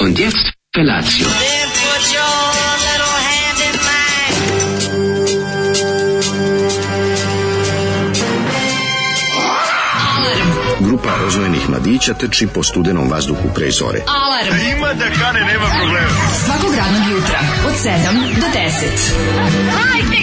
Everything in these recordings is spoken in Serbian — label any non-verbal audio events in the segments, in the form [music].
Und jetzt Felatio. Then put your little hand in mine. Grupa rozvojenih mladića teči po studenom vazduhu pre zore. Alarm. Ima da kane, nema problema. Svakog radnog jutra, od 7 do 10.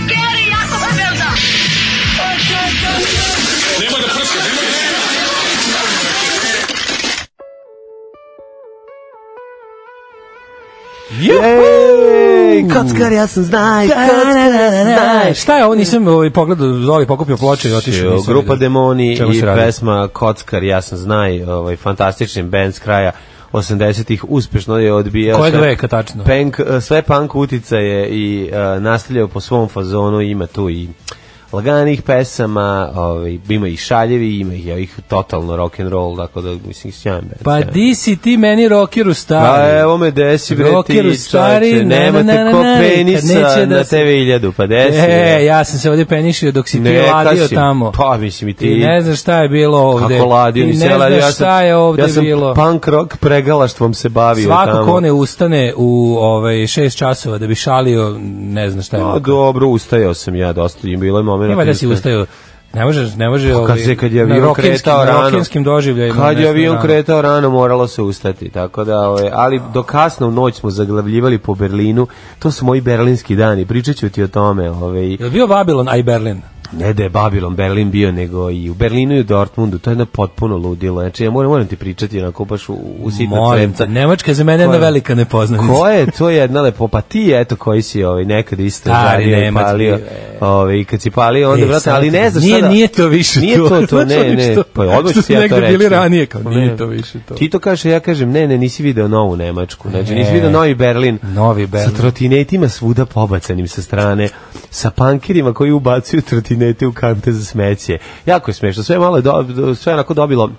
Ej, Kockar, ja sam znaj, Da, Šta je ovo, nisam ovaj, pogledao, Zoli pokupio ploče i otišao. da nisam Grupa vidio. Demoni Čemu i se radi? pesma Kockar, ja sam znaj, ovaj, fantastični band s kraja 80-ih, uspešno je odbijao Kojeg sve- veka tačno? Pank, sve punk uticaje i uh, nastavljao po svom fazonu, ima tu i laganih pesama, ovaj, ima i šaljevi, ima i ovih totalno rock and roll, tako da mislim sjajan band. Pa sjajan. di si ti meni rokiru stari? A Pa evo me desi bre Rockeru ti, stari, čoveče, na, na, nema na, te na, ko na, i kad neće da penisa na se- TV iljadu, pa desi. E, ja sam se ovdje penišio dok si ti Neka ladio si. tamo. Pa mislim i ti. Ti ne znaš šta je bilo ovde. Kako ladio, Ti ni ne sela, znaš ja sam, šta je ovde ja sam bilo. punk rock pregalaštvom se bavio Svako tamo. ko ne ustane u ovaj 6 časova da bi šalio, ne zna šta je. A, dobro, ustajao sam ja dosta, i bilo je Ne moment. valja da si ustaju. Ne možeš, ne može da Pa kad se kad je na avion rokinskim- kretao na rano. rokinskim doživljajima. Kad je nešto da. avion rano. kretao rano, moralo se ustati. Tako da, ovaj, ali do kasno u noć smo zaglavljivali po Berlinu. To su moji berlinski dani. Pričat ću ti o tome. Ovaj, Jel bio Babilon, a i Berlin? ne da je Babilon Berlin bio, nego i u Berlinu i u Dortmundu. To je jedno potpuno ludilo. Znači, ja moram, moram ti pričati onako baš u, u sitna Molim cremca. te, Nemačka je za mene jedna Koja? velika nepoznanica. Ko je? To je jedna lepo. Pa ti, eto, koji si ovaj, nekad isto Stari radio i Nemac palio. bio, e. Ovaj, kad si palio, onda, E, vrata, sad ali ti- ne znaš nije, sada. Nije to više Nije to, to, [laughs] Znaš, ne, oni ne. što- Pa odmah što ću su ti ja to negde reći. Pa bili ranije, kao Ne. nije to više to. Ti to kaže, ja kažem, ne, ne, nisi video novu Nemačku, znači nisi Ne. video novi Berlin. Novi Berlin. Sa trotinetima svuda pobacanim sa strane, sa pankirima koji ubacuju trotinete u kante za smeće. Jako je smešno, sve je malo, je do, do- sve je onako dobilo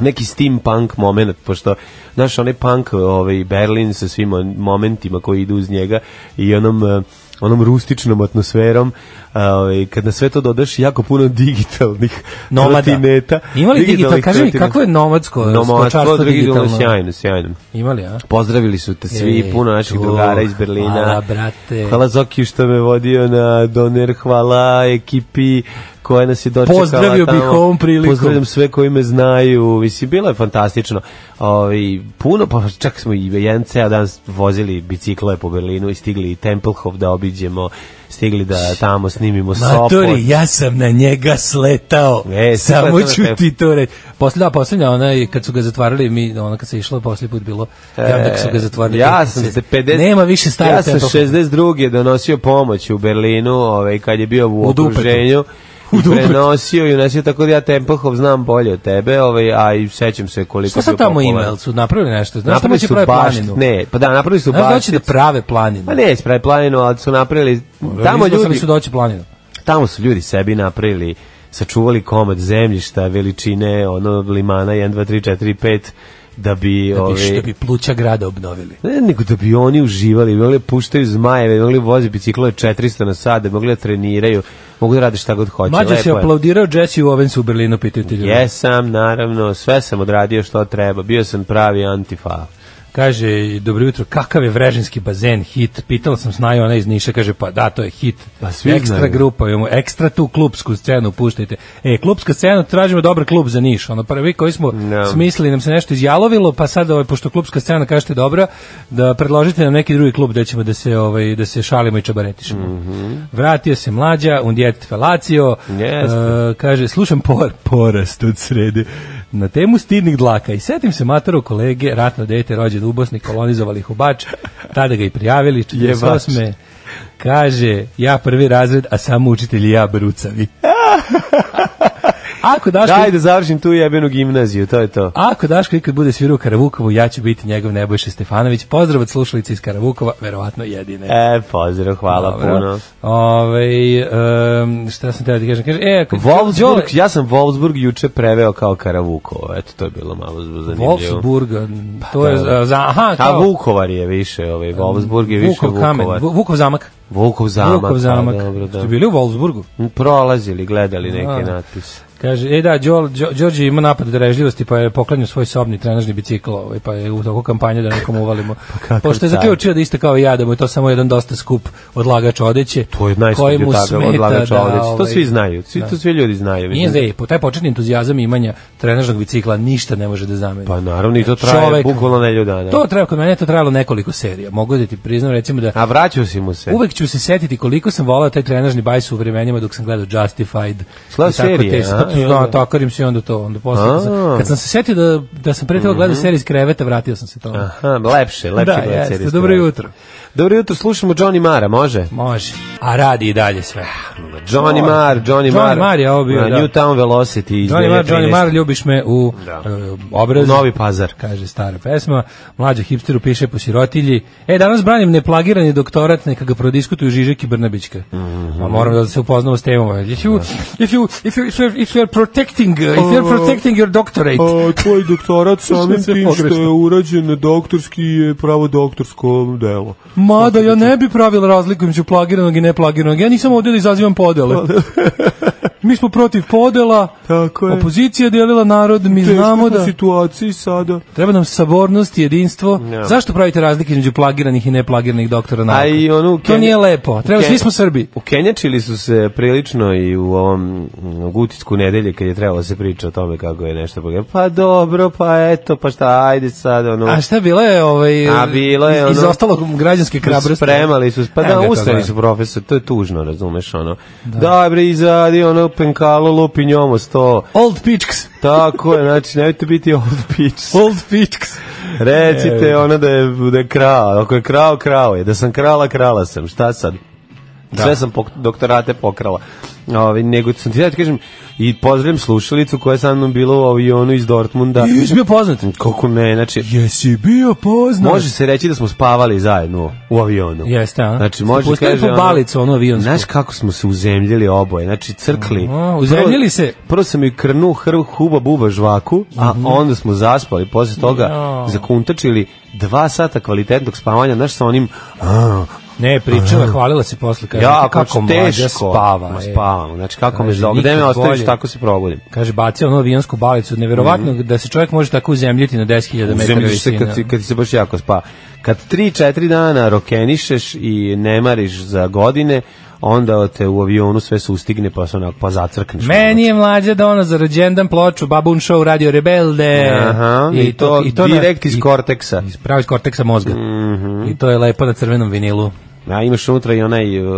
neki steampunk moment, pošto naš onaj punk ovaj, Berlin sa svim on- momentima koji idu uz njega i onom eh, onom rustičnom atmosferom a, ovaj, kad na sve to dodaš jako puno digitalnih Nomada. trotineta Imali digital, digitalnih kaži mi trotineta. kako je nomadsko Nomadstvo, stočarstvo digitalno, digitalno? sjajno, sjajno. Imali, a? Pozdravili su te svi, Ej, puno naših to, drugara iz Berlina. hvala, brate. Hvala Zoki što me vodio na doner, hvala ekipi koja nas je dočekala Pozdravio bih tamo. ovom prilikom. Pozdravljam sve koji me znaju. Mislim, bilo je fantastično. Ovi, puno, pa čak smo i jedan ceo dan vozili bicikle po Berlinu i stigli i Tempelhof da obiđemo, stigli da tamo snimimo Sopot. Matori, ja sam na njega sletao. E, Samo sletao ću na te- ti to reći. Posle, da, posljednja, ona, je, kad su ga zatvarali, mi, ona kad se išla, posljednji put bilo, ja onda kad su ga zatvarali. E, Ja kad sam se- se 50 Nema više stari Ja sam 62 donosio pomoć u Berlinu, ovaj kad je bio u, U dupetu. okruženju. U I dupetu. prenosio i unosio tako da ja Tempelhof znam bolje od tebe, ovaj a i sećam se koliko Šta je sad bio tamo ima, popularan. jel su napravili nešto? Znaš Napravili šta će su prave baš, planinu? ne, pa da, napravili su Znaš da baš. hoće da prave planinu? Pa ne, spravi planinu, ali su napravili, tamo Izglasali ljudi, su da hoće planinu. tamo su ljudi sebi napravili sačuvali komad zemljišta, veličine, ono, limana 1, 2, 3, 4, 5, da bi... Da bi, ovaj, da bi pluća grada obnovili. Ne, nego da bi oni uživali, bi mogli da puštaju zmajeve, bi mogli vozi biciklove 400 na sad, da bi mogli da treniraju, mogu da rade šta god hoće. Mađo se lepo je. aplaudirao Jesse Owensu u Berlinu, pitaju ti ljudi. Jesam, naravno, sve sam odradio što treba, bio sam pravi antifa. Kaže, dobro jutro, kakav je vrežinski bazen hit? Pitala sam snaju, ona iz Niša, kaže, pa da, to je hit. Pa svi ekstra znaju. grupa, imamo, ekstra tu klubsku scenu puštajte. E, klubska scena, tražimo dobar klub za Niš. Ono prvi koji smo Da. smislili, nam se nešto izjalovilo, pa sad, ovaj, pošto klubska scena kažete dobra, da predložite nam neki drugi klub da ćemo da se, ovaj, da se šalimo i čabaretišemo. Mhm. Vratio se mlađa, und jetzt felacio, Jeste. E, kaže, slušam por, porast od srede na temu stidnih dlaka i setim se mataru kolege, ratno dete rođen u Bosni, kolonizovali ih u Bač, tada ga i [laughs] prijavili, 48. Kaže, ja prvi razred, a samo učitelj i ja [laughs] brucavi. Ako Daško, Daj da završim tu jebenu gimnaziju, to je to. ako Daško ikad bude svirao u Karavukovu, ja ću biti njegov Nebojša Stefanović. Pozdrav od slušalice iz Karavukova, verovatno jedine. E, pozdrav, hvala puno. Ove, šta sam teo da kažem? Kaže, e, ako- Đole- Wolfsburg, ja sam Wolfsburg juče preveo kao Karavukovo, eto to je bilo malo zanimljivo. Wolfsburga, to je da. za- za, aha, A kao Vukovar je više, ovaj, Wolfsburg je više Vukov kamen, Vukovar. Vu- Vukov zamak. Vukov zamak, Vukov pa, zamak. dobro, da. Ste bili u Wolfsburgu? Prolazili, gledali Da. neke natpise. Kaže, e da, Đor, Đor- Đorđe ima napad drežljivosti, pa je poklanio svoj sobni trenažni bicikl, ovaj, pa je u toku kampanje da nekom [laughs] uvalimo. Pa kakav Pošto je car. zaključio da isto kao i ja, da mu je to samo jedan dosta skup odlagač odeće, To je najskuplji takav odlagač odeće. To svi znaju, svi, to svi ljudi znaju. da, ovaj, Nije zej, po taj početni entuzijazam imanja trenažnog bicikla ništa ne može da zameni. Pa naravno, i to traje bukvalno nedelju dana. To traje, kod mene je to trajalo nekoliko serija. Mogu da ti priznam, recimo da A vraćao si mu se. Uvek ću se setiti koliko sam volao taj trenažni bajs u vremenima dok sam gledao Justified. Gledao I tako serije, te- a? tako- I Da, onda- takarim se i onda to. Onda posle, kad, A. Mhm. sam, kad sam se setio da, da sam pre toga gledao serije iz kreveta, vratio sam se tome. Aha, lepše, lepše. Da, gledati jeste, serijske dobro vremena. jutro. Dobro jutro, slušamo Johnny Mara, može? Može. A radi i dalje sve. Johnny Marr, Johnny, Johnny Marr je ovo bio, Na da. Newtown Velocity iz Johnny Mar, 2013. Johnny Mar, ljubiš me u Da. e, obraz. U Novi Pazar. Kaže stara pesma. Mlađo hipsteru piše po sirotilji. E, danas branim neplagirani doktorat, neka ga prodiskutuju Žižek i Brnabićka. Mhm. A moram da se upoznamo s temom. If you, if you, if you, if you, if you are protecting, uh, if you are protecting your doctorate, A, tvoj [laughs] doktorat samim Sve tim što pogrešno. je urađen doktorski je pravo doktorsko delo. Mada oh, ja ne bi pravila razliku između plagiranog i neplagiranog. Ja nisam ovdje da izazivam [laughs] podele. Mi smo protiv podela. Tako je. Opozicija je delila narod, mi Teška znamo smo da situaciji sada. treba nam sabornost i jedinstvo. Zašto pravite razlike između plagiranih i neplagiranih doktora nauka? A i onu u To Kenji- nije lepo. Treba, u Kenji- svi smo Srbi. Ukenjačili su se prilično i u ovom mm, gutisku nedelje kad je trebalo da se priča o tome kako je nešto pogledao. Pa dobro, pa eto, pa šta, ajde sad, ono... A šta bilo je ovaj A bilo je iz- ono- izostalo građanske hrabrosti. pa Spremali su, pa Evo da, ga to, ustali gledaj. su profesor, to je tužno, razumeš, ono. Da, bre, izadi, ono, penkalo, lupi njomo sto. Old Pitchks. Tako je, znači, nemojte biti [laughs] old pitch. Old Pitchks. E. Recite ono da je, da je krao, ako je krao, krao je, da sam krala, krala sam, šta sad? Da. Sve sam pok- doktorate pokrala. Ovi, nego sam ti da ti kažem, i pozdravim slušalicu koja je sa mnom bila u avionu iz Dortmunda. Jesi bio poznat? Koliko ne, znači, Jesi bio poznat? može se reći da smo spavali zajedno u avionu. Jeste, a? Znači, Ste može pustili kaže... po balicu, ono, avionsku. Znaš kako smo se uzemljili oboje, znači crkli. Aha, uzemljili se. Mhm. Prvo, prvo sam i krnu hrv huba buba žvaku, a onda smo zaspali, posle toga Jao. zakuntačili dva sata kvalitetnog spavanja, znaš, sa onim... a, Ne, pričala, hvalila se posle. Kaže, ja, kako kako mlađa teško. spava. Ma, e. spavam, znači kako me Kaže, zove, gde me nikad ostaviš, bolje. tako se probudim. Kaže, bacio ono avionsku balicu. Neverovatno da se čovjek može tako uzemljiti na 10.000 metara Mhm. Uzemljiš se visine. kad, si- kad ti se baš jako spa. Kad 3-4 dana rokenišeš i ne mariš za godine, onda te u avionu sve sustigne pa se onako pa zacrkneš. Meni je mlađa dona za rođendan ploču Babun Show Radio Rebelde. Aha, i, to, na- direkt iz Mhm. i- korteksa. Iz pravog korteksa mozga. I to je lepo na crvenom vinilu. A imaš unutra i onaj, uh,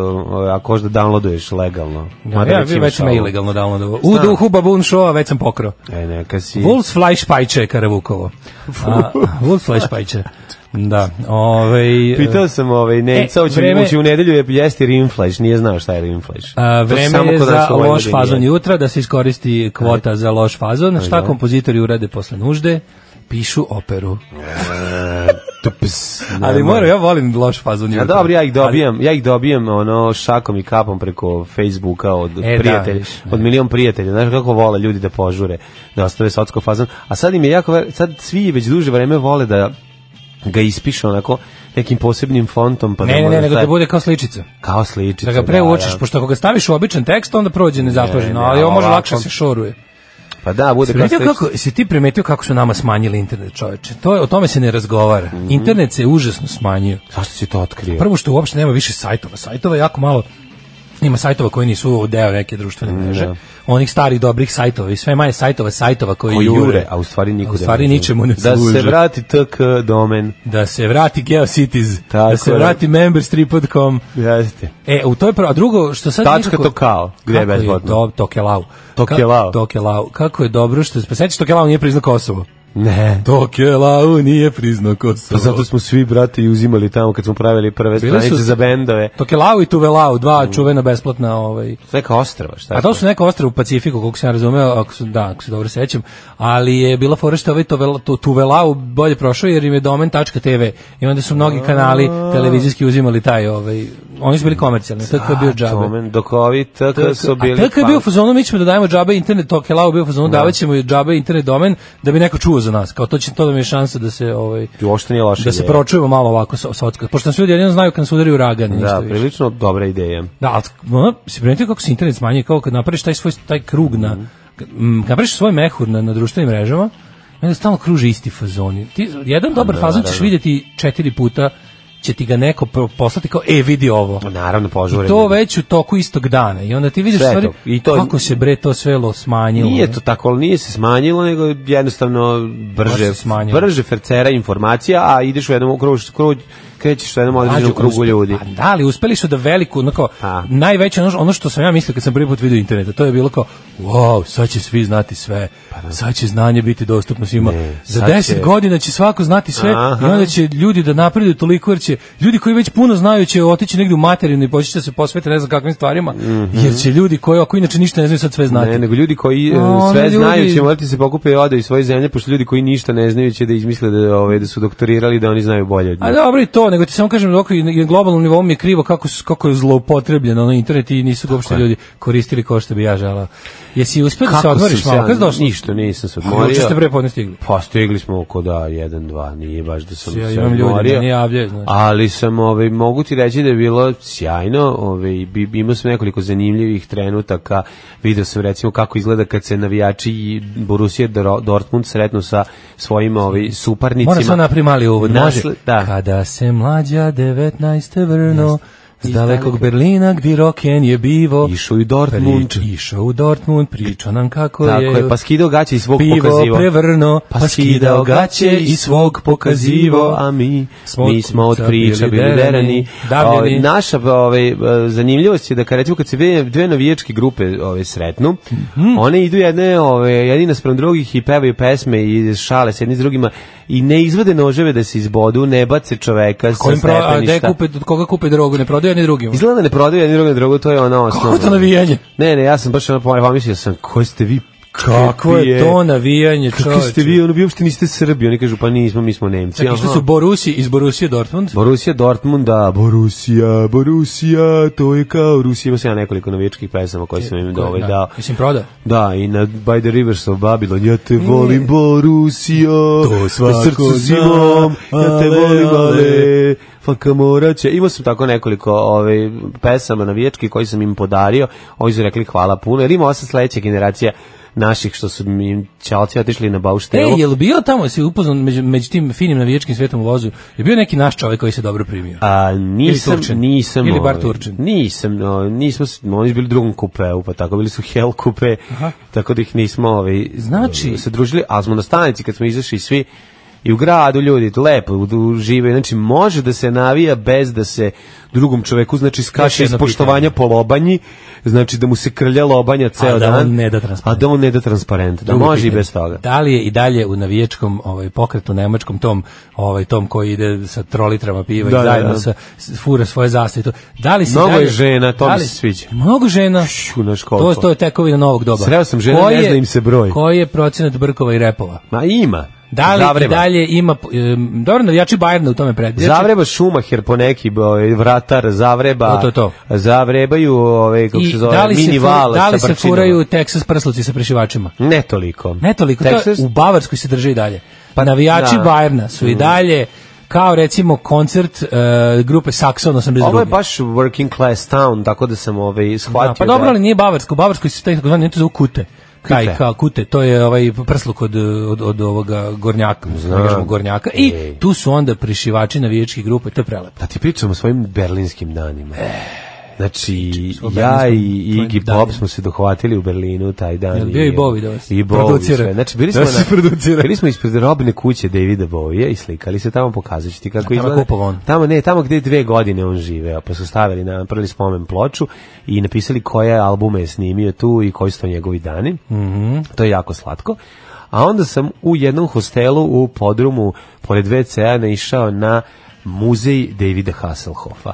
ako možda downloaduješ legalno. Mada Da, ja, da, već vi imaš već me ovo. ilegalno downloadovo. U duhu Babun Showa već sam pokrao. E, neka si... Wolfsfly Špajče je Karavukovo. A, Wolfsfly Špajče. Da, ovaj... Pitao sam ovaj, Nemca, E, hoće vreme- vreme... ući u nedelju je jesti rimflaš, nije znao šta je rimflaš. A, To se vreme samo je kod nas za u Vojvodini loš je. fazon jutra, da se iskoristi kvota za loš fazon. Šta kompozitori urade posle nužde? pišu operu. Tups. Ali mora, ja volim loš fazon A jutra. dobro, ja ih dobijam, ja ih dobijam ono šakom i kapom preko Facebooka od E, da, prijatelja, viš, od milion prijatelja. Znaš kako vole ljudi da požure, da ostave socko fazan. A sad im je jako, ver- sad svi već duže vreme vole da ga ispišu onako nekim posebnim fontom. Pa Ali- Ne, da ne, ne, može nego sad- da bude kao sličica. Kao sličica. Da ga preučiš, da. pošto ako ga staviš u običan tekst, onda prođe nezapaženo, Ne, ne, ali ovo može ovako- lakše da se šoruje. Pa da, bude Si kao primetio sličica. kako, si ti primetio kako su nama smanjili internet, čoveče? To je, o tome se ne razgovara. Mhm. Internet se užasno smanjio. Zašto si to otkrio? Prvo što uopšte nema više sajtova. Sajtova je jako malo ima sajtova koji nisu deo neke društvene Mhm, mreže. da. Onih starih dobrih sajtova i sve manje sajtova, sajtova koji Ko jure. jure, a u stvari A nikude. u stvari ne ničemu ne Da služe. se vrati tk domen. Da se vrati GeoCities, Tako da se je. vrati memberstrip.com. Jeste. E, u to je prvo, a drugo, što sad Tačka nikako- Tokal, gde je Kako besplatno? Do, Tokelau. Tokelau. Ka- Tokelau. Kako je dobro što, pa sećaš Tokelau nije priznao Kosovo. Ne. Tokelau nije priznao Kosovo. Pa zato smo svi, brate, i uzimali tamo kad smo pravili prve Bile su- stranice za bendove. Tokelau i Tuvelau, dva čuvena besplatna ovaj. Neka ostrava, šta je A to su neka ostrva u Pacifiku, koliko sam ja razumeo, ako su, da, ako se dobro sećam, ali je bila fora što ovaj Tovel- Tu- Tuvelau bolje prošao jer im je domen.tv i onda su mnogi kanali televizijski uzimali taj, ovaj, oni su bili komercijalni, tako je bio džabe. Domen, dok ovi tk Da su A bili... Da. TK je bio u punk. fazonu, mi ćemo da dajemo džabe internet, to Kelau je bio u fazonu, davat ćemo i džabe internet domen da bi neko čuo za nas. Kao to će to da mi je šansa da se ovaj Ti Uopšte nije loša da se ideja. pročujemo malo ovako sa sa odskat. Pošto nas ljudi jedino znaju kad nas udari uragan, ništa Da, više. prilično dobra ideja. Mhm. Da, ali ono, si primetio kako se internet smanjuje, kao kad napraviš taj svoj taj krug na mm, napraviš svoj mehur na, na društvenim mrežama, i onda stalno kruži isti fazoni. Ti, jedan dobar da, fazon ćeš vidjeti četiri puta, će ti ga neko pro- poslati kao, e, vidi ovo. Naravno, požure. I to već u toku istog dana. I onda ti vidiš Sve stvari, to. I to- kako se bre to sve lo smanjilo. Nije to tako, ali nije se smanjilo, nego jednostavno Baš brže, se smanjilo. brže fercera informacija, a ideš u jednom krugu, krugu krećeš u jednom određenom Mlađo, krugu uspe- ljudi. Pa. Pa da, ali uspeli su da veliku, ono kao, A. najveće, ono, ono što sam ja mislio kad sam prvi put vidio interneta, to je bilo kao, wow, sad će svi znati sve, sad će znanje biti dostupno svima, za Pa da. sad 10 će- godina će svako znati sve Aha. i onda će ljudi da napreduju toliko, jer će ljudi koji već puno znaju će otići negdje u materinu i početi da se posvete ne znam kakvim stvarima, Mhm. jer će ljudi koji, ako inače ništa ne znaju, sad sve znati. Ne, nego ljudi koji e, Ono, sve ljudi- znaju će morati se pokupe i ode iz svoje zemlje, pošto ljudi koji ništa ne znaju će da izmisle da, ove, da su doktorirali i da oni znaju bolje od njih. A dobro i to, nego ti samo kažem dok i na globalnom nivou mi je krivo kako su- kako je zloupotrebljeno na internet i nisu ga uopšte ljudi koristili kao što bi ja želeo. Jesi uspeo da se odmoriš sam malo? Kad si ja- došao? Ništa, nisam se A, Juče odmorio. ste prepodne stigli. Pa stigli smo oko da, jedan, dva, nije baš da sam Ja se imam ljudi odmorio. da ne javljaju, znaš. Ali sam, ovaj, mogu ti reći da je bilo sjajno, ovaj, bi, imao sam nekoliko zanimljivih trenutaka, video sam recimo kako izgleda kad se navijači i Borussia Dro- Dortmund sretnu sa svojim ovaj, suparnicima. Moram samo napraviti mali uvod, može? Nasle- da. Kada se mlađa 19. vrno iz iz dalekog daleka. Berlina gdje roken je bivo Išao i Dortmund. Prič- Išao u Dortmund, pričao nam kako Tako je, pa skidao gaće i svog Pivo pokazivo. prevrno, pa skidao gaće i svog pokazivo, a mi, Smo mi smo od od priča bili bili derani. derani, davljeni. Ovaj, Naša ovaj, zanimljivost je da kad recimo kad se dve, dve navijačke grupe ove, sretnu, Mhm. one idu jedne, ove, jedina sprem drugih i pevaju pesme i šale s jedni s drugima i ne izvade noževe da se izbodu, ne bace čoveka sa Kojim pro, a gde stepeništa. kupe, od koga kupe drogu, ne prodaju ni drugima. Izgleda da ne prodaju jedni drugom drugo, to je ono osnovno. Kako je to navijanje? Ne, ne, ja sam baš ono pomislio sam, koji ste vi Kako je to navijanje, Kako ste čoveče? vi, ono, vi uopšte niste Srbi, oni kažu, pa nismo, mi smo Nemci. Čak, išli Aha. su Borusi iz Borusije Dortmund. Borussia Dortmunda, Borussia, Borussia, to je kao Rusija. Ima se ja nekoliko novičkih pesama koje sam im Ko- dove da. dao. Mislim, prodao. Da, i na By the Rivers of Babylon, ja te volim Borussia, to svako srcu si zna, mom, ja te ale, volim, ale, ale. faka moraće. Imao sam tako nekoliko ove, pesama navijački koji sam im podario, ovi su rekli hvala puno, jer ima osam sledeća generacija naših što su mi čalci otišli na bauštelu. E, je li bio tamo, si upoznao među, među tim finim navijačkim svetom u vozu, je bio neki naš čovjek koji se dobro primio? A nisam, Ili Turčin. nisam. Ili bar ovaj, Turčin. Nisam, no, nismo, s- oni su bili u drugom kupeu, pa tako, bili su hel kupe, tako da ih nismo ovaj, Znači- se družili, ali smo na stanici kad smo izašli svi i u gradu ljudi, lepo u- uživaju, znači može da se navija bez da se drugom čoveku, znači Još skače iz jedno poštovanja po lobanji, znači da mu se krlja lobanja ceo da on dan, ne da transparent. a da on ne da transparent, da Drugo može i pitanje. bez toga. Da li je i dalje u navijačkom ovaj pokretu nemačkom tom, ovaj tom koji ide sa trolitrama piva Da, da, i zajedno da. sa s- fura svoje zastave i to. Da li si Mnogo dalje, je žena, to mi da li- se sviđa. Mnogo žena. Šu, znaš koliko. To, to je tekovina novog doba. Sreo sam žena, Koji ne je- zna im se broj. Koji je procenat brkova i repova? Ma ima. Da li i Zavreba. dalje ima em, dobro navijači Bajerna u tome prednjače. Zavreba Šumacher po neki ovaj, vratar zavreba. To, to, to. Zavrebaju ove kako I se zove da li se, mini fu- vale da li sa se brčinama. furaju Texas prsluci sa prešivačima? Ne toliko. Ne toliko, to je- Texas, u Bavarskoj se drže i dalje. Pa, Navijači da. Bajerna su i dalje kao recimo koncert e, grupe Saxon 82. Ovo je baš working class town, tako da sam ovaj shvatio. Da, pa dobro, da- ali nije Bavarsko, u Bavarskoj su taj takozvani, ne to zovu kute. Taj Kute. kao kute, to je ovaj prsluk od, od, od ovoga gornjaka, mislim, da kažemo gornjaka. I tu su onda prišivači navijačkih grupa, to je prelepo. Da ti pričam o svojim berlinskim danima. Eh, Znači, o ja berlinskom i Iggy tvojim Pop danima. smo se dohvatili u Berlinu taj dan. Jel bio i Bowie da vas I Bowie producira? sve. Znači, Da bili smo, vas na, [laughs] producira. bili smo ispred robne kuće Davida Bowie i slikali se tamo, pokazat ću ti kako tamo je izgleda. kupovao on. Tamo ne, tamo gde je dve godine on živeo, pa su stavili, napravili spomen ploču i napisali koje albume je snimio tu i koji su to njegovi dani. Mhm. To je jako slatko. A onda sam u jednom hostelu u podrumu pored WC-a naišao na muzej Davida Hasselhoffa.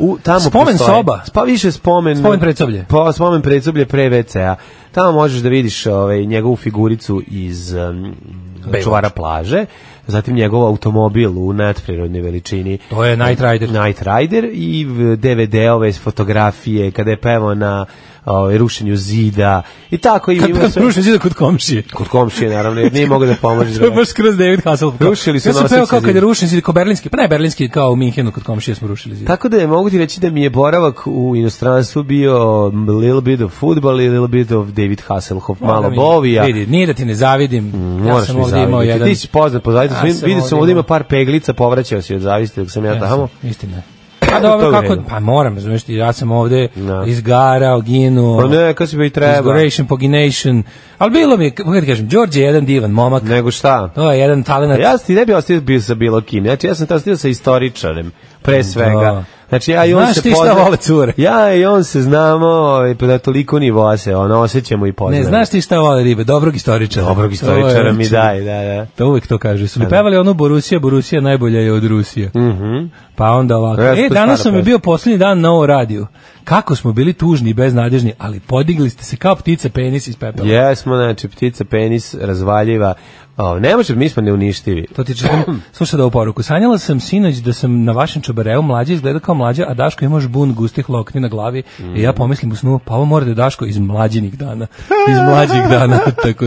U, tamo Spomen postoje- soba. Pa više spomen... Spomen predsoblje. Pa spomen predsoblje pre WC-a. Tamo možeš da vidiš ovaj, njegovu figuricu iz um, čuvara plaže, zatim njegov automobil u nadprirodnoj veličini. To Da. je Knight Rider. Knight Rider i DVD-ove fotografije kada je pevao na ovaj, rušenju zida i tako. I Kad ima sve- rušen zida da kod komšije. Kod komšije, naravno, jer nije mogao da pomože. [laughs] To je baš skroz David Hasselhoff. Rušili su ja sam noseći peo kao kad je zid. rušen zid, kao berlinski, pa ne berlinski, kao u Minhenu kod komšije smo rušili zid. Tako da je mogu ti reći da mi je boravak u inostranstvu bio little bit of football i little bit of David Hasselhoff, malo Da mi- bovija. Mm, Vidi, nije da ti ne zavidim. ja Moraš sam mi ovdje imao zavidjeti. jedan... Ti si poznat po zavidu. Ja Vidio sam sam ovdje ovdje ima imao- par peglica, povraćao si od zavisti dok sam ja pa tamo. Jesam, Istina. A dobro, To je u kako, redu. pa moram, razumiješ ti, ja sam ovde Da. izgarao, ginuo, Pa ne, kad si bi i treba. izgoration, pogination, ali bilo mi, je, kako da kažem, Đorđe je jedan divan momak, Nego šta? to je jedan talent, Ja sam ti ne bi ostavio bio sa bilo kim. Znači, ja sam tamo stigao sa istoričarem, pre svega. Znači, ja i on Da. Znaš se ti šta pozna- vole cure? Ja i on se znamo, ovaj, pa da toliko nivoa se, ono, osjećamo i poznamo. ne, znaš ti šta vole ribe, dobrog istoričara. Dobrog To istoričara je- mi daj, da, da. To Pa uvek to kaže. Su li pevali ono Borusija, Borusija najbolja je od Rusije. Pa onda ovako. Mhm. Ja sam e, to danas stara sam mi pesma. bio posljednji dan na ovom radiju. Kako smo bili tužni i beznadežni, ali podigli ste se kao ptice penis iz pepela. Jesmo, znači, ptica penis razvaljiva. O, ne može, mi smo neuništivi. To ti [clears throat] čitam, slušaj da ovu poruku. Sanjala sam sinoć da sam na vašem čobareu mlađa izgleda kao mlađa, a Daško imaš bun gustih lokni na glavi Mm. i ja pomislim u snu, pa ovo mora da je Daško iz mlađinih dana, [laughs] iz mlađih dana, [laughs] tako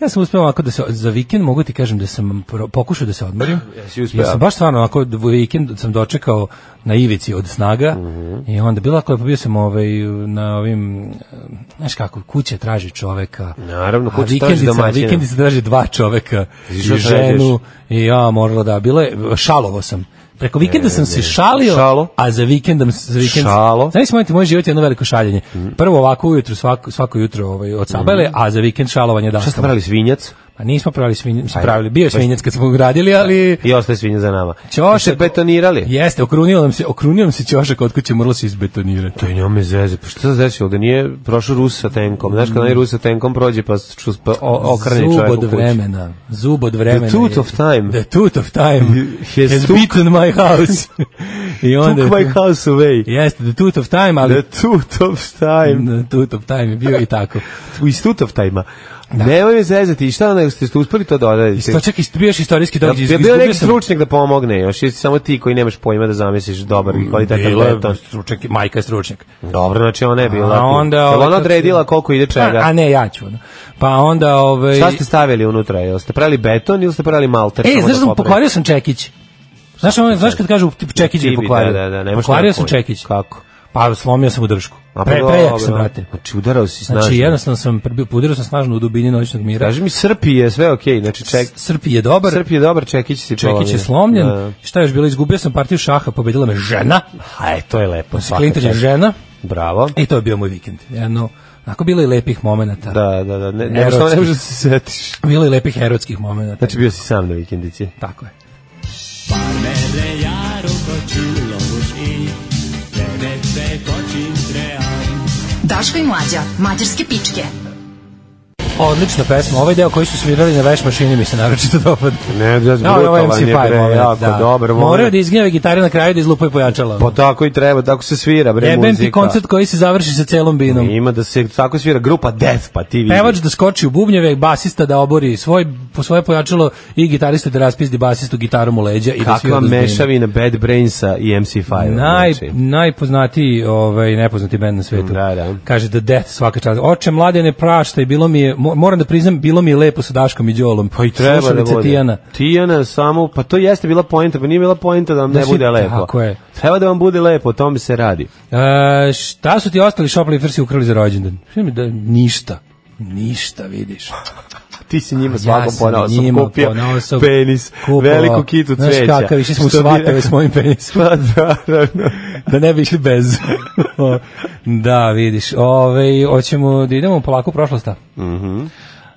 Ja sam uspeo ovako da se, za vikend mogu ti kažem da sam pro- pokušao da se odmorim. [clears throat] Jesi uspeo? Ja sam baš stvarno onako, d- vikend sam dočekao na ivici od snaga Mhm. i onda bila koja bio sam ovaj, na ovim, znaš kako, kuće traži čoveka. Naravno, a kuća traži vikendica- domaćina. vikendi- se traže dva čoveka i šta ženu i ja morala da bilo je šalovo sam preko vikenda sam se šalio Šalo. a za vikendom za vikend Šalo. znaš moj moj život je jedno veliko šaljenje prvo ovako ujutru svako svako jutro ovaj od sabele a za vikend šalovanje da Šta ste brali, svinjac? pa nismo pravili svinj pravili bio je svinjac kad smo gradili ali I ostaje svinja za nama. Ćošak- Ste betonirali? jeste okrunio nam se okrunio nam se ćošak od kuće moralo se izbetonirati To je njome zeze, pa šta se desilo da nije prošao Rus sa tenkom? Znaš kad onaj Rus sa tenkom prođe pa, ču, pa o, okrene Zub čovjek u od kući. vremena. Zub od vremena. tooth je- of time. The tooth of time Has has, took- beaten my [laughs] house. I Took onda... my house away. Da Jeste, the tooth of time, ali... The tooth of time. The tooth of time je bio i tako. U istut of time-a. Da. Nemoj me zezati, i šta onda ste ste uspeli to da odradite? Sto Pa čekaj, bio još istorijski Da, događaj. je bio izgubio neki sam- stručnjak da pomogne još, jesi samo ti koji nemaš pojma da zamisliš dobar i kvalitetan Mm, Bila je beton. stručnjak, majka je stručnjak. Dobro, znači ona je bila. A tu. onda, Jel ovaj, ona kako- odredila koliko ide čega? A, a ne, ja ću. ono. Pa onda... Ovaj, Šta ste stavili unutra? Jel ste pravili beton ili ste pravili malter? E, samo znaš, da da sam popravite? pokvario sam čekić. Znaš, ono, znaš kad kažu čekić je Tibi, pokvario? Da, da, da, nemaš pokvario nema sam pojma. čekić. Kako? Pa slomio sam u dršku. A, pa Pre, dobro. prejak sam, brate. Znači, udarao si snažno. Znači, jednostavno sam prebio, udarao sam snažno u dubini noćnog mira. Kaži mi, Srpi je sve okej, znači ček... Srpi je dobar, Srpi je dobar, da. Čekić si Čekić je slomljen. Šta je još bilo? Izgubio sam partiju šaha, pobedila me žena. Aj, e, to je lepo. Pa, svaka Klintar je čast. žena. Bravo. I E, to je bio moj vikend. Jedno, onako bilo je lepih momenata. Da, da, da, ne, ne, Erotski. što ne možeš da se setiš. Bilo je lepih erotskih momenata. Znači, bio si sam na vikendici. tako je. Daško i mlađa, mađarske pičke. Odlična pesma. Ovaj deo koji su svirali na veš mašini mi se naročito dopada. Ne, da, Da, ovo je MC Five moment, jako da. dobar. Moraju da izgnjave gitare na kraju da izlupaju pojačala. Pa tako i treba, tako se svira, bre, Jebem muzika. ti koncert koji se završi sa celom binom. Ima da se, tako svira grupa Death, pa ti vidi. Pevač da skoči u bubnjeve, basista da obori svoj, po svoje pojačalo i gitarista da raspizdi basistu gitarom u leđa. I da svi Kakva odu s bine. mešavina Bad Brainsa i MC5. Naj, znači. najpoznatiji, ovaj, nepoznati band na svetu. Da, da. Kaže The Death svaka čast. Oče, mladene prašta i bilo mi je, mo- moram da priznam, bilo mi je lepo sa Daškom i Đolom. Pa i treba da bude. Tijana. Tijana samo, pa to jeste bila poenta, pa nije bila poenta da vam ne Da si- bude lepo. tako je. Treba da vam bude lepo, o tome se radi. E, šta su ti ostali šoplifersi ukrali za rođendan? Šta mi da, ništa. Ništa, vidiš. Ti si njima Ja svakom sam ponao Pa, sam njima kupio ponao sam penis, kupovao. veliku kitu Znaš cveća. kakav, išli smo u Što bi svatove rekao- s mojim penisom. [laughs] Pa da, naravno. da ne bi išli [laughs] bez. da, vidiš. Ove, hoćemo da idemo polako u prošlost. Mhm.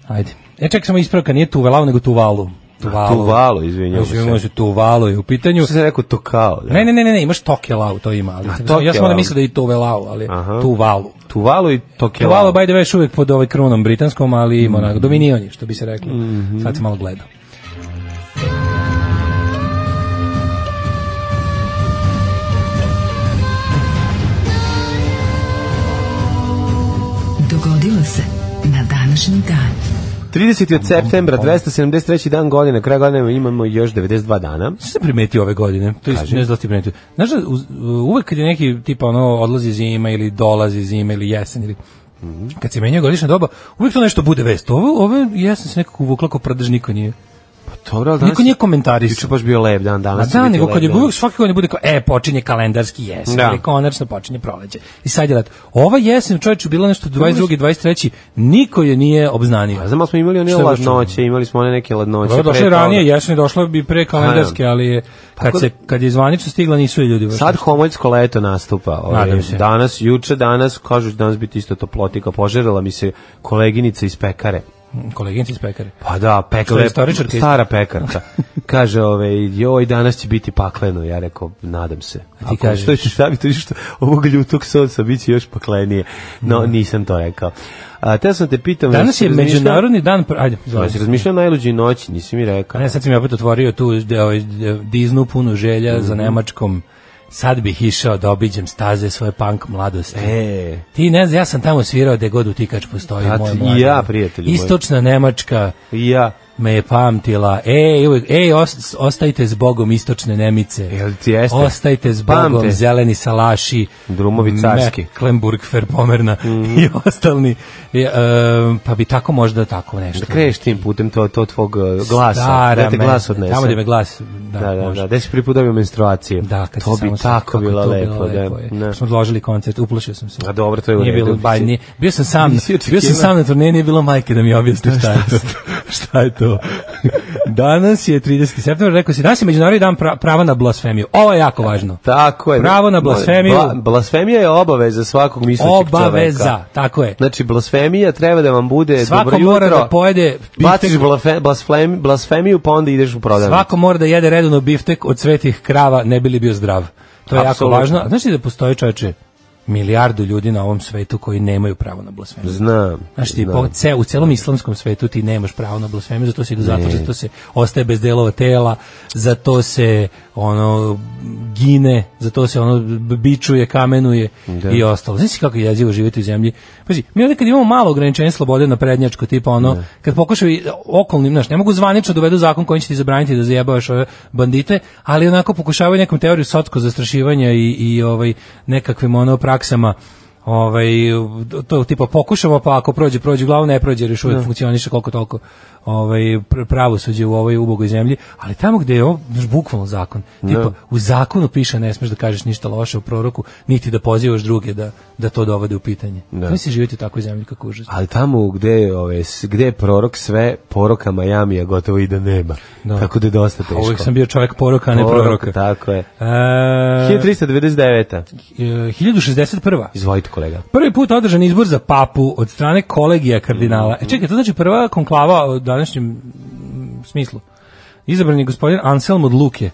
Ajde. E, čekaj, samo ispravka, nije Tuvalu, nego Tuvalu. Tuvalu. Tuvalu, izvinjavam se. Izvinjavam se. Tuvalu je u pitanju. Što sam rekao, to kao. Da. Znači, Ne, ne, ne, ne, ne, imaš Tokelau, to ima. Ali, ja sam Tokelau. onda mislio da je i Tuvalu, ali Aha. Tuvalu. Tuvalu i Tokela. Tuvalu, by the way, još uvijek pod ovaj krunom britanskom, ali ima onako, dominion je, što bi se reklo. Mhm. Sad se malo gleda. Dogodilo se na današnji dan. 30. septembra, 273. dan godine, kraj godine imamo još 92 dana. Što sam primetio ove godine? To je ne znam da li si primetio. Znaš, da uz- uvek kad je neki tipa ono odlazi zima ili dolazi zima ili jesen ili Mhm. kad se menja godišnja doba, uvijek to nešto bude vest. Ovo, ove jesen se nekako uvukla kao prdež, niko nije. Dobro, ali Niko nije Juče komentarisao. baš bio lep dan, A danas. će da, biti nego lep kad je dan. uvijek svake godine bude kao, e, počinje kalendarski jesen, Da. da. konačno počinje proleđe. I sad je rat. Ova jesen, čovječe, bila nešto 22. 23. Niko je nije obznanio. A Pa znam, ali smo imali one Šta je baš ladnoće, imali smo one neke ladnoće. Dobro, došla pre je ranije, toga. Pa jesen je došla bi pre kalendarske, ali je, Tako kad, se, kad je zvanično stigla, nisu je ljudi. baš Sad homoljsko leto nastupa. Ovaj, Nadam se. Danas, juče, danas, kažu da će danas biti isto toplotika. Požerila mi se koleginica iz pekare. koleginici iz pekare. Pa da, Što pekara, je istoričarka isto? stara pekarka. Kaže, ove, joj, danas će biti pakleno. Ja rekao, nadam se. A ti kažeš? Što, ćeš- šta bi to što ovog ljutog solca bit će još paklenije. No, nisam to rekao. A, te sam te pitam... Mm. Danas jesi je razmišljao- međunarodni dan... pr- Ajde, izvoli. Jesi razmišljao o najluđoj noći, nisi mi Pa rekao. ne, sad sam ja opet otvorio tu de- ovaj, de- diznu puno želja za Mhm. Nemačkom. Sad bih išao da obiđem staze svoje punk mladosti. E, Ti ne znam, ja sam tamo svirao gde god utikač postoji. A moj ti- i mladi. ja, prijatelju moj. Istočna Nemačka i ja. me je pamtila. Ej, uvek, ej, os- ostajte s Bogom istočne Nemice. Jel ti jeste? Ostajte s Bogom Pamte. zeleni salaši. Drumovi Mhm. carski. Mecklenburg, Ferpomerna [laughs] i ostalni. I, e, pa bi tako možda tako nešto. Da kreneš tim putem to, to tvog e, glasa, Stara da te glas me- odnese. Tamo gde me glas, da, da, da, može. da, da si prvi put dobio menstruaciju. Da, kad to se bi samo tako sjetim bilo kako je lepo, da. je. Ne. Smo odložili koncert, uplašio sam se. A dobro, to je u Nije redu, bilo ti ba, si- nije, bio sam sam, Nisi bio sam očekivao. sam na turneji, nije bilo majke da mi objasni šta je to. [laughs] šta je to? [laughs] Danas je 30. september, rekao si, danas je međunarodni dan pra- prava na blasfemiju. Ovo je jako važno. E, Tako je. Pravo na blasfemiju. Bla- blasfemija je obaveza svakog mislećeg čoveka. Obaveza, tako je. Znači, blasfemija treba da vam bude Svako dobro jutro. mora da pojede Baciš biftek. blafe- blasfem, blasfemiju, pa onda ideš u prodavnicu. Svako mora da jede redovno biftek od svetih krava, ne bi li bio zdrav. To je Apsolutno. jako važno. A Znaš li da postoji čoveče milijardu ljudi na ovom svetu koji nemaju pravo na blasfemiju? Znam. Znaš ti, znam. po, ce, u celom islamskom svetu ti nemaš pravo na blasfemiju, zato se ide u zatvor, Ne. zato se ostaje bez delova tela, zato se ono gine, zato se ono b- bičuje, kamenuje i ostalo. Znaš ti kako je jezivo živjeti u zemlji? Pazi, mi ovdje kad imamo malo ograničenja slobode na prednjačko, tipa ono, kad pokušaju okolnim, znaš, ne mogu zvanično dovedu zakon koji će ti zabraniti da zajebavaš ove bandite, ali onako pokušavaju nekom teoriju sotsko zastrašivanja i, i ovaj, nekakvim ono praksama ovaj to tipa pokušamo pa ako prođe prođe glavno ne prođe jer još uvijek funkcioniše koliko toliko ovaj pr- pravosuđe u ovoj ubogoj zemlji ali tamo gdje je ovo znaš, bukvalno zakon tipa u zakonu piše ne smeš da kažeš ništa loše u proroku niti da pozivaš druge da da to dovode u pitanje da. se živite u takvoj zemlji kako užas Ali tamo gde, ove, s- gde je prorok sve, poroka Majamija gotovo i da nema. Da. Tako da je dosta teško. uvijek sam bio čovjek poroka a ne Porok, proroka Tako je. E, 1399. 1061. Izvolite kolega. Prvi put održan izbor za papu od strane kolegija kardinala. E čekaj, to znači prva konklava u današnjem mm, smislu. Izabran je gospodin Anselm od Luke,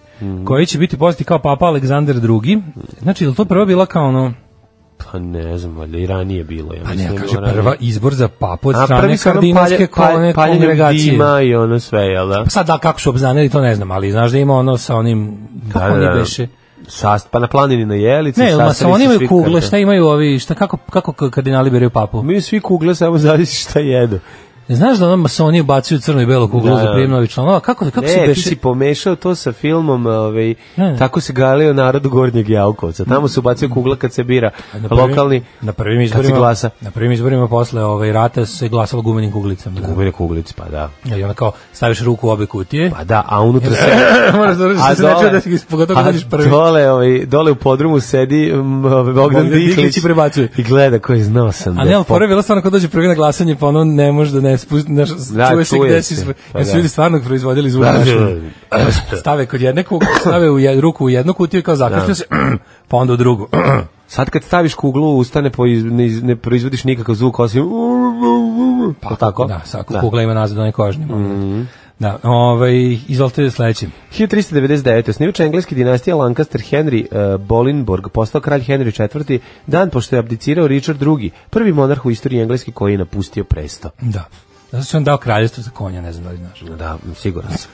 koji će biti poznati kao papa Aleksandar II. Znači, je li to prva bila kao ono... Pa ne znam, ali i ranije bilo. Ja Pa mislim ne, da je kaže bilo ranije. prva izbor za papu od A strane prvi su ono kardinalske palje- palje- kone- paljenjem kongregacije. dima i ono sve, jel da? Pa Sad da, kako su obznanili, to ne znam, ali znaš da ima ono sa onim... Kako da, oni da. beše? Sast, pa na planini na jelici. Ne, ma sastali sa oni se imaju svi kugle, karta. šta imaju ovi, šta, kako, kako kardinali biraju papu? Mi svi kugle, samo zavisi šta jedu. Znaš da ono masoni bacuju crno i belo kuglu Da, za da. prijem novih članova? Kako, kako se Ne, ti beše? si pomešao to sa filmom, ovaj, Ne. tako se galio narod Gornjeg Javkovca. Tamo se ubacio kugla kad se bira Na prvim- lokalni, na prvim kad se izborima glasa. Na prvim izborima posle ovaj rata se glasalo gumenim kuglicama. Da. Gubine kuglici, pa da. I onda kao staviš ruku u obe kutije. Pa da, a unutra se... [laughs] Moraš da A se ne čuje dole- da si pogotovo kad a dođeš prvi. Dole, ovaj, dole u podrumu sedi um, ovaj, Bogdan Bogdan Diklić Diklić i prebacuje. I gleda koji znao sam. A da ne, ali pop- fora je bila stvarno kad dođe prvi na glasanje, pa ono ne može da ne spusti, naš, Da, čuje se čuje gde se. si, Pa jer su da. ljudi stvarno proizvodili zvuk. Da, znaš, da, ono, stave kod jedne kugle, stave u jed, ruku u jednu kutiju i kao zakašlja Da. se, [clears throat] pa onda u drugu. [clears throat] Sad kad staviš kuglu u usta ne, poiz- ne, iz- ne proizvodiš nikakav zvuk osim... Pa tako? Da, svaka kugla ima nazad onaj kožni moment. Mhm. Da, ovaj, izvolite sledeći. 1399. Osnivač engleske dinastije Lancaster Henry eh, Bolingbroke postao kralj Henry IV. dan pošto je abdicirao Richard II. Prvi monarh u istoriji engleske koji je napustio presto. Da. Zato što je on dao kraljestvo za konja, ne znam da li znaš. Da, siguran sam.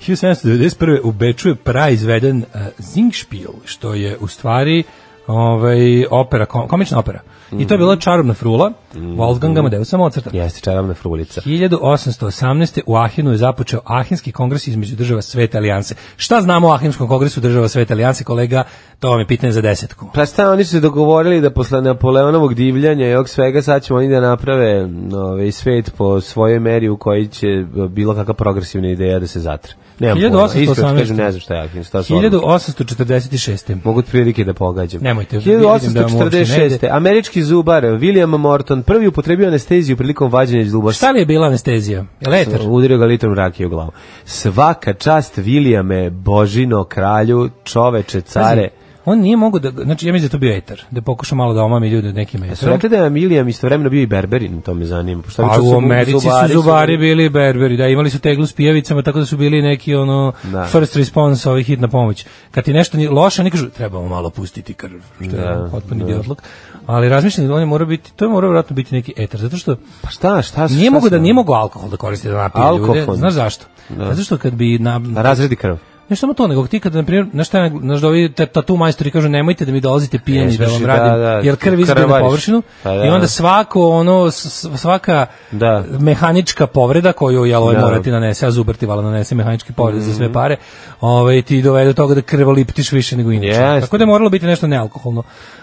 e, 1791. u Beču je praizveden uh, Zingspiel, što je u stvari ovaj, opera, kom, komična opera. I to je bila Čarobna frula, Mhm. Wolfganga Amadeusa Mozarta. Jeste čaravna frulica. 1818. u Ahinu je započeo Ahinski kongres između država Svete alijanse. Šta znamo o Ahinskom kongresu država Svete alijanse, kolega? To vam je pitanje za desetku. Pa šta, oni su se dogovorili da posle Napoleonovog divljanja i ovog svega sad ćemo oni da naprave ovaj, svet po svojoj meri u koji će bilo kakva progresivna ideja da se zatre. Nemam 1818. pojma, iskreno ti kažem, ne znam šta je Akin, šta su ono. 1846. Mogu otprilike da pogađam. Nemojte, vidim da vam uopšte ne ide. 1846. Američki zubar William Morton prvi upotrebio anesteziju prilikom vađenja zubaša. Šta li je bila anestezija? Letar? Udario ga litrom rakije u glavu. Svaka čast Vilijame, Božino, kralju, čoveče, care. On nije mogao da, znači ja mislim da je to bio etar, da pokuša malo da omami ljude od nekim Su etara. rekli da je Vilijam istovremeno bio i berberin, to me zanima. Pošto Pa obično u su Americi su zubari bili berberi, da imali su teglu s pijavicama, tako da su bili neki ono Da. first response, ovaj hitna pomoć. Kad ti nešto nije loše, oni kažu trebamo malo pustiti krv, što je Da, potpuni idiotluk. Ali razmišljam da on je morao biti, to je morao vjerojatno biti neki etar, zato što Pa šta, šta su? nije šta mogu su- da nije mogu alkohol da koristi da napije ljude. Alkohol. Znaš zašto? Zato što kad bi na, Da razredi krv. Ne samo to, nego ti kada, na primjer, znaš šta, je naj- znaš da ovi te- tatu majstori kažu nemojte da mi dolazite pijeni Ne da smiješ, vam da, radim, da, jer krv izgleda na krvariš. površinu Pa da. i onda svako ono, s- s- svaka Da. mehanička povreda koju jel, ovaj Da. Mhm. mora ti nanese, a zubar ti vala nanese mehanički povrede za sve pare, ovaj, ti dovede do toga da krvo liptiš više nego inače. Jeste. Tako da je moralo biti nešto nealkoholno.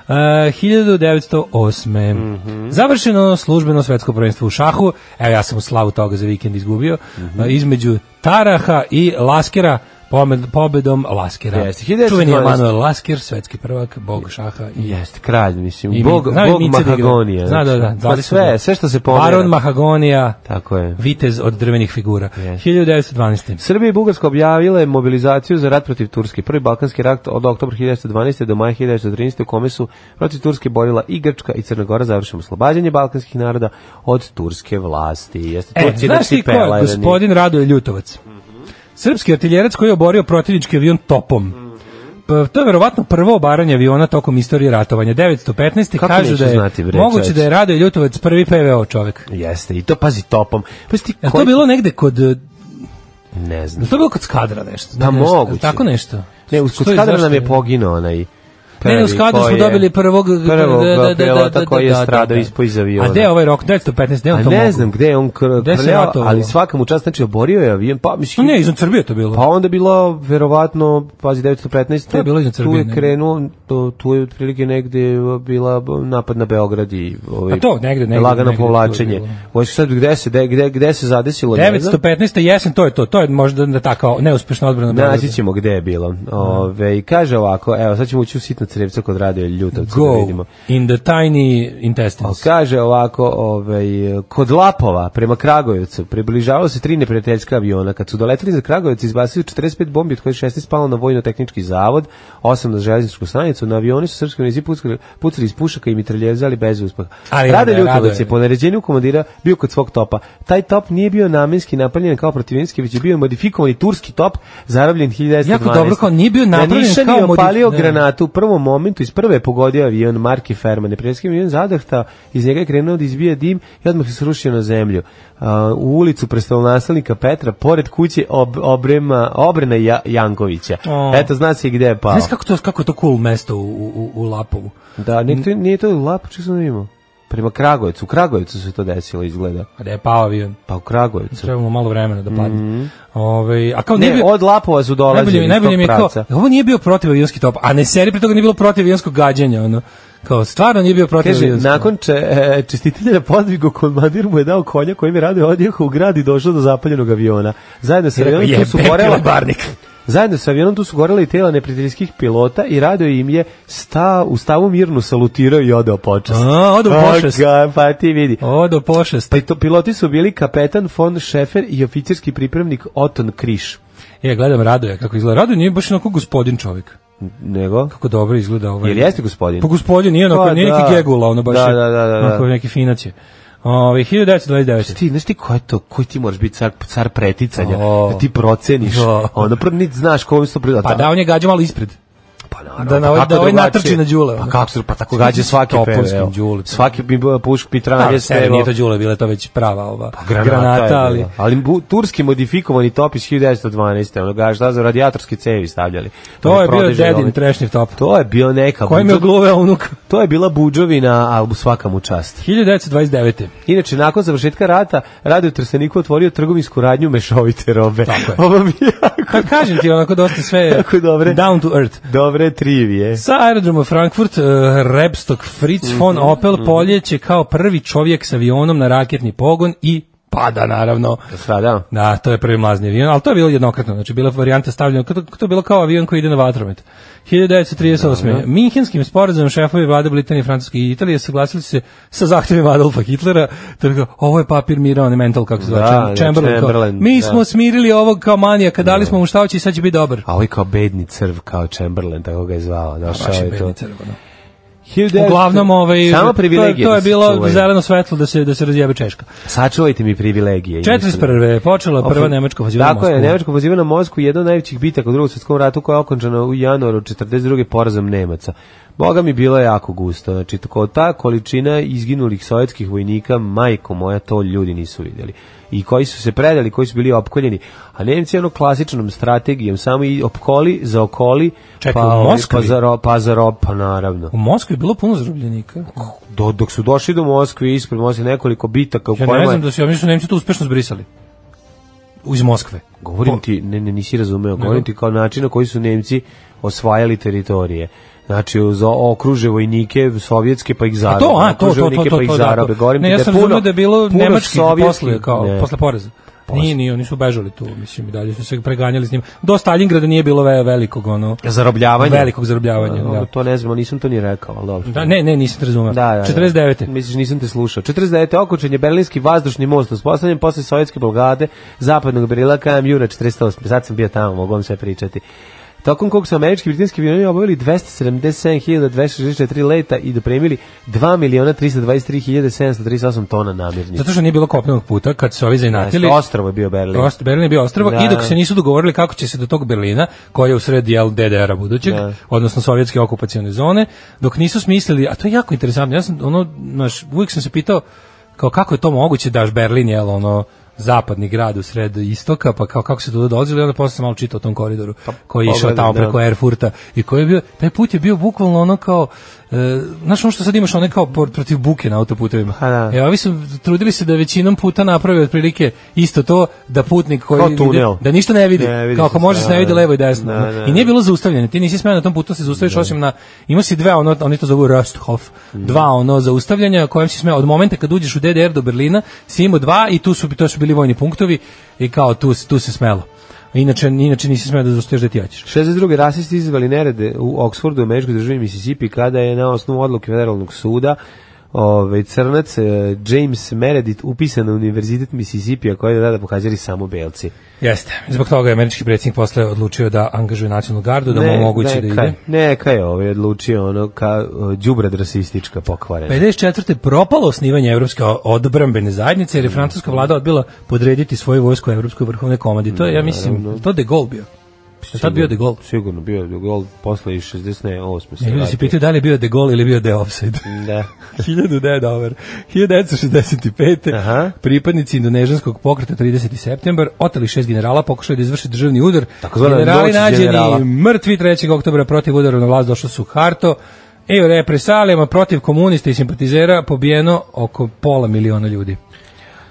E, 1908. Mhm. Završeno službeno svetsko prvenstvo u šahu. Evo ja sam u slavu toga za vikend izgubio. Mhm. E, između Taraha i Laskera pomed- pobedom Laskera. Jeste, 1912. Čuveni je Manuel Lasker, svetski prvak, bog šaha i Jeste, kralj, mislim. I mi- bog, znaju bog Mice da igra. Mahagonija. Zna, da, da, Pa zvali su sve, ga. sve što se pomera. Baron Mahagonija, Tako je. vitez od drvenih figura. Jeste. 1912. Srbija i Bugarska objavile mobilizaciju za rat protiv Turske. Prvi balkanski rat od oktobra 1912. do maja 1913. u kome su protiv Turske borila i Grčka i Crna Gora završeno oslobađanje balkanskih naroda od turske vlasti. Jeste E, Turci znaš ti ko cipela, je jedan je- gospodin Radoje Ljutovac? Srpski artiljerac koji je oborio protivnički avion topom. Pa, To je verovatno prvo obaranje aviona tokom istorije ratovanja. 915. Kako kažu neću da je znati, bre, moguće čoveče? da je Radoje Ljutovac prvi PVO čovek. Jeste, i to pazi topom. Pa ti Je li to koji- bilo negde kod... e, Ne Je znam. li to bilo kod Skadra nešto? Pa Ne, nešto, je li moguće. Tako nešto. Ne, u Što i Skadra zašto Pa nam je poginuo onaj. Ne, ne, u prvi Skadru koji smo je- dobili prvog, da, prvog pilota koji je stradao ispod iz aviona. A gde je ovaj rok? 915, gde je A on to ne mogu? znam gde je on kr- Gde se krljao, ratovalo? ali svaka mu čast, znači oborio je avion, pa mislim... Ne, iznad Srbije to bilo. Pa onda bilo verovatno pazi 915. To je bilo iznad Tu Srbije, je ne? krenuo to tu je otprilike negde bila napad na Beograd i ovaj A Pa to, negde, negde, lagano negde tu je povlačenje. bilo. Hoćeš sad gde se de- gde gde se zadesilo? ne znam. 915. jesen, to je to. To je možda da takao neuspešna Da, odbrana. Beograda. Naći ćemo gde je bilo. Ove, i kaže ovako, evo sad ćemo ući u sitna crevca kod radio Ljutovca da Go vidimo. in the tiny intestines. Kaže ovako, ovaj, kod Lapova prema Kragujevcu približavalo se tri neprijateljska aviona. Kad su doletili za Kragujevac, izbacili 45 bombi, od kojih 16 palo na vojno-tehnički zavod, 8 na železničku stanicu. Na avioni su srpski vojnici pucali, pucali iz pušaka i mitraljezali bez uspeha. Ali onda Rade je Radoje. Ljutovac je po naređenju komandira bio kod svog topa. Taj top nije bio namenski napaljen kao protivinski, već je bio modifikovani turski top zarabljen 1912. Jako dobro, kao nije bio napravljen Na Nišan kao je opalio modif- da. granat granatu u prvom momentu iz prve je pogodio avion Marki Ferman. Neprijateljski avion zadrhtao, iz njega je krenuo da izbija dim i odmah se srušio na zemlju. A, u ulicu predstavljenastavnika Petra, pored kuće ob, obrema, obrena ja, Jankovića. O. Eto, zna se i gde je pao. Znaš kako to, kako je to cool mesto u, u, u Lapovu? Da, nije to, nije to lap, čak sam imao. Prema Kragujevcu. U Kragujevcu se to desilo, izgleda. A da je pao avion. Pa u Kragujevcu. Trebamo malo vremena da padne. Ovaj, a kao nije Mhm. Ne, bio... od Lapova su dolazili Najbolje, mi- iz najbolje tog mi je kao, pravca. ovo nije bio protivavionski top, a ne seri pre toga nije bilo protivavionskog gađanja, ono. Kao, stvarno nije bio Kaže, protivavionski. nakon če, e, čestitelja na podvigu komandir mu je dao konja kojim je radio odjehao u grad i došao do zapaljenog aviona. Zajedno sa avionom tu su gorela barnik. Zajedno sa avionom tu su gorela i tela neprijateljskih pilota i radio im je sta, u stavu mirno salutirao i odao počast. A, odao A, počast. ga, pa ti vidi. O, do pošest. Pa i to piloti su bili kapetan von Šefer i oficirski pripremnik Oton Kriš. Ja E, gledam Radoja kako izgleda. Radoje nije baš onako gospodin čovjek. Nego? Kako dobro izgleda ovaj. Jel jeste gospodin? Pa gospodin nije onako, Pa nije da. neki gegula, ono baš Da, je da, da, da, da. onako neki finac je. Ovaj, 1929. ti, znaš ti ko je to, koji ti moraš biti car, car preticanja, O. da ti proceniš, Da. ono prvo niti znaš kome su to prilata. Pa da, on je gađao malo ispred. Pa naravno. Da na ovaj- kako da ovaj drugačije? natrči na Đule, Pa ono. kako se, pa tako gađa svaki Topovskim peve. evo. Đule. pa- Svaki bi puš pitranje, Da, sve. sve, nije to đule, bila je to već prava ova Pa granata, granata je ali bila. ali bu, turski modifikovani top iz 1912. Ono ga šta za radijatorske cevi stavljali. to Oni je bio prodežni dedin ovi- trešnjiv top. To je bio neka Kojim je budžo- ogluveo unuk? To je bila budžovina, a svaka mu čast. 1929. Inače, nakon završetka rata, Radio Trsteniku otvorio trgovinsku radnju mešovite robe. Tako je. Ovo mi je jako Pa kažem ti onako dosta sve [laughs] Tako dobre. down to earth. dobre trivije. Sa aerodroma Frankfurt, uh, Rebstock Fritz Mhm, von Opel poljeće kao prvi čovjek s avionom na raketni pogon i pada naravno. Sada, Da, to je prvi mlazni avion, ali to je bilo jednokratno, znači bila je varijanta stavljena, to, to je bilo kao avion koji ide na vatromet. 1938. Da, Minhenskim sporazumom šefovi vlade Britanije, Francuske i Italije suglasili su se sa zahtjevima Adolfa Hitlera, to je kao, ovo je papir mira, on je mental, kako se zove, Da, Cham- da, Chamberlain, kao, Chamberlain, mi da. smo smirili ovog kao manijaka, dali smo mu šta hoće i sad će biti dobar. a ovaj kao bedni crv, kao Chamberlain, tako ga je zvao. Došao Baš je je to. bedni crveno. Uglavnom, ovaj, Samo to, je, privilegije to je da se bilo čuvaju. zeleno svetlo da se, da se razjebe Češka. Sačuvajte mi privilegije. 41. je počela prva nemačka poziva na da- Tako je, Moskvu. Pa nemačka poziva na Moskvu, jedna od najvećih bitaka u drugom svjetskom ratu koja je okončana u januaru 42. porazom Nemaca. Boga mi bilo je jako gusto. Znači, tako, ta količina izginulih sovjetskih vojnika, majko moja, to ljudi nisu vidjeli. I koji su se predali, koji su bili opkoljeni. A Nemci ono klasičnom strategijom, samo i opkoli, zaokoli, Čekaj, pa, u ovaj, Moskvi? pa, zaro, pa zaro, pa naravno. U Moskvi je bilo puno zarobljenika. Do, dok su došli do Moskve, ispred Moskve nekoliko bitaka u Ja kojima ne je- znam da su, ja mislim da su Nemci to uspešno zbrisali. Iz Moskve. Govorim ti, ne, ne, nisi razumeo, govorim ti kao način na koji su Nemci osvajali teritorije. Znači, uz- okruže vojnike sovjetske pa ih A zarobe. to, a, to, to, okruže to, vojnike to, pa ih to, da, zarobe. to. Govorim Ne, ti ja da sam puno- razumio da je bilo puno nemački sovjetskih- posle, kao, ne. posle poreza. Nije, nije, oni su bežali tu, mislim, i dalje su se preganjali s njima. Do Stalingrada nije bilo ve- velikog, ono, Zarobljavanja. velikog zarobljavanja. A, Da. ovaj To ne znam, nisam to ni rekao, ali dobro. Da, ne, ne, nisam te razumeo. Da, da, da. 49. Misliš, nisam te slušao. 49. okočen je Berlinski vazdušni most uspostavljen posle sovjetske blokade zapadnog Berila krajem juna 48. Sad sam bio tamo, mogu vam sve pričati. Tokom kog su američki i britanski avioni obavili 277.264 leta i dopremili 2.323.738 tona namirnica. Zato što nije bilo kopnenog puta, kad su ovi zainatili, Da, Jeste, Ostrovo je bio Berlin. Ost, Berlin je bio ostrvo Da. i dok se nisu dogovorili kako će se do tog Berlina, koji je u sred jel, DDR-a budućeg, Da. odnosno sovjetske okupacione zone, dok nisu smislili, a to je jako interesantno, ja sam, ono, naš, uvijek sam se pitao, kao kako je to moguće da daš Berlin, jel, ono, zapadni grad u sred istoka, pa kao kako se do dolazili, onda posle sam malo čitao o tom koridoru koji je išao pogledaj, tamo da. preko Erfurta i koji je bio, taj put je bio bukvalno ono kao, e, znaš ono što sad imaš one kao por- protiv buke na autoputovima. Pa da. E, ovi su trudili se da većinom puta naprave otprilike isto to da putnik koji Kao ide- tunel. da ništa ne vidi, Ne vidi kako se, može se da, ne vidi da. levo i desno. Da, da. I nije bilo zaustavljeno. Ti nisi smeo na tom putu da se zaustaviš osim na ima si dva ono oni to zovu Rosthof. Da. Dva ono zaustavljanja kojem si smeo od momenta kad uđeš u DDR do Berlina, si imao dva i tu su to su bili vojni punktovi i kao tu se- tu se smelo. Inače, inače nisi smeo da zaustaviš da ti hoćeš. 62. rasisti izvali nerede u Oxfordu, u američkoj državi Mississippi, kada je na osnovu odluke federalnog suda ovaj, crnac eh, James Meredith upisan na univerzitet Mississippi, a koji je tada pokazali samo belci. Jeste. Zbog toga je američki predsjednik posle odlučio da angažuje nacionalnu gardu, da mu omogući da neka, ide. Neka je ovaj odlučio ono ka eh, đubrad rasistička pokvarena. 54. propalo osnivanje Evropske odbrambene zajednice jer je francuska vlada odbila podrediti svoju vojsku Evropskoj vrhovne komandi. To je, ja mislim, to de Gaulle bio. Je tad bio de Gaulle? Sigurno bio de Gaulle, posle i 68. se Ne, ljudi se vratio. pitaju da li je bio de Gaulle ili bio de offside. Da. 1900 dolar. 1965. Aha. Pripadnici indonežanskog pokreta 30. septembar oteli šest generala, pokušali da izvrše državni udar. Takozvana Generali noć nađeni generala. mrtvi 3. oktobra protiv udara na vlast došlo su Harto. E, u represalijama protiv komunista i simpatizera pobijeno oko pola miliona ljudi.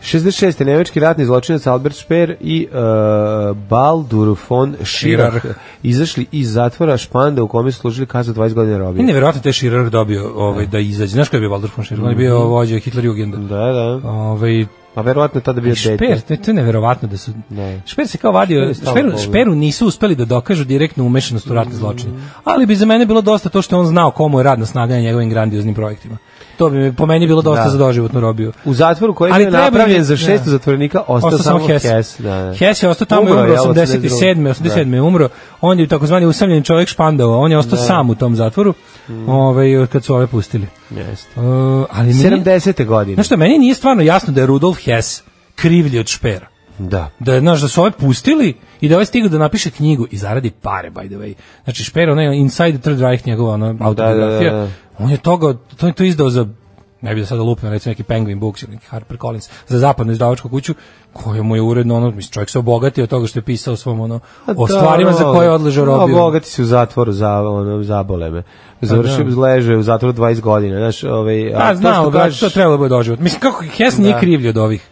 66. nemački ratni zločinac Albert Speer i e, Baldur von Schirach Schirach. izašli iz zatvora Španda u kome su služili kaznu 20 godina I robije. nevjerojatno te Širer dobio ovaj, da izađe. Znaš kada je bio Waldorf von Schirer? On je Mhm. bio vođa Hitler Jugenda. Da, da. Ovaj, A verovatno je tada bio dete. Šper, to, je- to je neverovatno da su... Ne. Šper se kao vadio... je stalno Šperu, povezan. šperu nisu uspeli da dokažu direktnu umešanost u Mm. ratne zločine. Ali bi za mene bilo dosta to što je on znao komu je radna snaga na njegovim grandioznim projektima. To bi mi- po meni bilo dosta Da. za doživotnu robiju. U zatvoru koji Ali je treba napravljen im- za šestu da. zatvorenika ostao samo Hess. Da, da. Hess je ostao tamo i Umro je, Da. umro jel, 87. 87. je umro. On je takozvani usamljeni čovjek špandao. On je ostao Da. sam u tom zatvoru Mm. ovaj, kad su ove pustili. Da, Jeste. Uh, ali meni- 70. godine. Znaš šta, meni nije stvarno jasno da je Rudolf Hess krivlji od Špera. Da. Da, znaš, da su ove pustili i da je ovaj stigao da napiše knjigu i zaradi pare, by the way. Znači, Šper, onaj Inside the Third Reich, njegova ona autobiografija, da, da. on je toga, to je to izdao za ne bi da sada lupio, recimo neki Penguin Books ili neki Harper Collins, za zapadnu izdavačku kuću, koja mu je uredno, ono, mislim, čovjek se obogatio od toga što je pisao o svom, ono, o da, stvarima za koje je odležao robio. A da, bogati su u zatvoru za ono zabole me. Završio da. da. leže u zatvoru 20 godina, znaš, ovaj Da, znao, što to, to trebalo da bude doživot. Mislim, kako Hess nije Da. krivlj od ovih.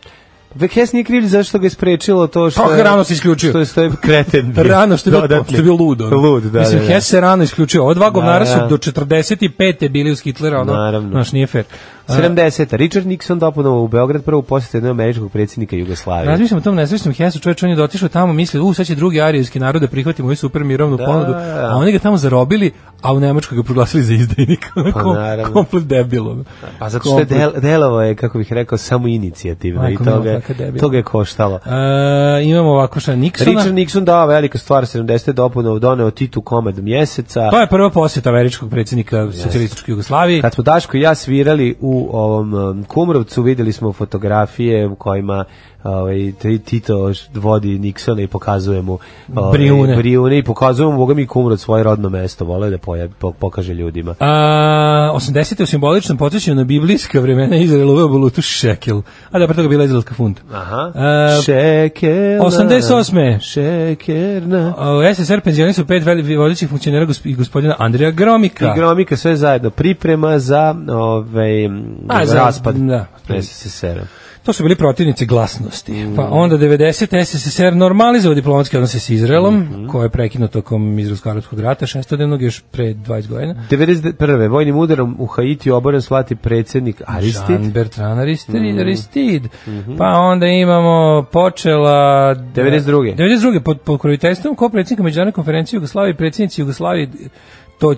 Hess nije kriv zašto ga je sprečilo to što Pa, rano se isključio. Što je, što je kreten. bio. Rano što je bio, Dodatni. što je bio lud. ono. Da, Lud, da. Mislim, da, da. Hess se rano isključio. Ova dva govnara su da. do 45. bili uz Hitlera, ono, Naravno. znaš, nije fair. A, 70. Richard Nixon dopunovao u Beograd prvu posetu jednog američkog predsjednika Jugoslavije. Razmišljam o tom nesrećnom Hesu, čovječ, on je dotišao tamo, mislio, u, sad će drugi arijevski narod da prihvati moju super mirovnu Da. ponudu, a oni ga tamo zarobili, a u Nemačkoj ga proglasili za izdajnika. Pa, Kom- naravno. Komplet debilom. Pa zato što je del, delovo je, kako bih rekao, samo inicijativno i Majko mila, toga, kakav debil. toga je koštalo. E, imamo ovako šta, Nixona. Richard Nixon dao velika stvar 70. dopunov doneo Titu komad mjeseca. To je prva posjeta američkog predsjednika socijalističke Jugoslavije. Kad smo Daško i ja svirali u ovom um, Kumrovcu, videli smo fotografije u kojima ovaj, Ti- Tito š- vodi Niksona i pokazuje mu ovaj, Brijune. brijune i pokazuje mu, boga mi Kumrov svoje rodno mesto, vole da poja- po- pokaže ljudima. A, 80. u simboličnom podsjećanju na biblijska vremena Izrael uveo valutu šekel. A da, pre toga bila izraelska funta. Aha. E, šekerna. 88. Šekerna. A U SSR penzioneri su pet veli- vodećih funkcionera gosp- i gospodina Andrija Gromika. I gromika sve zajedno priprema za ovaj m, A, za- raspad da. SSSR-a. To su bili protivnici glasnosti. Pa onda 90. SSSR normalizovao diplomatske odnose s Izraelom, koje je prekinuto tokom Izraelsko-Arabskog rata, šestodnevnog još pre 20 godina. 91. vojnim udarom u Haitiju oboren slati predsjednik Aristid. Jean Bertrand Aristide, Aristide. Pa onda imamo počela 92.. 92. pod pokroviteljstvom ko predsjednika međunarodne konferencije Jugoslavije, predsjednici Jugoslavije to e,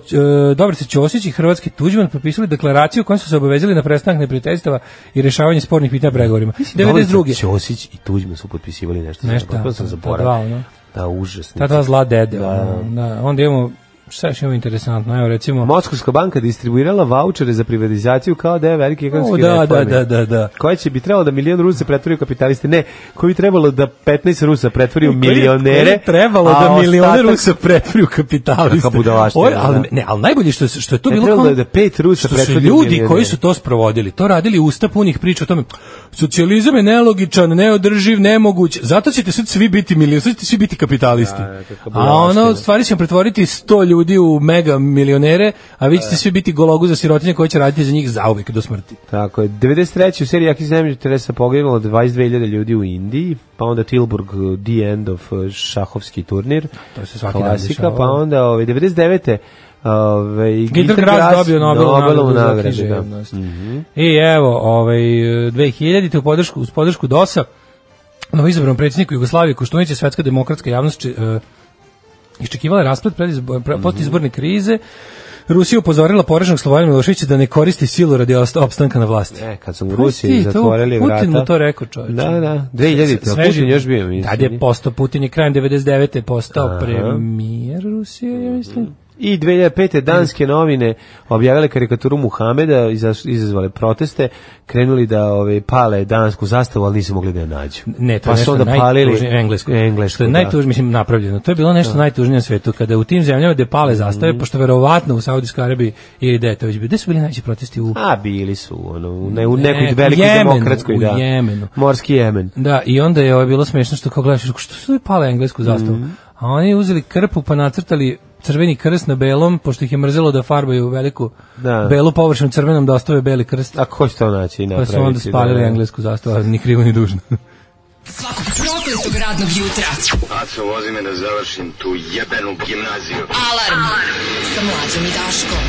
dobro se Ćosić i hrvatski Tuđman potpisali deklaraciju kojom su se obavezali na prestanak neprijateljstava i rješavanje spornih pitanja pregovorima. 92. da Ćosić i Tuđman su potpisivali nešto. Nešto, Nešto. Potpuno sam ta- ta zaboravio. dva, ono. Da, užasno. Ta dva zla dede. ono, da. Onda imamo šta još imamo interesantno? Evo recimo Moskovska banka distribuirala vaučere za privatizaciju kao da je veliki ekonomski O, da, da, reformi. da, da, da. Koja će bi trebalo da milion Rusa pretvori u kapitaliste? Ne, koji bi trebalo da 15 Rusa pretvori u Koji je- milionere? koji je trebalo a da milionere ostatak- Rusa pretvori u kapitaliste. Kakva budalaština, Ovo je- ali, da. ne, ali najbolje što, je- što je to Ne, bilo... trebalo kao- je da pet Rusa što su pretvori u ljudi milionere. koji su to sprovodili, to radili usta punih priča o tome, socijalizam je nelogičan, neodrživ, nemoguć, zato ćete sad svi biti milioneri, sad ćete svi biti Da, kapitalisti. kakva a ono, budalaština. u stvari ćemo pretvoriti 100 ljudi u mega milionere, a vi Da. ćete svi biti gologu za sirotinje koji će raditi za njih zauvek do smrti. Tako je. 93. u seriji Jakih zemlji Teresa poginulo 22.000 ljudi u Indiji, pa onda Tilburg uh, The End of uh, šahovski turnir. Da, To se svaki dan klasika, dešava. pa onda ove 99. Ove, Gitar Grass dobio Nobelovu nagradu za da. književnost. I evo, ovaj, 2000-te u podršku, uz podršku DOS-a, novo izabranom predsjedniku Jugoslavije Koštunić je svetska demokratska javnost či, e, iščekivala rasplet pred izbo- Mhm. pre- postizborne krize. Rusija upozorila poraženog Slobodana Miloševića da ne koristi silu radi ost- opstanka na vlasti. E, kad su u Pusti Rusiji to, zatvorili vrata. Putin mu to rekao, čoveče. Da, da. 2000. a Putin još bio, mislim. Znači, Tad je postao, Putin je krajem 99. postao premijer Rusije, ja mislim. I 2005. danske novine objavile karikaturu Muhameda, iza- izazvale proteste, krenuli da ove, pale dansku zastavu, ali nisu mogli da je nađu. Ne, to pa je nešto su onda palili najtužnije englesku. englesku što je da. najtužnije, mislim, napravljeno. To je bilo nešto najtužnije na svetu, kada u tim zemljama gde Mhm. pale zastave, pošto verovatno u Saudijskoj Arabiji je ideja to već bio. Gde su bili najveći protesti u... A Pa, bili su ono, u, ne, u nekoj Ne, u velikoj Jemenu, demokratskoj u da. Jemenu. Morski Jemen. Da, i onda je ovo bilo smešno što kao gledaš, što su ovi pale englesku zastavu? Mhm. A oni uzeli krpu pa nacrtali crveni krst na belom, pošto ih je mrzelo da farbaju veliku Da. belu površinu crvenom da ostave beli krst. A ko će to naći i Pa napraviti? su onda spalili da, da. englesku zastavu, a ni krivo ni dužno. [laughs] Svakog prokletog radnog jutra. Aco, vozi me da završim tu jebenu gimnaziju. Alarm. Sa mlađom i Daškom.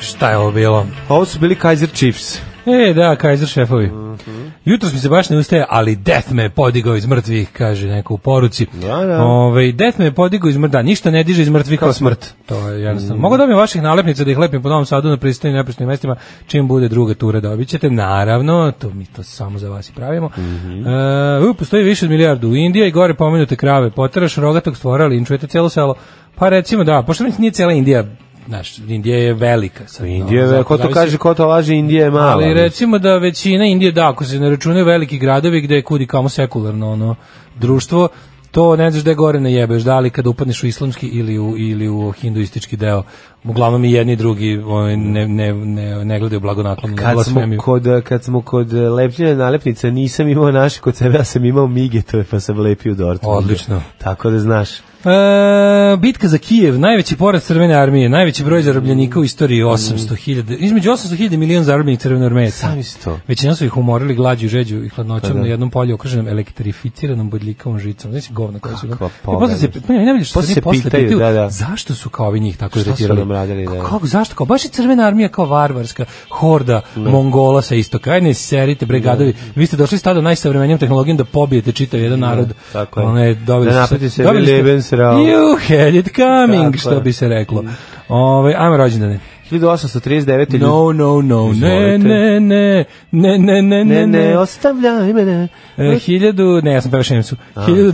Šta je ovo bilo? Pa Ovo su bili Kaiser Chiefs. E, da, Kaiser šefovi. Mhm. Jutros mi se baš ne ustaje, ali Death me je podigao iz mrtvih, kaže neko u poruci. Da, da. Ove, death me je podigao iz mrtvih, da, ništa ne diže iz mrtvih kao smrt. To je jednostavno. Mogu da dobijem vaših nalepnica da ih lepim po Novom Sadu na pristojnim i nepristanim mestima, čim bude druga tura dobit ćete. Naravno, to mi to samo za vas i pravimo. Mhm. E, u, postoji više od milijardu u Indiji i gore pomenute krave. Poteraš rogatog stvora, linčujete celo selo. Pa recimo da, pošto mislim nije cijela Indija znaš, Indija je velika. Sad, Indija, no, je, ko to Da, zavisi- kaže, ko to laže, Indija je mala. Ali recimo da većina Indije, da, ako se ne računaju veliki gradovi gde je kudi kamo sekularno ono, društvo, to ne znaš gde gore ne jebeš, da li kada upadneš u islamski ili u, ili u hinduistički deo. Uglavnom i jedni i drugi ovaj, ne, ne, ne, ne gledaju blagonaklono. na Kad smo, blasfemiju. kod, kad smo kod eh, lepljenja nalepnica, nisam imao naše kod sebe, ja sam imao migetove, pa sam lepio Dortmund. Odlično. Tako da znaš. E, bitka za Kijev, najveći poraz Crvene armije, najveći broj zarobljenika u istoriji Mm. 800.000, između 800.000 i milion zarobljenih Crvene armije. Sami si to. Većina su ih umorili glađu, žeđu i Pa hladnoćom da. na jednom polju okruženom elektrificiranom bodljikavom žicom. Znači govna koja su. Kakva I posle se pobedanost. pa ne, ne vidiš što Posle se se posle pitaju, pitaju, da, da. zašto su kao ovi njih tako Šta su izretirali? nam radili, da. Kako, zašto? Kao baš je crvena armija kao varvarska horda Mongola sa istoka. Ajde ne serite bre Da. gadovi. Vi ste došli s tada najsavremenijom tehnologijom da pobijete čitav jedan narod. tako je. Ono dobili Da su napravite sebi dobili ste- Lebensraum. You had it coming, Tako što je. bi se reklo. Ovaj ajmo rođendane. 1839. No, no, no, ne, Izvolite. ne, ne, ne, ne, ne, Ne, ne, ne, ostavljaj mene. E, hiljadu, ne, ja sam pevao Šemsu,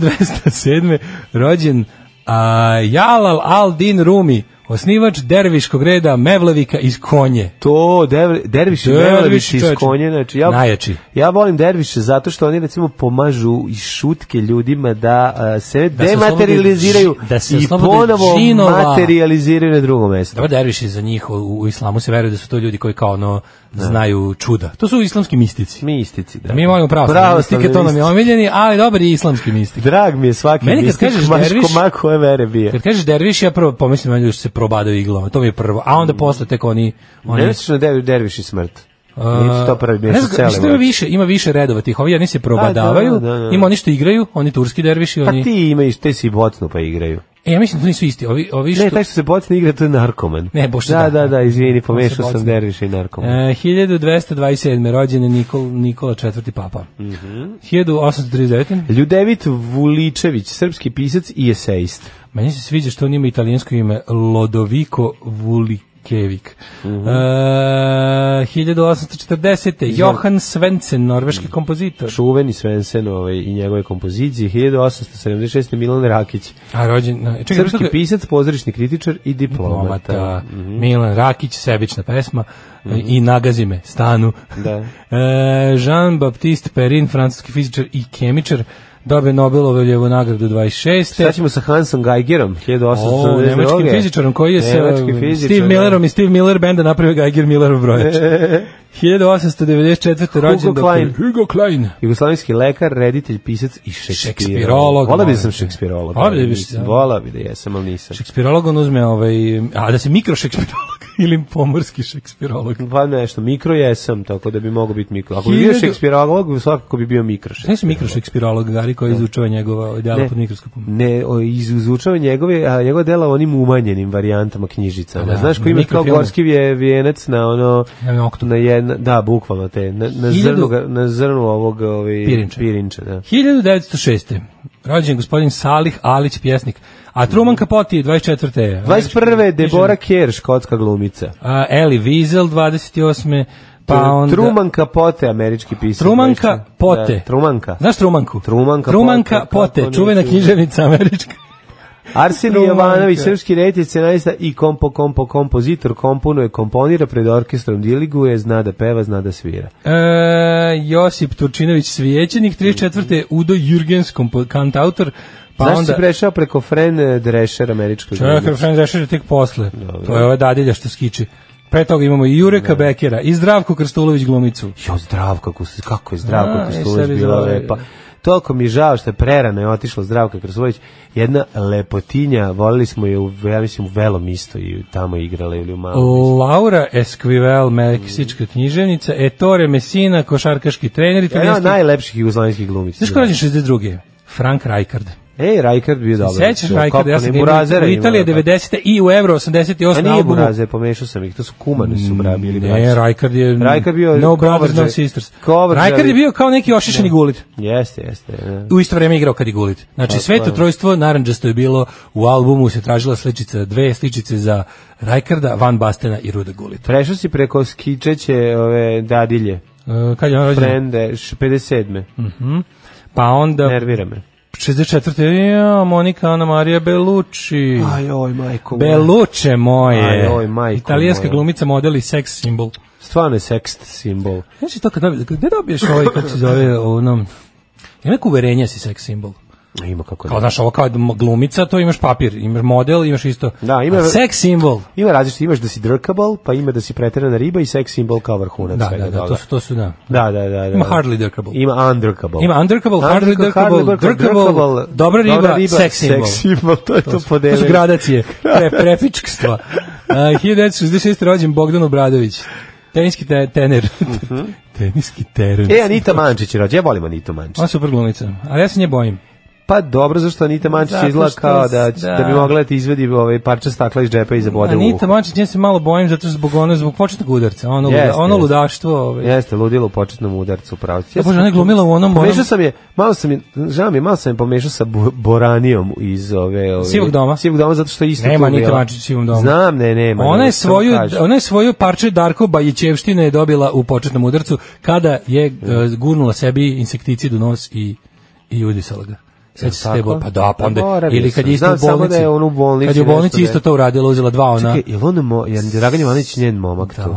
1207. rođen a, Jalal al-Din Rumi, osnivač derviškog reda Mevlevika iz Konje. To, dervi, derviši, Derviši, derviši iz čoveče. konje, znači ja, Najjači. ja volim derviše zato što oni recimo pomažu i šutke ljudima da a, se se dematerializiraju oslobode dž- da se i oslobode ponovo džinova. materializiraju na drugo mesto. Dobro, derviši za njih u, u islamu se veruje da su to ljudi koji kao ono znaju čuda. To su islamski mistici. Mistici, da. Da. Mi da volimo pravoslavne mistike, to nam je mistici. omiljeni, ali dobar je islamski mistik. Drag mi je svaki Meni kad mistik, kažeš maš derviš- koma koje vere bije. Kad kažeš derviš, ja prvo pomislim na ljudi što se probadaju iglama, to mi je prvo, a onda posle tek oni... oni Ne misliš na dervi, derviši smrt? Nije to prvi Ne mjesec znam, mislim da ima cele. više, ima više redova tih, ovi jedni se probadavaju, A, da, da, da, da. ima oni što igraju, oni turski derviši, Pa oni... ti imaš, te si bocno pa igraju. E, ja mislim da to nisu isti, ovi, ovi što... Ne, taj što se bocno igra, to je narkoman. Ne, bože, da. da. Da, da, da, izvini, pomešao bocni. sam derviša i narkoman. E, 1227. rođen je Nikol, Nikola IV. papa. Mm Mhm. 1839. Ljudevit Vuličević, srpski pisac i esejist. Meni se sviđa što on ima italijansko ime Lodovico Vulikevik. Mm Mhm. e, 1840. Johan Svensson, norveški kompozitor. Čuveni Svensen ovaj, i njegove kompozicije. 1876. Milan Rakić, A rođen... na- Čekaj, srpski čekaj, pisac, pozorišni kritičar i diplomata. Diplomata, mhm. Milan Rakić, sebična pesma e, i nagazi me stanu. Da. [laughs] E, Jean-Baptiste Perrin, francuski fizičar i kemičar, dobio Nobelovu nagradu 26. Šta ćemo sa Hansom Geigerom? 1872. O, nemačkim fizičarom koji je sa Nemački fizičar, Steve da. Millerom i Steve Miller benda napravio Geiger Millerov [laughs] brojač. 1894. rođen Hugo dr. Klein. Hugo Klein. Jugoslavijski lekar, reditelj, pisac i šekspirolog. Šekspirolog, Vola bi da molim sam te. šekspirolog. Vola bi da ali biš, nisam. da. Vola bi da jesam, ali nisam. Šekspirolog on uzme ovaj, a da se mikro šekspirolog [laughs] ili pomorski šekspirolog. Pa nešto, mikro jesam, tako da bi mogo biti mikro. Ako bi bio Hiljadu- šekspirolog, svakako bi bio mikro Šta su mikro šekspirolog, Gari, koji izučava njegova ideala Ne. pod mikroskopom? ne o, iz- izučava njegove a, njegova dela u onim umanjenim varijantama knjižicama. Da, Znaš ko ima kao mikrofilme. gorski vje, vijenac na ono Ja imam oktob. na jedna, da, bukvalno te na, na Hiljadu- zrnu ga- na zrnu ovog ovaj Pirinča. da. 1906. Rođen je gospodin Salih Alić, pjesnik. A Truman Capote je 24. 21. Debora Kerr, škotska glumica. A, Eli Wiesel 28. Pa onda... Trumanka Pote, američki pisac. Trumanka znači. Pote. Da, Trumanka. Znaš Trumanku? Trumanka Pote, kako Pote, ne čuvena čujem. književnica američka. Arsenij Trumanka. Jovanović, srpski reditelj, scenarista i kompo, kompo, kompozitor, komponuje, komponira pred orkestrom, diliguje, zna da peva, zna da svira. E, Josip Turčinović Svijećenik, 34. Udo Jürgens, kompo- kantautor. Pa Znaš onda... si prešao preko Fren Drescher, američkog Čekaj, Franz Dešer je tek posle. To je ova dadilja što skiče. Pre toga imamo i Jureka Bekera i Zdravku Krstulović glumicu. Jo, zdravka, Krstulović, kako je zdravka A, e, Krstulović sebi bila zdravo je. lepa. Toliko mi je žao što je prerano je otišla zdravka Krstulović, jedna lepotinja, volili smo je, u, ja mislim, u velom isto i tamo igrala ili u malom. Laura Esquivel, meksička književnica, Ettore Messina, košarkaški trener i Jedna od italijanski... najlepših jugoslovenskih glumica. Znaš ko je rođen 62. Frank Rijkaard. Ej, Rajkard bio dobar. Sećaš Kako Rijkaard, ja ne, sam ga imao Burazera u imao, Italije pa. 90. i u Euro 88. A na nije albumu. Mm, Burazer, pomešao sam ih, to su kumani su brabi ili braći. Ne, Rijkaard je... Rijkaard bio No Brothers, Kovarža- No Sisters. Kovarža- Rijkaard je bio kao neki ošišeni gulit. Jeste, jeste. da. ne. u isto vrijeme igrao kad i Gulit. Znači, sveto trojstvo naranđasto je bilo, u albumu se tražila sličica, dve sličice za Rajkarda, Van Bastena i Ruda Gulita. Prešao si preko skičeće ove dadilje. E, kad je on rođen? Frende, š- 57. Pa onda, Nervira me. 64. Ja, Monika Ana Marija Bellucci. Ajoj, majko. moja. Beluče moje. Ajoj, majko Italijanska moja. glumica, model i seks simbol. Stvarno je sekst simbol. Znači to kad dobiješ, gde dobiješ ovaj, kako se zove, onom, ima neko uverenje da si seks simbol. Ima kako Kao, da. znaš, ovo kao glumica, to imaš papir, imaš model, imaš isto. Da, ima- A seks simbol. Ima različite, imaš da si drkable, pa ima da si preterana riba i seks simbol kao vrhunac. Da, svega da, da, toga. to su, to su, da. Da, da, da, da. Ima hardly drkable. Ima undrkable. Ima undrkable, hardly drkable, drkable, dobra riba, sex symbol. Sex symbol, to je to, To to su, to su gradacije, pre, prefičkstva. Uh, 1966. rođen Bogdan Obradović, teniski te, tener. [laughs] teniski teren. Mhm. E, Anita Mančić je rođena. Ja volim Anitu Mančić. Ona je super glumica, ali ja se nje bojim. Pa dobro, zašto Anita Mančić Zato izgleda što kao da, s- da. da. bi mogla da ti izvedi ovaj parče stakla iz džepa i zabode u Anita uhu. Mančić, nje se malo bojim zato što zbog ono, zbog početnog udarca, ono, luda, Jeste, ono jeste. ludaštvo. Ovaj. Jeste, ludilo u početnom udarcu, pravo. Ja, E, Bože, ona je glumila u onom, onom Pomešao sam je, malo sam je, žao mi je, malo sam je pomešao sa Bo- Boranijom iz ove... ove Sivog doma. Sivog doma, zato što je isto Nema tu Anita bila. Mančić u Sivom domu. Znam, ne, nema. ona nego je samo svoju kažem. ona je svoju parče Darko Bajićevštine je dobila u početnom udarcu kada je e, gurnula sebi insekticid u nos i i udisala ga. Seća se tako? te bol- pa da, pa onda, Zaboravio ili kad sam. je isto Znam u samo da bolnici. je ono u bolnici Kad je u bolnici nešto da isto je- to uradila, uzela dva ona. Čekaj, jel on mo, jel Dragan Jovanović njen momak tu? Ja.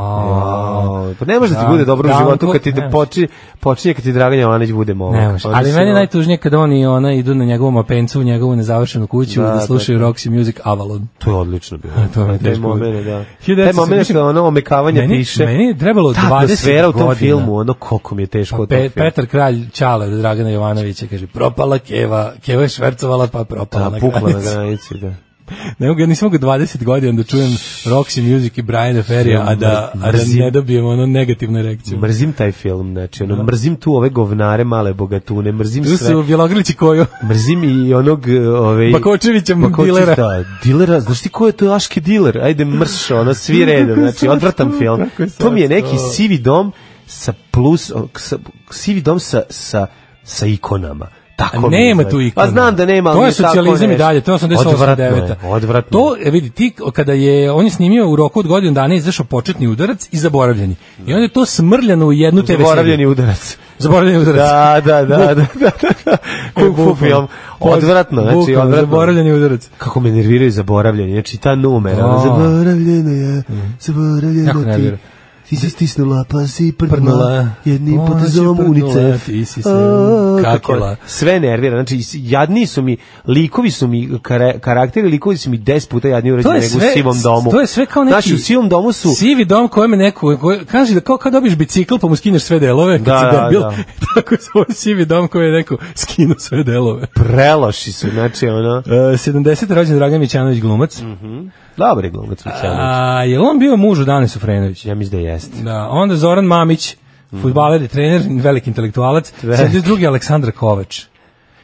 Pa ne može da ti Da, bude dobro u Danko, životu kad ti ne može. počinje, počinje kad ti Dragan Jovanović bude momak. Ne može. Onda Ali si meni je ono- najtužnije kada oni i ona idu na njegovom apencu, u njegovu nezavršenu kuću Da, da, da, da slušaju Roxy Music Avalon. To je odlično bilo. [laughs] to mi je Taj teško moment, bilo. da. Taj 1900 moment što ono omekavanje Meni- piše. meni je trebalo Ta 20 atmosfera u tom godina. filmu, ono koliko mi je teško Pa u tom Pe, filmu. Petar Kralj Ćale od Dragana Jovanovića kaže propala Keva, Keva je švercovala pa propala Da, na pukla na granici. granici, da. Ne mogu, ja nisam mogu 20 godina da čujem Roxy Music i Brian Ferrija, a da, a da Mrzim. ne dobijem ono negativnu reakciju. Mrzim taj film, znači, ono, mrzim tu ove govnare, male bogatune, mrzim Da. Tu sve. da su Bjelogrlić i Kojo, Mrzim i onog... e, Ove, Bakočevića, Bakočević, dilera. Da, dilera, znaš ti ko je to aški diler? Ajde, mrš, ono, [laughs] svi redom, znači, odvrtam film. Kako je To mi je neki slatko. sivi dom sa plus, o, sa, sivi dom sa, sa, sa ikonama. Tako A mi je, nema znači. tu ikona. Pa znam da nema, ali To je mi tako socijalizam i nešto. dalje, to je 88 Odvratno je, 9. Odvratno. To, e, vidi, ti kada je, on je snimio u roku od godinu dana izašao početni udarac i zaboravljeni. I onda je to smrljano u jednu TV seriju. Zaboravljeni udarac. [laughs] Zaboravljeni udarac. Da, da, da, da, da, da, [laughs] da. Kung fu Bukvalno. film. Odvratno, znači, Bukvalno, odvratno. Zaboravljeni udarac. Kako me nerviraju zaboravljeni, znači ta numera, Da. ono, zaboravljena je, Mhm. Jako zaboravljena ti. nervira. Ti si stisnula, pa si prdnula, Prdnula. jednim Ona si potezom prdnula, unicef. ti si se A, kako- kakila. Sve nervira, znači i s- jadni su mi, likovi su mi, kara- karakteri, likovi su mi des puta jadni To urađeni je nego u sve, sivom domu. to je sve kao neki... Znači, u sivom domu su... Sivi dom kojem je neko, koji, kaže da kao kad dobiš bicikl pa mu skineš sve delove, kad Da, si da, debil, da. [laughs] tako je ovo sivi dom koji je neko skinu sve delove. Preloši su, znači, ono... Uh, 70. rođen Dragan Mićanović glumac. Mhm. Dobar je glumac Vućanović. A, je li on bio muž u Dane Sufrenović? Ja mislim da jeste. Da, onda Zoran Mamić, Mhm. fudbaler i trener, veliki intelektualac. 72. Aleksandra Kovač.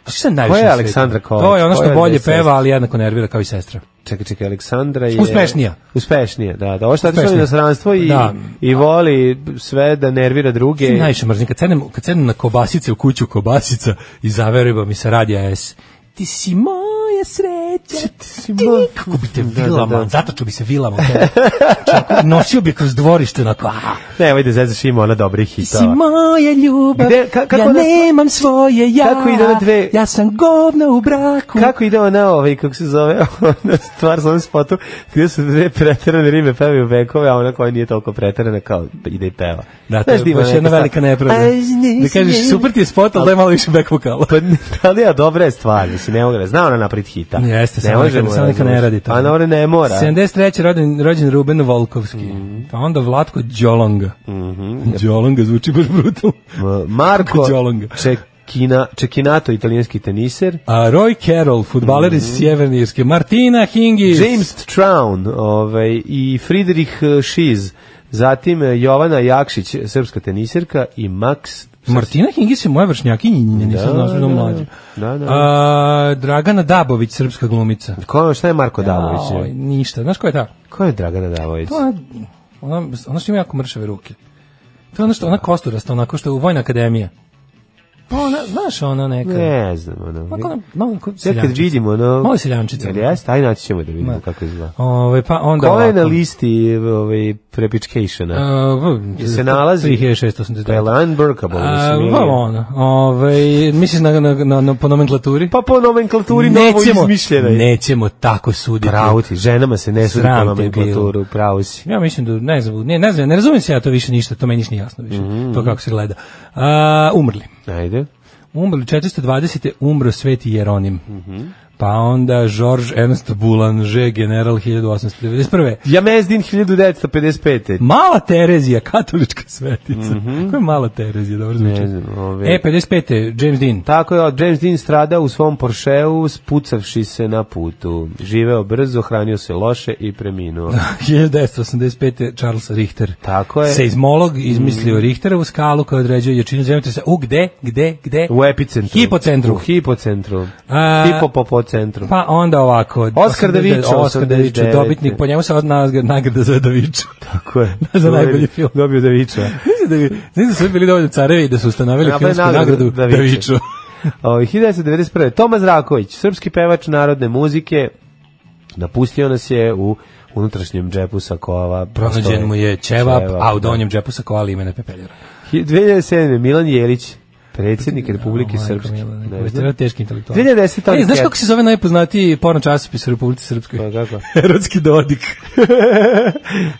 Što sam najviše Ko je na svetu? Aleksandra Kovač? To je ono Ko je što bolje sestra? peva, ali jednako nervira kao i sestra. Čekaj, čekaj, Aleksandra je... Uspešnija. Uspešnija, da. da. Ovo što je Uspešnija. inostranstvo i, Da. i voli sve da nervira druge. Ti najviše mrzim, kad sedem, kad sedem na kobasice u kuću kobasica i zaverujem da mi se radi AS. Ti si moja sreća. Ti si moja- Kako bi te Da, da, vilama, da. zatočio bi se vilama. u tebe. Čak, nosio bi je kroz dvorište, onako, aha. Ne, ovdje zezaš ima ona dobrih Ti si hitova. moja ljubav, Da. Gde- ka- kako ja ona- nemam svoje ja, Kako ide na dve- ja sam govna u braku. Kako ide ona ovaj, kako se zove, [laughs] ona stvar sa ovom spotu, gdje su dve preterane rime pevaju vekove, a ona koja nije toliko preterana kao da ide i peva. Da, to Znaš je ima baš neka jedna stvar- velika nepravda. Aj, nisi Da kažeš, meni- super ti je spot, ali daj malo više back vokala. Pa, n- ali ja, dobra je stvar, mislim, ne mogu da zna ona napred hita. Ne, Jeste, ne samo neka, možemo, samo neka ne razumeš. radi to. Pa ona ne mora. Mhm. 73. rođen, rođen Ruben Volkovski. Pa onda Vlatko Đolonga. Mm -hmm. Đolonga zvuči baš brutalno. M- Marko Kako Đolonga. Čekina, Čekinato, italijanski teniser. A Roy Carroll, futbaler iz Sjeverne Irske. Martina Hingis. Mhm. James Traun ovaj, i Friedrich eh, Schiz, zatim eh, Jovana Jakšić, srpska teniserka i Max Martina Hingis je moja vršnjakinja, nisam Da, znao što je da, mlađa. da, da. A, Dragana Dabović, srpska glumica. Ko, šta je Marko Oj, Davović? ništa. Znaš ko je ta? Ko je Dragana Davović? To je ona, ona što ima jako mršave ruke. To je ono što, ona kosturasta, onako što je u Vojna akademija. Pa ona, znaš ona neka. Ne znam, ono. Onako ona, malo onako Sve kad Pa seljančica. vidimo, ono... Malo seljančica. Jel jeste? Ajde, naći ćemo da vidimo Ma. kako izgleda. Ove, pa onda Ko je na ovako. listi ovaj, prepičkejšana? Uh, Jel se nalazi? 3689. Pa je li unbreakable? A, da, mislim, ili- pa ona. Ove, misliš na, na, na, na, po nomenklaturi? Pa po nomenklaturi novo izmišljena je. nećemo tako suditi. Pravo ti, ženama se ne sudi po Sram te nomenklaturu, pravo si. Ja mislim da ne znam, ne, ne znam, ne razumijem se ja to više ništa, to meni ništa nije jasno više. Mm. To kako se gleda. A, umrli. Ajde. Umrli 420. umro Sveti Jeronim. Mhm. Pa onda Georges Ernst Boulanger, general 1891. Jamezdin 1955. Mala Terezija, katolička svetica. Ko je Mala Terezija, dobro zvuči? Mhm. Ne znam, ove- E, 55. James Dean. [laughs] Tako je, James Dean stradao u svom Porscheu spucavši se na putu. Živeo brzo, hranio se loše i preminuo. 1985. Charles Richter. Tako je. Mhm. Seizmolog izmislio Richterovu skalu koja određuje jačinu zemljotresa. U gde? Gde? Gde? U epicentru. Hipocentru. U hipocentru. A- Hipopopocentru. Pa onda ovako. Oskar 89, Davičo, Oskar Davičo, 89. dobitnik. Po njemu se od nas nagrada za [laughs] Davičo. Tako je. [laughs] Za najbolji film. Dobio Daviča. Mislim da bi, mislim da su bili dovoljno carevi da su ustanovili Napravili filmsku nagradu nagradu Daviču. Daviču. Ovaj, 1991. Toma Zraković, srpski pevač narodne muzike, napustio nas je u unutrašnjem džepu sakova. Pronađen Postoje. mu je ćevap, a u da. donjem džepu sa koali imena pepeljara. 2007. Milan Jelić, predsjednik Republike Srpske. Da, Ne Ne, znam. ne, teški intelektual. 2010. E, znaš anket. kako se zove najpoznatiji porno časopis u Republici Srpskoj? [laughs] Pa kako? Erotski [laughs] dodik.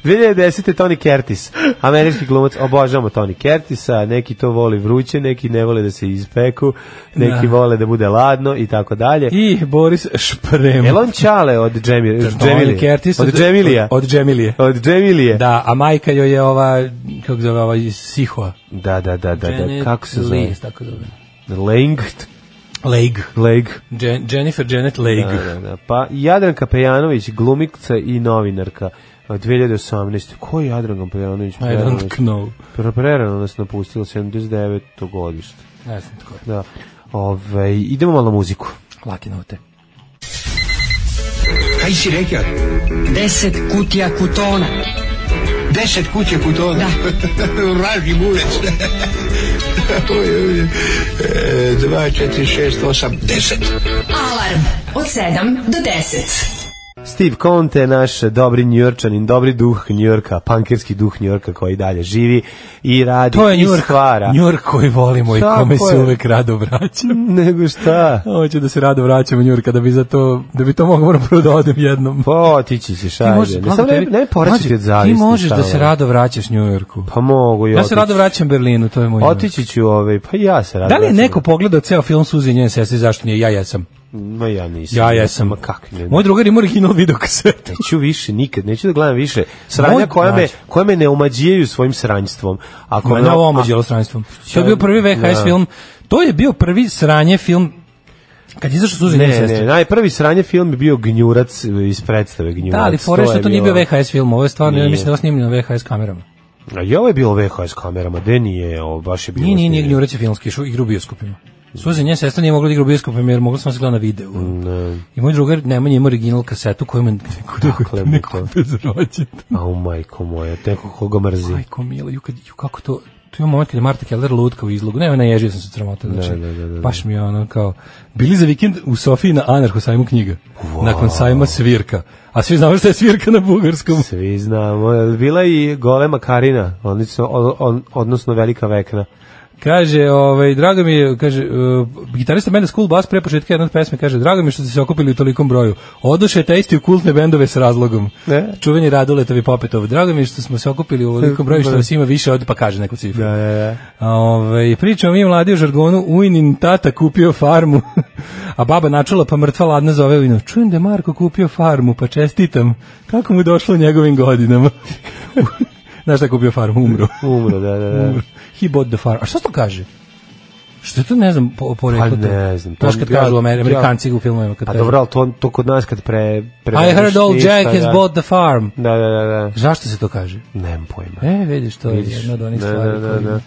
2010. Tony Curtis, američki glumac, obožavamo Tony Curtisa, neki to voli vruće, neki ne vole da se ispeku, neki Da. vole da bude ladno i tako dalje. I Da, Boris Šprem. Elon Čale od Džemi- Džemilije. Curtis Od Džemilija. Od, od Džemilije. Od Džemilije. Da, a majka joj je ova, kako zove, ova iz Sihoa. Da, da, da, da, da, kako se zove? Lee, tako zove. Lengt, Leg. Leg. Jen, Jennifer Janet Leg. Da, da, da. Pa Jadranka Pejanović, glumica i novinarka. od 2018. Ko je Jadranka Pejanović? I don't know. Pre- Prerano nas napustila, 79. godište. Ne znam tko je. Da. Ove, idemo malo na muziku. Laki note. Kaj si rekao? Deset kutija kutona. Deset kuće put ovdje. Vraži bulec. Oj, oj, oj. E, Dva, četiri, šest, osam, deset. Alarm od 7 do 10. Steve Conte, naš dobri njujorčanin, dobri duh Njujorka, pankirski duh Njujorka koji dalje živi i radi To je i Njurk, stvara. Njurk koji volimo i Tako kome se je. uvek rado vraćam. [laughs] Nego šta? Hoću da se rado vraćam u Njurka, da bi, za to, da bi to mogu moram prvo da odem jednom. Pa, otići ćeš, ajde. Ne, samo ne, ne poraćati od pa Ti zavisti. možeš da stalno. se rado vraćaš Njujorku. Pa mogu i Ja otići. se rado vraćam Berlinu, to je moj Njujork. Otići ću ovaj, pa ja se rado Da li je vraćam. neko pogledao ceo film Suzi i njen sestri, zašto nije? Ja jesam. Ma ja nisam. Ja jesam. Ma kakvi ne. Moj drugar ima original video kasete. Neću više nikad, neću da gledam više. Sranja Moj- koja, me, Znači. koja me ne omađijaju svojim sranjstvom. Ako Ma me- na ovo a- pa omođelo stranstvom. To je bio prvi VHS Da. film. To je bio prvi sranje film kad je izašao Suzi i njen Ne, sestri. ne, najprvi sranje film je bio Gnjurac eh, iz predstave Gnjurac. Da, ali fora je što to nije bio VHS film, ovo je stvarno, ja Nije. mislim da je ovo snimljeno VHS kamerama. A i ovo je bilo VHS kamerama, gde nije, ovo baš je bilo. Nije, nije, nije snimljeno. Gnjurec je filmski išao, igru u bioskopima. Suze nje sestra nije mogla da igra u bioskopima jer mogla sam se gleda na videu. Ne. I moj drugar Nemanja ima original kasetu koju ima neko, neko, Dakle, mu neko to. bezrođen. Au, majko moja, neko koga mrzi. Majko mila, ju, kad, ju kako to... Tu ima moment kad je Marta Keller lutka u izlogu. Ne, ne, ježio sam se sramota. Znači, da, da, da, da. Baš mi je ono kao... Bili za vikend u Sofiji na Anarcho sajmu knjiga. Nakon sajma svirka. A svi znamo šta je svirka na bugarskom. Svi znamo, jel bila i golema Karina, odnosno, o- on- odnosno velika vekna. Kaže, ovaj, drago mi je, kaže, uh, gitarista mene School Bus pre početka jedne od pesme, kaže, drago mi je što ste se okupili u tolikom broju. Oduše te isti u kultne bendove s razlogom. Ne. Čuveni Raduletovi popetovi. Drago mi je što smo se okupili u tolikom broju, što vas ima više od, pa kaže neku cifru. Da, da, da. Ove, pričamo mi mladi u žargonu, Ujnin tata kupio farmu, [laughs] a baba načula pa mrtva ladna zove Ujnu. Čujem da je Marko kupio farmu, pa čestitam. Kako mu je došlo u njegovim godinama? [laughs] Znaš šta je kupio farmu? Umro. [laughs] Umro, da, da, da. Umro. [laughs] He bought the farm. A šta to kaže? Što je to, ne znam, po, poreklo Pa to? ne znam, to Znaš kad ja- kažu Amer- ja- Amerikanci u filmovima. Kad Pa kažu, dobro, ali to, to kod nas kad pre... pre I heard old ništa, Jack has da. bought the farm. Da, da, da, da. Zašto se to kaže? Nemam pojma. E, vidiš, to je Vidiš, jedna od onih da, stvari. da, da, koje- da.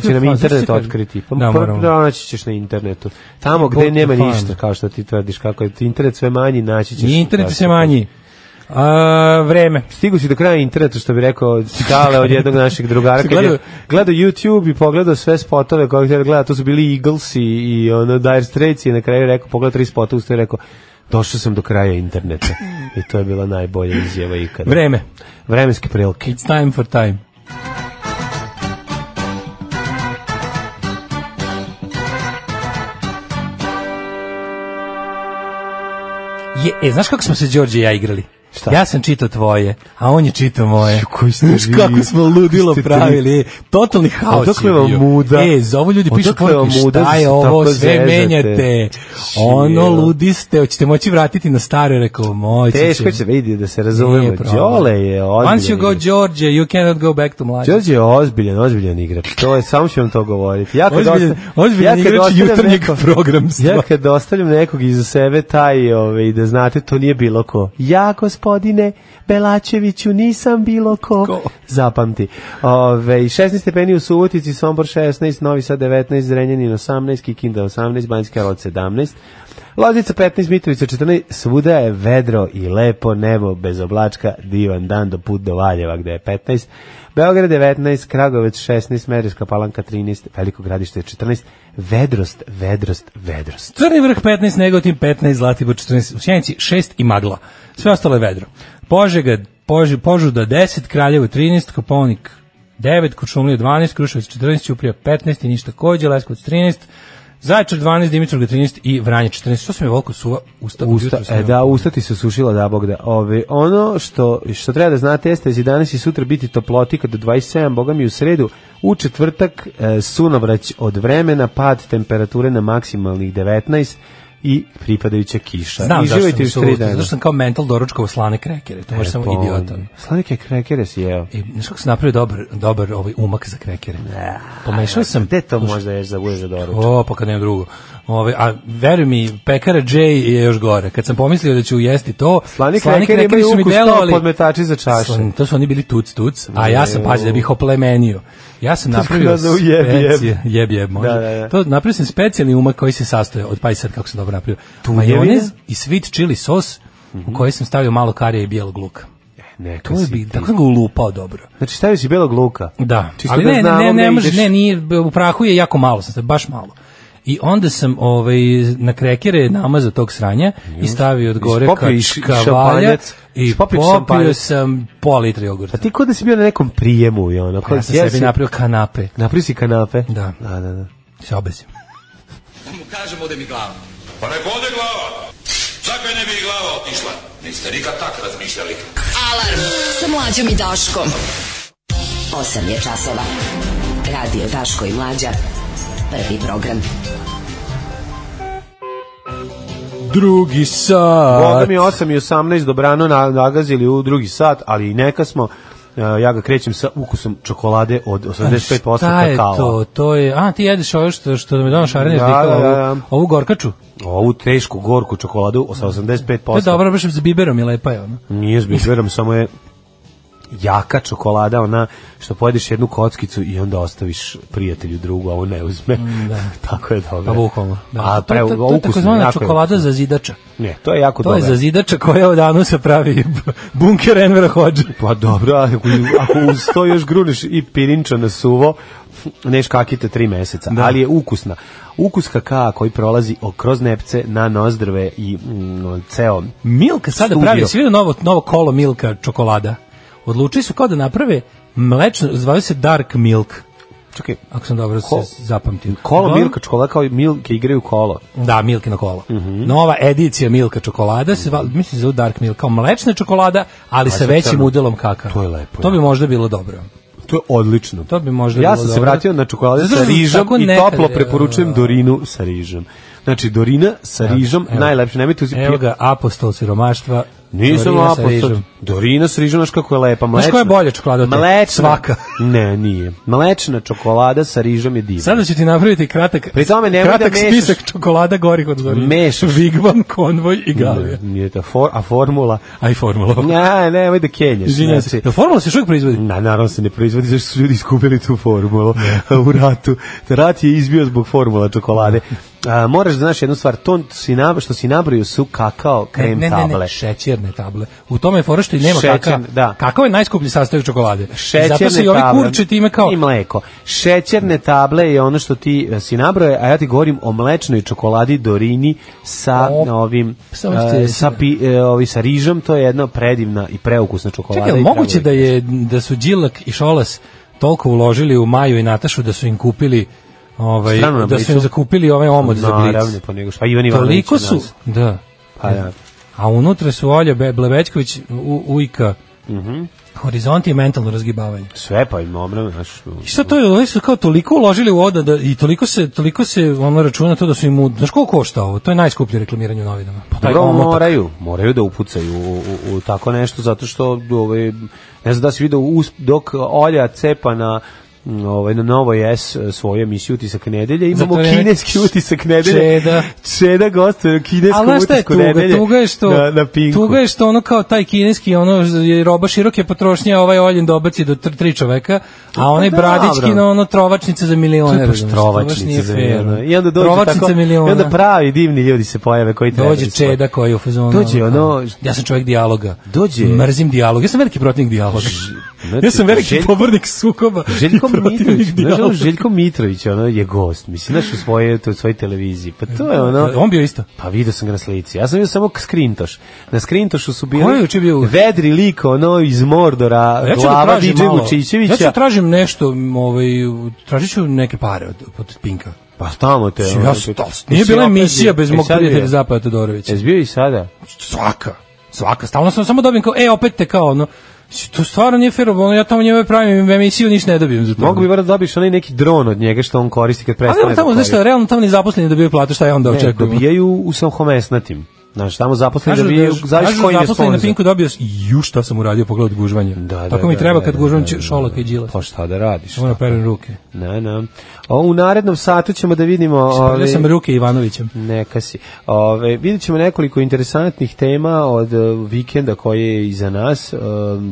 [laughs] će Kako nam je fazon, što internet se kaže? otkriti? Pa Da, da, moramo. naći ćeš na internetu. Tamo gde Bought the nema farm. ništa, kao što ti tvrdiš, kako je ti internet sve manji, naći ćeš. I internet je baš sve tako. manji. A, vreme. Stigu si do kraja interneta, što bi rekao Citale od jednog našeg drugara. Si Kad [laughs] gledao- je gledao YouTube i pogledao sve spotove koje htio da gleda, to su bili Eagles i, i ono, Dire Straits i na kraju je rekao, pogledao tri spota, usto je rekao, došao sam do kraja interneta. I to je bila najbolja izjava ikada. Vreme. Vremenske prilike. It's time for time. Je, e, znaš kako smo se Đorđe i ja igrali? Šta? Ja sam čitao tvoje, a on je čitao moje. Ju, koji ste Znaš vi, kako smo ludilo koji ste tri. pravili. e, Totalni haos Odakle je vam bio. muda? E, za ovo ljudi pišu Odakle vam poruke, muda šta da se je ovo, tako sve zezate? menjate. Ono, ludi ste, hoćete moći vratiti na stare, rekao, moći Teško će vidi da se razumemo. Nije problem. Đole je ozbiljan. Once you go igrač. George, you cannot go back to mlađe. Đorđe je ozbiljan, ozbiljan igrač. To je, samo ću vam to govoriti. Ja kad Ozbiljan- osta- ozbiljan kad igrač ostavljam jutarnjeg nekog- programstva. Ja kad ostavljam nekog iza sebe, taj, ove, da znate, to nije bilo ko. Ja, gospodine Belačeviću, nisam bilo ko. Ko? Zapamti. Ove, 16 stepeni u Subotici, Sombor 16, Novi Sad 19, Zrenjanin 18, Kikinda 18, Banjska Rod 17, Loznica 15, Mitrovica 14, svuda je vedro i lepo nebo, bez oblačka, divan dan do put do Valjeva gde je 15, Beograd 19, Kragovec 16, Merijska palanka 13, Veliko gradište 14, vedrost, vedrost, vedrost. Crni vrh 15, Negotin 15, Zlatibor 14, u Sjenici 6 i magla. Sve ostalo je vedro. Požega, pož, Požuda 10, Kraljevo 13, Koponik 9, Kočumlija 12, Kruševac 14, Ćuprija 15 i ništa kođe, Leskovac 13, Zaječar 12, Dimitrovga 13 i Vranje 14. Što sam je volko suva usta? Usta, jutros e, nema. da, usta ti se sušila da Bog da. Ove, ono što, što treba da znate jeste da će danas i sutra biti toplotika do 27, Boga mi u sredu, u četvrtak e, sunovrać od vremena, pad temperature na maksimalnih 19 i pripadajuća kiša. Znam I zašto živajte sam još se tri usta, dana. E, pa zašto sam kao mental doručkovo slane krekere, to može samo Pon- idiotan. Slanike krekere si jeo. E, znaš kako sam napravio dobar, dobar ovaj umak za krekere? Pomešao sam... Gde to možda ješ za budeš za doručak? O, pa kad nema drugo. Ove, a veruj mi, pekara J je još gore. Kad sam pomislio da ću jesti to, Slani krekeri imaju ukus kao podmetači za čaše. Slan- to su oni bili tuc tuc, a ja sam pazi da bih oplemenio. Ja [laughs] sam napravio kao da u jeb, jeb. specije- jeb jeb, može. Da, da, da. To napravio sam specijalni umak koji se sastoje od pa i sad kako sam dobro napravio. Tunjevine? Majonez i sweet chili sos u koji sam stavio malo karija i bijelog luka. Neka To je Mhm. si bi, ti. tako sam ga ulupao dobro. Znači stavio si belog luka. Da, Čisto ali da ne, znamo ne, ne, gde može, ideš. ne, nije, u prahu je jako malo, sam stavio, baš malo. I onda sam ovaj, na krekere namazao tog sranja i stavio od gore Ispopio i š- kačkavalja šampanjac. i Ispopio popio šampanjac. sam pola litra jogurta. A ti pa kod da si bio na nekom prijemu i ono. Pa Ja sam sebi napravio kanape, Napravio si kanape? Da. Da, da, da. se obesim. Pa nek ode glava. Čakaj ne bi i glava otišla. Niste nikad tak razmišljali. Alarm sa mlađom i Daškom. 8 je časova. Radio Daško i mlađa. Prvi program. Drugi Boga sat! mi 8 i 18 dobrano na- nagazili u drugi sat, ali i neka smo. E, Ja ga krećem sa ukusom čokolade od 85% Šta je kakao. to? To je, a ti jedeš ovo što, što mi dono šareneš Da, da, da, da, ovu, da. ovu gorkaču. Ovu tešku, gorku čokoladu sa 85%. Da. To je dobro, baš s biberom je lepa je ona. Nije s biberom, samo je jaka čokolada, ona što pojedeš jednu kockicu i onda ostaviš prijatelju drugu, a on ne uzme. [laughs] tako je dobro. Mm, Pa bukvalno. Da. to, A to, pre, to, to je ukusno, takozvana jako je čokolada za zidača. Ne, to je jako To dobro. je za zidača koja od anusa pravi [laughs] bunker Envera Hođa. Pa dobro, ako, ako uz to još gruniš i pirinča na suvo, neš kakite tri meseca, Da. ali je ukusna. Ukus kakaa koji prolazi o- kroz nepce na nozdrve i mm, ceo. Milka sada Studio. pravi, svi novo, novo kolo Milka čokolada. Odlučili su kao da naprave mlečno, zvaju se Dark Milk, Čekaj, ako sam dobro Ko- se zapamtio. kolo No, Milka čokolada kao i Milke igraju kolo. Da, Milkino kolo. Mhm. Nova edicija Milka čokolada, se, val- mislim se zove Dark Milk, kao mlečna čokolada, ali sa sad većim crno. udelom kakava. To je lepo, To bi ja. možda bilo dobro. To je odlično. To bi možda ja bilo sam se dobro. vratio na čokolade Zato sa što sam rižom tako i nekad, da. toplo evo, preporučujem Dorinu sa rižom. Znači, Dorina sa rižom, evo. najlepše, nemojte uzeti Evo ga, apostol siromaštva. Nisam Dorina sa apostol. rižom. Dorina s rižom, znaš kako je lepa, mlečna. Znaš koja je bolja čokolada od te? Mlečna. Svaka. [laughs] ne, nije. Mlečna čokolada sa rižom je divna. Sada ću ti napraviti kratak, Pri tome nemoj da kratak mešaš- spisak čokolada gorih od Zorina. Mešaš. Vigvam, konvoj i galija. Ne, Nije ta for, a formula. A i formula. Ne, ne, ajde da kenjaš. Izvinjam se. znači. Da formula se još uvijek proizvodi? Na, naravno se ne proizvodi, zašto [laughs] su ljudi iskupili tu formulu u ratu. Rat je izbio zbog formula čokolade. A, moraš da znaš jednu stvar, to si na, što si nabrojio su kakao Ne, krem ne, ne, table. ne, šećerne table. U tome je fora što i nema Šećer, kakao. da. Kakao je najskuplji sastojak čokolade. I Šećerne Zato se i ovi table. kurče time kao... I mleko. Šećerne table je ono što ti e, si nabroje, a ja ti govorim o mlečnoj čokoladi Dorini sa O, ovim samo e, ste- sa, pi, e, ovi, sa rižom, to je jedna predivna i preukusna čokolada. Čekaj, jel i moguće drago da je. je da su Đilak i Šolas toliko uložili u Maju i Natašu da su im kupili ovaj Stranu na da su im Blicu? zakupili ovaj omot za Naravno, Blic. pa nego što- pa Ivan Ivanović Toliko je su, nas. da. Pa da. A unutra su Olja Be- Blebečković, u, Ujka, Mhm. Horizonti i mentalno razgibavanje. Sve pa im omram, znaš. I sad to je, oni su kao toliko uložili u oda da, i toliko se, toliko se ono računa to da su im, u- znaš koliko košta ovo? To je najskuplje reklamiranje u novinama. Pa taj Dobro, omotak. moraju, moraju da upucaju u, u, u tako nešto, zato što ovaj, ne znam da si vidio, us- dok Olja cepa na m, ovaj, na Novoj S svoju emisiju Utisak nedelje, imamo Zato je- kineski utisak nedelje. Čeda. Čeda gost na kineskom Ali znaš šta je utisku tuga? nedelje. Tuga je što, na, na Pinku. tuga je što ono kao taj kineski, ono je roba široke potrošnje, a ovaj oljen dobaci do tr- tri čoveka, a onaj Pa bradićki dobro. na ono trovačnice za To milione. je baš razumeš, to baš trovačnica. nije za fair, miliona. ono. I onda dođe trovačnice tako, miliona. I onda pravi divni ljudi se pojave koji treba. Dođe Čeda koji je u fazonu. Dođe ono- Ja sam čovjek dijaloga. Dođe- Mrzim dijalog. Ja sam veliki protivnik dijaloga. znači, ja sam veliki Željko- pobornik sukoba. Željko [laughs] i protivnik Mitrović, znaš, ono, dijaloga. Željko Mitrović, ono je gost, mislim, znaš, u svoje, to, u svojoj televiziji, pa to je ono... E, Da, On bio isto. Pa vidio sam ga na slici. Ja sam vidio samo k- skrintoš. Na skrintošu su bili Ko je juče bio? vedri lik, ono iz Mordora, Ja ću da glava tražim DJ malo. Vučićevića. Ja ću da tražim nešto, m, ovaj, tražit ću neke pare od, od Pinka. Pa tamo te. Mislim, ono, ja te- sto- Jesi Nije bila da. opet emisija bio? bez E, mog sad je. E, prijatelja Zapaja Todorovića. Jesi bio i sada? Svaka. Svaka. Stalno sam samo dobijem kao, e, opet te kao, ono, mislim, to stvarno nije fair, ono, ja tamo njeme pravim emisiju, ništa ne dobijem za to. Mogu bi bar da dobiš onaj neki dron od njega što on koristi kad Ali prestane. ono da tamo, znaš šta, koristi. realno tamo ni zaposleni dobiju platu, šta ja onda Ne, očekujem? dobijaju u samhomesnatim. Znaš, tamo zaposleni Kažu dobijaju, da- zavisi kažu koji im je zaposleni na sponsor. Pinku dobio, s- ju šta sam uradio, pogledaj gužvanje. Da, da, Tako mi da, treba da, kad da, gužvam da, da, da. šolaka i džila. Pa šta da radiš? Ono perem ruke. Ne, ne. O, u narednom satu ćemo da vidimo... Spavljao ovaj, pa sam ruke Ivanovićem. Neka si. Ove, vidjet ćemo nekoliko interesantnih tema od e, vikenda koje je iza nas. E,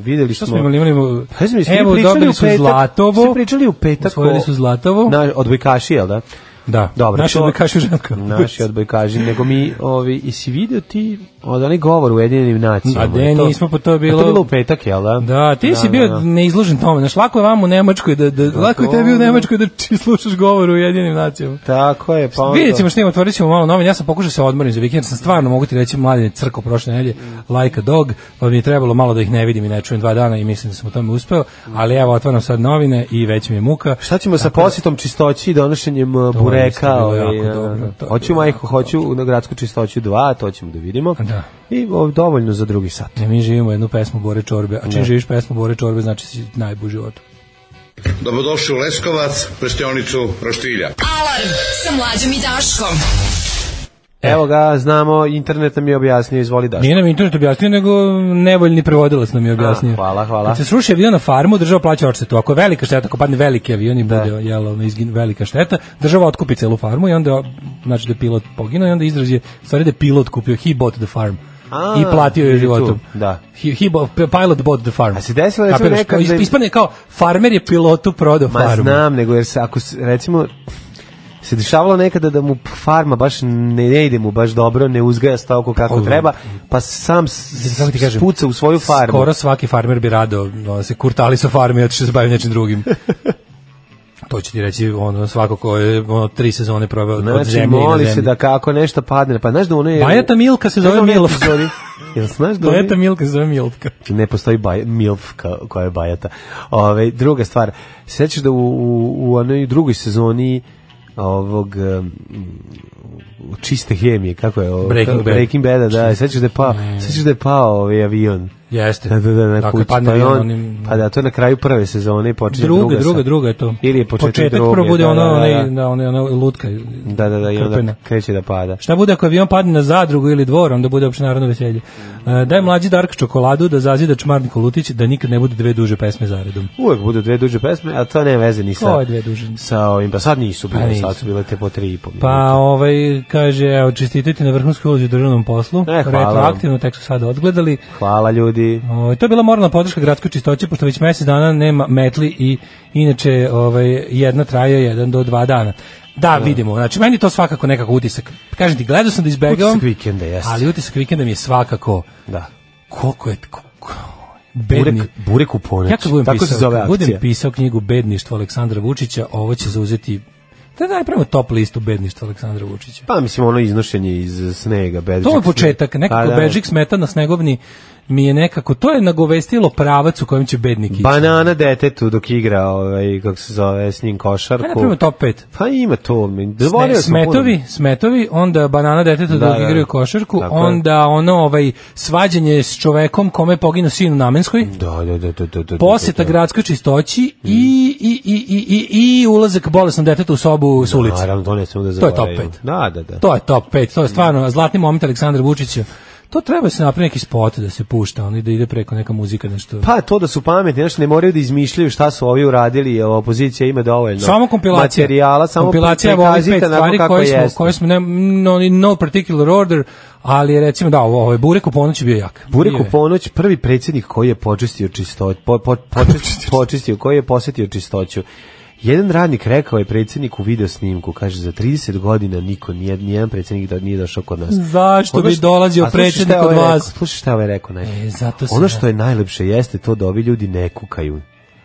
videli Šta smo... smo imali, imali Pa, jesmo, jesmo evo, pričali dobili u su petak- Zlatovo. Ste pričali u petak Osvojili o- su Zlatovo. Na, odbojkaši, jel da? Da, Dobro, naši to- odbojkaši u ženkama. Naši odbojkaši, nego mi, ovi, i si video ti od onaj govor u Jedinim nacijama? A de, Je to- nismo, pa to je A bilo- To je bilo u petak, jel da? Da, ti si bio neizložen tome. Znaš, lako je vam u Nemačkoj da, da, lako je tebi u Nemačkoj da [laughs] či slušaš govor u jedinim nacijama. Tako je, pa onda... Vidjet ćemo što ima, otvorit ćemo malo novin. Ja sam pokušao da se odmorim za vikend, jer sam stvarno, mogu ti reći, mladen je crko prošle nedelje, like a dog, pa mi je trebalo malo da ih ne vidim i ne čujem dva dana i mislim da sam u tome uspeo, ali evo, otvaram sad novine i već mi je muka. Šta ćemo sa posjetom čistoći i donošenjem uh, da- isto bureka? bilo ovaj, jako uh, dobro, to je Hoću bilo majku, hoću na gradsku čistoću 2, to ćemo da vidimo. Da. I o, dovoljno za drugi sat. Ne, mi živimo jednu pesmu Bore Čorbe, a čim Da. živiš pesmu Bore Čorbe, znači si najbolji u životu. Dobrodošli u Leskovac, prštionicu Roštilja. Alarm sa mlađom i Daškom. Evo ga, znamo, internet nam je objasnio, izvoli da. E. Nije nam internet objasnio, nego nevoljni prevodilac nam je objasnio. A, hvala, hvala. Kad se sruši avion na farmu, država plaća odštetu. Ako je velika šteta, ako padne veliki avion i Da. bude jel, ono, izgin, velika šteta, država otkupi celu farmu i onda, znači da je pilot poginuo i onda izraz je, u stvari da je pilot kupio, he bought the farm. A, I platio je vidi tu, životom. da. He, he bought, pilot bought the farm. A se desilo da su Kapiraš? nekad Kao, da- Ispadne kao, farmer je pilotu prodao Ma farmu. znam, nego jer se, ako s- recimo se dešavalo nekada da mu farma baš ne, ne ide mu baš dobro, ne uzgaja stoku kako Ovo. treba, pa sam s- kako ti kažem, spuca u svoju farmu. Skoro svaki farmer bi rado no, se kurtali sa farme i otišao se bavio nečim [laughs] drugim. to će ti reći ono, svako ko je ono, tri sezone proveo od Znači, zemlje i na moli zemlji. se da kako nešto padne, pa znaš da ono je... Bajata Milka se Znaš da zove u onoj Milovka. [laughs] epizodi- Jel znaš da u onoj- Bajata Milka se zove Milka. Znači, ne postoji baj, milfka koja je bajata. Ove, druga stvar, sećaš da u, u, u onoj drugoj sezoni ovog em, čiste hemije, kako je? Ovo, Breaking kako- Bad. Breaking Bada, da, sećaš da je pao, sećaš da je pao ovaj avion. Jeste. Da, da, da, na Dakle, kuću, padne pa, je avion, on, onim- pa da, to je na kraju prve sezone i počinje Druga, druga. druga, druga, sad. je to. Ili je početak, Početak druge, prvo bude da, ono, da, da, onaj- da. da, ona, ona lutka. Da, da, da, i onda krpena. kreće da pada. Šta bude ako avion padne na zadrugu ili dvor, onda bude opšte narodno veselje. E, daj mlađi Dark čokoladu da zazida Čmarni Kolutić da nikad ne bude dve duže pesme zaredom. Uvek budu dve duže pesme, a to nema veze ni sa... Ko je dve duže? Sa ovim, pa sad nisu bile, Pa nisu. sad su bile te po tri i po minute. Pa ovaj kaže evo čestitati na vrhunskoj ulozi u državnom poslu. E, hvala vam. Retroaktivno tek su sada odgledali. Hvala ljudi. Ovaj to je bila moralna podrška gradskoj čistoći pošto već mesec dana nema metli i inače ovaj jedna traje jedan do dva dana. Da, vidimo. Znači, meni je to svakako nekako utisak. Kažem ti, gledao sam da izbegavam. Utisak vikenda, jeste. Ali utisak vikenda mi je svakako... Da. Koliko je... ko- ko- bedni- Burek, burek u ponoć. ja kad budem Tako pisao, se zove kad akcija. budem pisao knjigu Bedništvo Aleksandra Vučića, ovo će zauzeti da daj prema top listu bedništva Aleksandra Vučića. Pa mislim ono iznošenje iz snega, bežić. To je Pa početak, nekako da, Bežik smeta na snegovni mi je nekako, to je nagovestilo pravac u kojem će bednik ići. Banana detetu dok igra, ovaj, kako se zove, s njim košarku. Pa napravimo top 5. Pa ima to. Mi, Sne, zaboravio sam puno. smetovi, smetovi, onda banana detetu Da, da, dok da. igraju košarku, Tako je. onda ono ovaj svađanje s čovekom kome je poginuo sin u Namenskoj, Da, da, da, da, da, da. poseta da, da. gradskoj čistoći Mm. i, i, i, i, i, i ulazak bolesnom detetu u sobu s ulice. Naravno, to ne smemo da To je top zaboravimo. pet. Da, da, da. To je top 5, to je stvarno zlatni moment Aleksandra Vučića. To treba da se napravi neki spot da se pušta, ono i da ide preko neka muzika, nešto. Pa to da su pametni, znači ne moraju da izmišljaju šta su ovi uradili, jer opozicija ima dovoljno samo kompilacija. da. materijala, samo kompilacija ovih prikazite pet onako stvari kako koje smo, jeste. koje smo ne, no, in no particular order, ali recimo da, ovo, ovo je Burek u ponoć je bio jak. Burek Bio u je. ponoć, prvi predsjednik koji je počistio čistoću, po, po, [laughs] počistio, počistio, koji je posjetio čistoću. Jedan radnik rekao je predsjedniku u video snimku, kaže, za 30 godina niko, nije, nijedan predsjednik da nije došao kod nas. Zašto Ono bi što- dolazio a slušaj šta predsjednik je ovaj od rekao, vas? Slušaj šta je ovaj rekao, ne. E, zato sam ono ja. što je najlepše jeste to da ovi ljudi ne kukaju.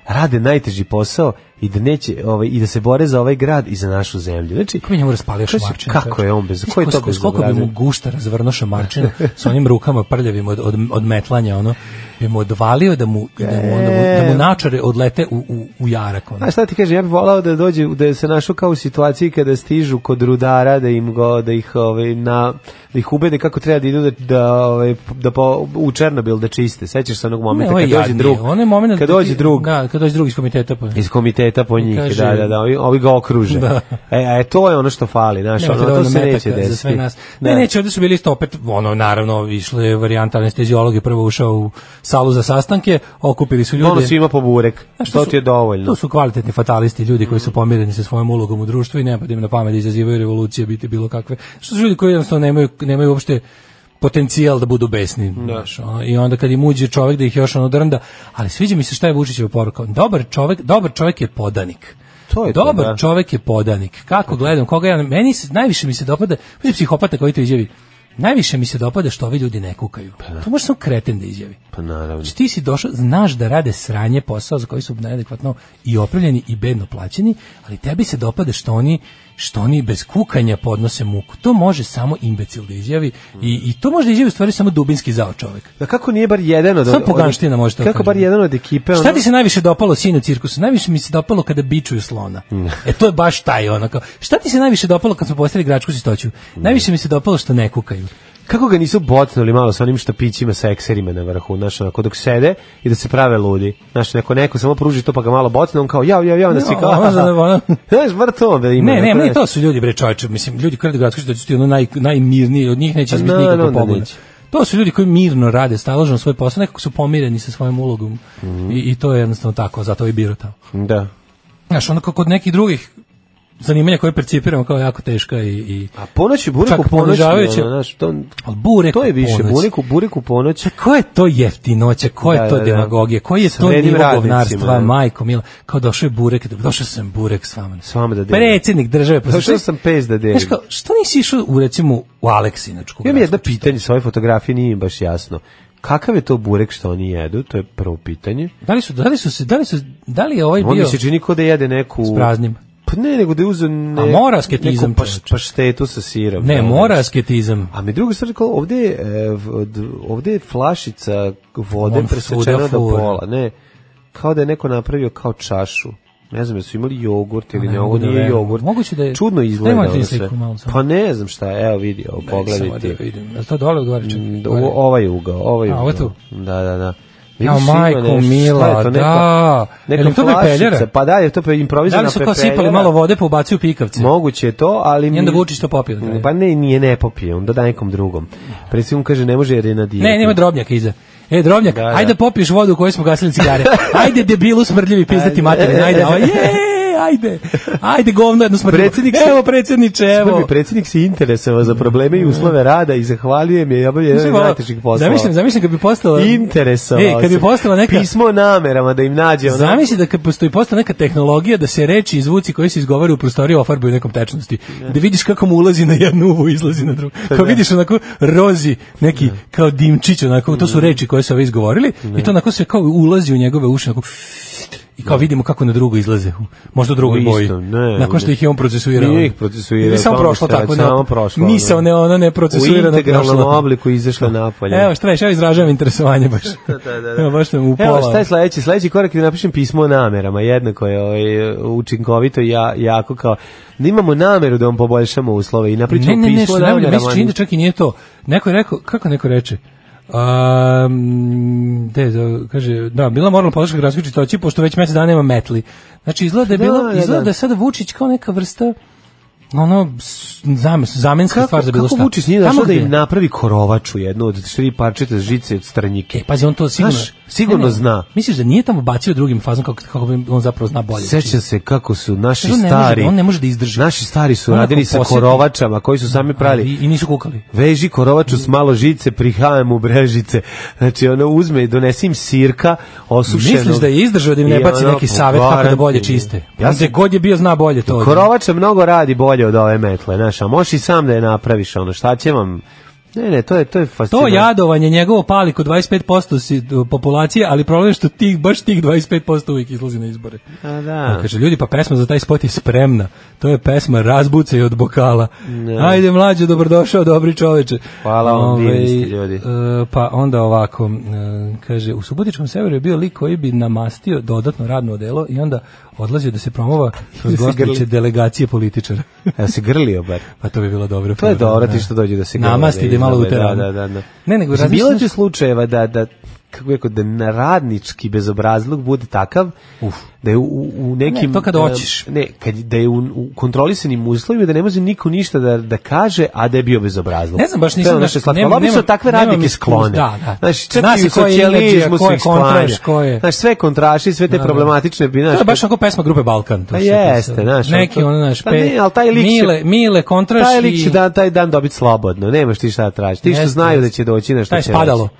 Rade najteži posao i da neće ovaj i da se bore za ovaj grad i za našu zemlju. Znači, Kako mi je njemu raspalio Kaže, šamarčin? kako je on bez- koji to bez Koliko bi obraza? mu gušta razvrno [laughs] šamarčin sa onim rukama prljavim od, od, od metlanja, ono, bi mu odvalio da mu, da mu, onda mu, da mu načare odlete u, u, u jarak, ono. A šta ti kažem, ja bih volao da dođe, da se našao kao u situaciji kada stižu kod rudara, da im go, da ih, ovaj, na, da ih ubede kako treba da idu da, da, ovaj, da po, u Černobil da čiste. Sećaš se onog momenta ovo ovaj je kad dođe jadnije. drug. Ono je moment kad da ti- dođe drug Da, kad dođe drug iz komiteta. Pa. iz komiteta po njih, Kaže- da, da, da, ovi, ovi ga okruže. Da. E, a to je ono što fali, znaš, ono, Nemate to dovoljno se neće metaka desiti. Da. za sve nas. Ne, neće, ovde su bili isto opet, ono, naravno, išla je varijanta anestezijolog je prvo ušao u salu za sastanke, okupili su ljude. Ono svima po burek, Znaš, to ti je dovoljno. To su kvalitetni fatalisti, ljudi koji su pomireni sa svojom ulogom u društvu i ne pada im na pamet da izazivaju revolucije, biti bilo kakve. Što su ljudi koji jednostavno nemaju, nemaju uopšte potencijal da budu besni. znaš, ono, I onda kad im uđe čovek da ih još ono drnda, ali sviđa mi se šta je Vučićeva poruka. Dobar čovek, dobar čovek je podanik. To je to, dobar da. čovek je podanik. Kako gledam, koga ja, meni se, najviše mi se dopada, mislim psihopata koji to izjavi, najviše mi se dopada što ovi ljudi ne kukaju. To može samo kreten da izjavi. Pa naravno. Znači ti si došao, znaš da rade sranje posao za koji su neadekvatno i opravljeni i bedno plaćeni, ali tebi se dopada što oni što oni bez kukanja podnose muku. To može samo imbecil da izjavi i, i to može da izjavi u stvari samo dubinski zao čovek. Da kako nije bar jedan od... Samo poganština može to Kako kažem. bar jedan od ekipe... Šta Pa, ono- ti se najviše dopalo sinu cirkusu? Najviše mi se dopalo kada bičuju slona. E to je baš taj ono kao. Šta ti se najviše dopalo kad smo postali gračku sistoću? Najviše mi se dopalo što ne kukaju. Kako ga nisu botnuli malo sa onim štapićima sa ekserima na vrhu, znaš, onako dok sede i da se prave ludi. Znaš, neko, neko samo pruži to pa ga malo botne, on kao jau, jau, jau, da svi Ja, kao... ono za da- ono- Znaš, bar to da ima. Ne, ne, neko, ne, znaš. to su ljudi bre čoveče, mislim ljudi koji rade gradsko što su da ti ono naj najmirniji, od njih neće izbiti na, nikakva onda pobuna. Pa da neće. To su ljudi koji mirno rade, staložno svoj posao, nekako su pomireni sa svojom ulogom. Mhm. I, I to je jednostavno tako, zato i biro tamo. Da. Znaš, ono kao kod nekih drugih zanimanja koje percipiramo kao jako teška i, i A ponoć je burek Čak u ponoć, ono, ponižavajuće. znaš, to, ali burek to je u više, ponoć. burek, u- burek u ponoć. Čak, koja je to jeftinoća, koja Da, je to da, da. demagogija, koji je S to vrednim nivo radnicima, govnarstva, da. majko mila, kao došao je burek, da- došao sam burek s vama. S vama da delim. Predsjednik države. pa Došao što- sam pes da delim. Znaš kao, što nisi išao u, recimo, u Aleksinačku? Imam jedno gradsku pitanje sa ove fotografije, nije mi baš jasno. Kakav je to burek što oni jedu? To je prvo pitanje. Da li su, da li su, se- da li su, da li je ovaj On mi bio se čini ko da jede neku... s praznim? Pa ne, nego da je uzeo ne, A mora asketizam, neku paš- čoveče. paštetu sa sirom. Ne, Da, mora asketizam. A mi druga stvar, kao ovde, je, e, v- d- ovde je flašica vode On presečena fuda do fura. pola, ne. Kao da je neko napravio kao čašu. Ne znam, jesu imali jogurt ili Ne ne, mogu ovo da nije verujem. jogurt. Moguće da je- Čudno izgleda Nemojte ono mi sve. sliku malo samo. Pa ne znam šta je, evo vidi, ovo, Samo pogledaj da ti. vidim. Je li to dole odgovara čak? Da, o- ovaj ugao, ovaj A, ugao. ovo tu? Da, da, da. Vidiš, Jao, ima majko nešto, šta mila, je to, neka- da. Neka Jel im to flašica, pepeljara? pa da, je to pe, Da improvizana li su kao sipali pepeljara. malo vode pa ubacuju pikavce? Moguće je to, ali... I onda mi- Vučić to popio na kraju. Pa ne, nije ne popije, onda da nekom drugom. Predsjednik mu kaže, ne može jer je na dijeti. Ne, nema da drobnjaka iza. E, drobnjak, Da, da. [laughs] ajde popiš vodu u kojoj smo gasili cigare. Ajde, debilu smrdljivi pizdati Ajde. [laughs] materin, ajde, ovo, je, ajde. Ajde govno jedno smrtno. Predsednik se- evo predsjedniče, Prvi evo. predsjednik se interesovao za probleme i uslove rada i zahvaljujem je, ja bih jedan od Zamišljam, najtežih poslova. Zamišljam, zamišljam da kad bi postala... Interesovao E, kad bi se. postala neka... Pismo o namerama da im nađe. ono- Zamisli da kad postoji postala neka tehnologija da se reči i zvuci koji se izgovore u prostoriju ofarbaju nekom tečnosti. Da vidiš kako mu ulazi na jednu uvu, izlazi na drugu. Da. Kao vidiš onako rozi neki kao dimčić onako, to Da. su reči koje su ovi izgovorili i to onako sve kao ulazi u njegove uši onako i kao vidimo kako na drugo izlaze. Možda u drugoj Da. Isto, boji. ne, Nakon što ne. ih je on procesuirao. Nije ih procesuirao, Ili samo tamo prošlo šta, tako. da. samo prošlo, ono. Misao ne, ono ne procesuirano. U integralnom da prošlo. obliku izašla napolje. Evo, šta veš, ja izražavam interesovanje baš. [laughs] da, da, da. Evo, baš sam u Evo, pola. šta je sledeći? Sledeći korak je da napišem pismo o namerama. Jednako je ovaj, učinkovito i ja, jako kao da imamo nameru da vam poboljšamo uslove i napričamo Ne, ne, ne, pismo o što najbolje, meni se namerama. čini da čak i nije to. Neko je rekao, kako neko reče? Um, de, da, kaže, da, bila moralna podrška gradskoj čitoći, pošto već mesec dana nema metli. Znači, izgleda da je, Da, bilo, da, izgleda da. da je sada Vučić kao neka vrsta ono, s- zamens, zamenska Kako, stvar za bilo kako šta. Vučić nije Tamo došao da gde- im napravi korovaču jednu od tri parčete žice od stranjike? E, pazi, on to sigurno... Znaš, sigurno Ne, ne, zna. Misliš da nije tamo bacio drugim fazom kako, kako bi on zapravo zna bolje? Sećam se kako su naši On ne može da- stari... on ne može da izdrži. Naši stari su Onako radili sa posjeti. korovačama koji su sami Ali pravili. I, I nisu kukali. veži korovaču s malo žice, prihajem u brežice. Znači, ono, uzme i donesi im sirka osušenog. Misliš da je izdržao da im ne I baci ono, neki savjet kako da garanti. bolje čiste? Ja Ja sam- Gde god je bio zna bolje to. od njih. Korovača mnogo radi bolje od ove metle, znaš, a možeš i sam da je napraviš, ono, šta će vam... Ne, ne, to je, to je To fascinantno. jadovanje njegovo pali kod 25% si, e, populacije, ali problem je što tih, baš tih 25% uvijek izlazi na izbore. A, Pa da. kaže, ljudi, pa pesma za taj spot je spremna. To je pesma Razbuce i od bokala. Ajde, mlađe, dobrodošao, dobri čoveče. Hvala vam, Ovaj, divni ste ljudi. e, pa onda ovako, e, kaže, u Subotičkom severu je bio lik koji bi namastio dodatno radno odelo i onda odlazio da se promova kroz Da se gostujuće grli. delegacije političara. [laughs] Ja se grlio bar. Pa to bi bilo dobro. To je dobro, ti što dođe da se grlio. Namasti, da je malo izlaze, utera. Da, da, da. Ne, nego Mislim, razmišljam Bilo je slučajeva da, da kako bih rekao, da na radnički bezobrazluk bude takav Uf. da je u, u nekim... Ne, to kad da- hoćeš. Ne, kad, da je u, u kontrolisanim uslovima da ne može niko ništa da, da kaže, a da je bio bezobrazluk. Ne znam, baš To nisam je ono baš- što je slatko. nemam- Ali obično nemam- takve nemam radnike iskustva, sklone. da, da. Znači, čak Zna i se u ko je socijalizmu Ilidžija, su ko je ih sklanja. kontraš, ko je- Da, Znaš, sve kontraši, sve te problematične... bi, Znaš, To je baš onako pesma grupe Balkan. To Pa što- jeste, znaš, Neki ono- ono, znaš, Pa pe- ne, ali taj lik će- Mile, Mile, kontraš taj lik i- će da- dan, taj dan dobiti slobodno, nemaš ti šta da tražiš. Ti što Jeste, znaju da jeste. će doći na što Taj će spadalo. reći.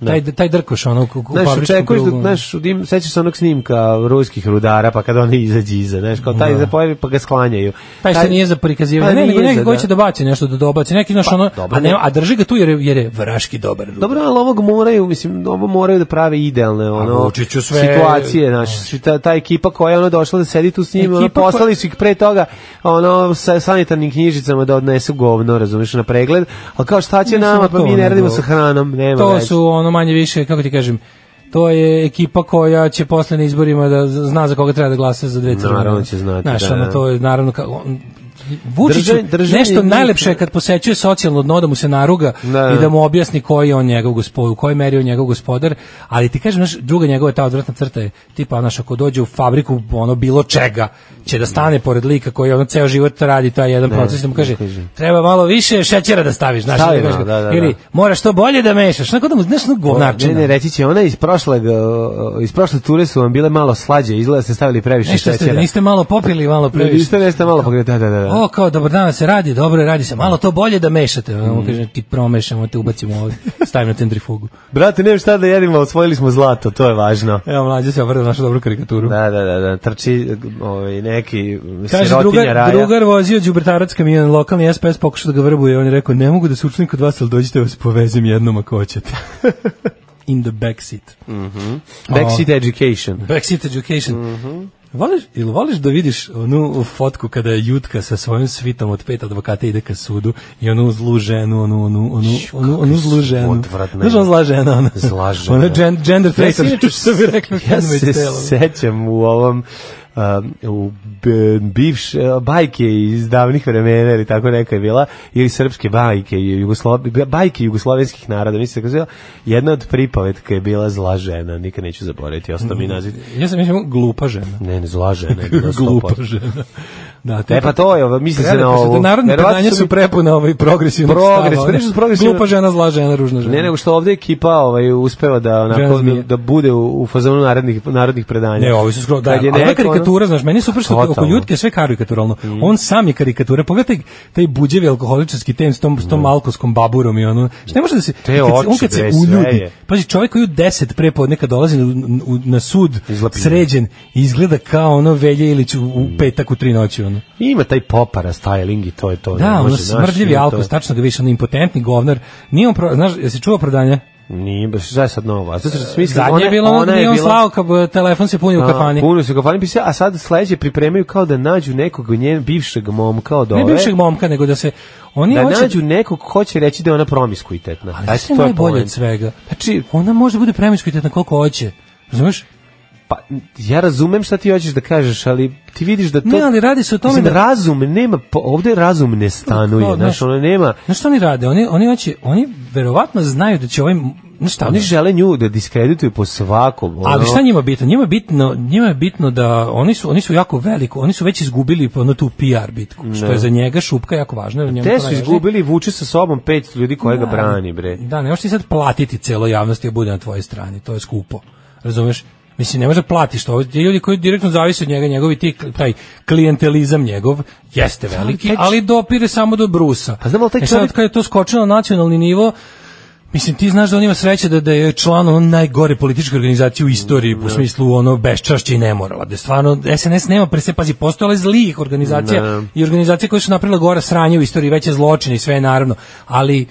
Da. Taj, taj drkoš, ono, u, u Znaš, fabričkom očekuješ da, krugu. znaš, im, sećaš se onog snimka ruskih rudara, pa kad oni izađe iza, znaš, kao taj da. pojavi, pa ga sklanjaju. Taj se nije za prikazivanje. Pa ne, nego nije neki za, koji da. će da baci nešto da dobaci, neki znaš Pa, ono, dobro, a, ne, ne. a drži ga tu jer je, jer je vraški dobar. rudar. Dobro, ali ovog moraju, mislim, ovo moraju da prave idealne ono, Vučiću sve- situacije, znaš, svi ta, ta ekipa koja je ono došla da sedi tu s njim, ono, Ekipa koja- poslali su ih pre toga ono, sa sanitarnim knjižicama da odnesu govno, razumiješ, na pregled, ali kao šta će Ne samo nama, da pa to, mi ne nego- radimo sa hranom, nema To veze. su ono manje više, kako ti kažem, to je ekipa koja će posle na izborima da z- zna za koga treba da glasa za dve crvene. Naravno će znati, Znaš, da, ono, da. to je naravno kao... On, Vučiću Držanje- držanje nešto njih- najlepše je kad posećuje socijalno dno da mu se naruga Da. i da mu objasni koji je on njegov gospodar, u kojoj meri je on njegov gospodar, ali ti kažem, znaš, druga njegova ta odvratna crta je tipa, znaš, ako dođe u fabriku ono bilo čega, će da stane pored lika koji ono ceo život radi taj jedan proces, da mu kaže, treba malo više šećera da staviš, znaš, Stavi da kaže, malo, da, da, ili da. moraš to bolje da mešaš, znaš, kao da mu, znaš, ono Ne, govnačina. ne, reći će, ona iz prošle, iz prošle ture su vam bile malo slađe, izgleda da ste stavili previše Nešto ste, šećera. niste malo popili, malo Ne, previše. Niste nešto malo pogledali, da, da, da. da. O, kao, dobar dan, se radi, dobro je, radi se, malo to bolje da mešate. Mm. Kaže, ti promešamo, te ubacimo [laughs] ovde, stavimo na centrifugu. Brate, nemam šta da jedimo, osvojili smo zlato, to je važno. Evo, mlađe se obrda našu dobru karikaturu. Da, da, da, da, trči ovaj, neki Kaže, sirotinja drugar, raja. drugar vozio đubretarac kamion, lokalni SPS pokušao da ga vrbuje, on je rekao, ne mogu da se učim kod vas, ali dođite da vas povezim jednom ako hoćete. [laughs] In the backseat. Backseat education. Brexit education. Mhm. Voliš, ili voliš da vidiš onu fotku kada je Jutka sa svojim svitom od pet advokata ide ka sudu i onu zlu ženu, onu, onu, onu, onu, onu zlu ženu. odvratna Znaš je. ona zla žena? Ona, Zla žena. Ona gen- gender traitor, Ja se inače- [laughs] što bi rekli. Ja se sećam u ovom um, u b- bivš e, bajke iz davnih vremena ili tako neka je bila ili srpske bajke i Jugoslo, bajke jugoslovenskih naroda mislim da se tako zove jedna od pripovetka je bila zla žena nikad neću zaboraviti ostao mi naziv Ja sam mislio glupa žena. [laughs] ne ne zla žena je bila Glupa 100%. žena. Da, E pa to je, ovo, misli se na Prelepe su, ovo. Narodne Verovatno predanja su prepuna ovaj progresivnog Progres- stava. pa nešto su progresivno- Glupa žena, zla žena, ružna žena. Ne, nego što ovde ekipa ovaj, uspeva da, Žena onako, da, zmija. da bude u, u fazonu narodnih, narodnih predanja. Ne, ovi su skroz da. Kad je Ali ova neko, ono- karikatura, znaš, meni je super što oko Totalno. Jutke je sve karikaturalno. On sam je karikatura. Pogledaj taj, taj buđevi alkoholičarski tem s tom, s tom alkoskom baburom i ono. Šta ne može da se Mm. Te kad se- on oči, kad se bre, sve uljudi. je. Pazi, čovjek koji u 10 pre podne kad dolazi u, u, na sud Izlapinje. sređen izgleda kao ono Velje Ilić u, u petak u tri noći ono. Ima taj popara styling i to je to. Pa ne Da, ono može, znaš, smrdljivi ima to. alkos, tačno ga više, ono impotentni govnar. Nije on, pro, znaš, jesi čuo prodanje? Nije, baš, šta je sad novo? A sad sam smislio, Zadnje ona- je bilo ono ona da je nije on bila- slao, kad telefon se puni u A, kafani. Puno se u kafani pisao, a sad sledeće pripremaju kao da nađu nekog njen bivšeg momka od ove. Ne bivšeg momka, nego da se... Oni da hoće- nađu nekog ko će reći da je ona promiskuitetna. Ali Eto, znaš što je to je najbolje od poenta. svega? Znači, Ona može da bude premiskuitetna koliko hoće. Razumeš? pa, ja razumem šta ti hoćeš da kažeš, ali ti vidiš da to... Ne, ali radi se o tome Mislim, da- razum nema, po- ovde razum ne stanuje, Kao, da. znaš, ono nema... Znaš što oni rade? Oni, oni, hoće, oni verovatno znaju da će ovaj... Znaš šta? Oni žele nju da diskredituju po svakom. ono. Ali šta njima bitno? Njima je bitno, njima je bitno da oni su oni su jako veliko, oni su već izgubili ono tu PR bitku, što je za njega šupka jako važno. jer njemu to Te su najvažnije. izgubili i vuče sa sobom 500 ljudi koje ga brani, bre. Da, ne možeš ti sad platiti celo javnosti da bude na tvojoj strani, to je skupo. Razumeš? Mislim, ne možeš da platiš to. Ovo ti ljudi koji direktno zavise od njega, njegovi ti, taj klijentelizam njegov, jeste veliki, Da, taj č- ali dopire samo do brusa. Pa znam, ali taj E sad, čovjek- kad je to skočilo na nacionalni nivo, Mislim, ti znaš da on ima sreće da, da je član ono najgore političke organizacije u istoriji, u smislu ono beščašća i nemorala. Da je stvarno, SNS nema pre se, pazi, postojala je zlih organizacija Ne. i organizacije koje su napravile gora sranje u istoriji, veće zločine i sve je naravno, ali e,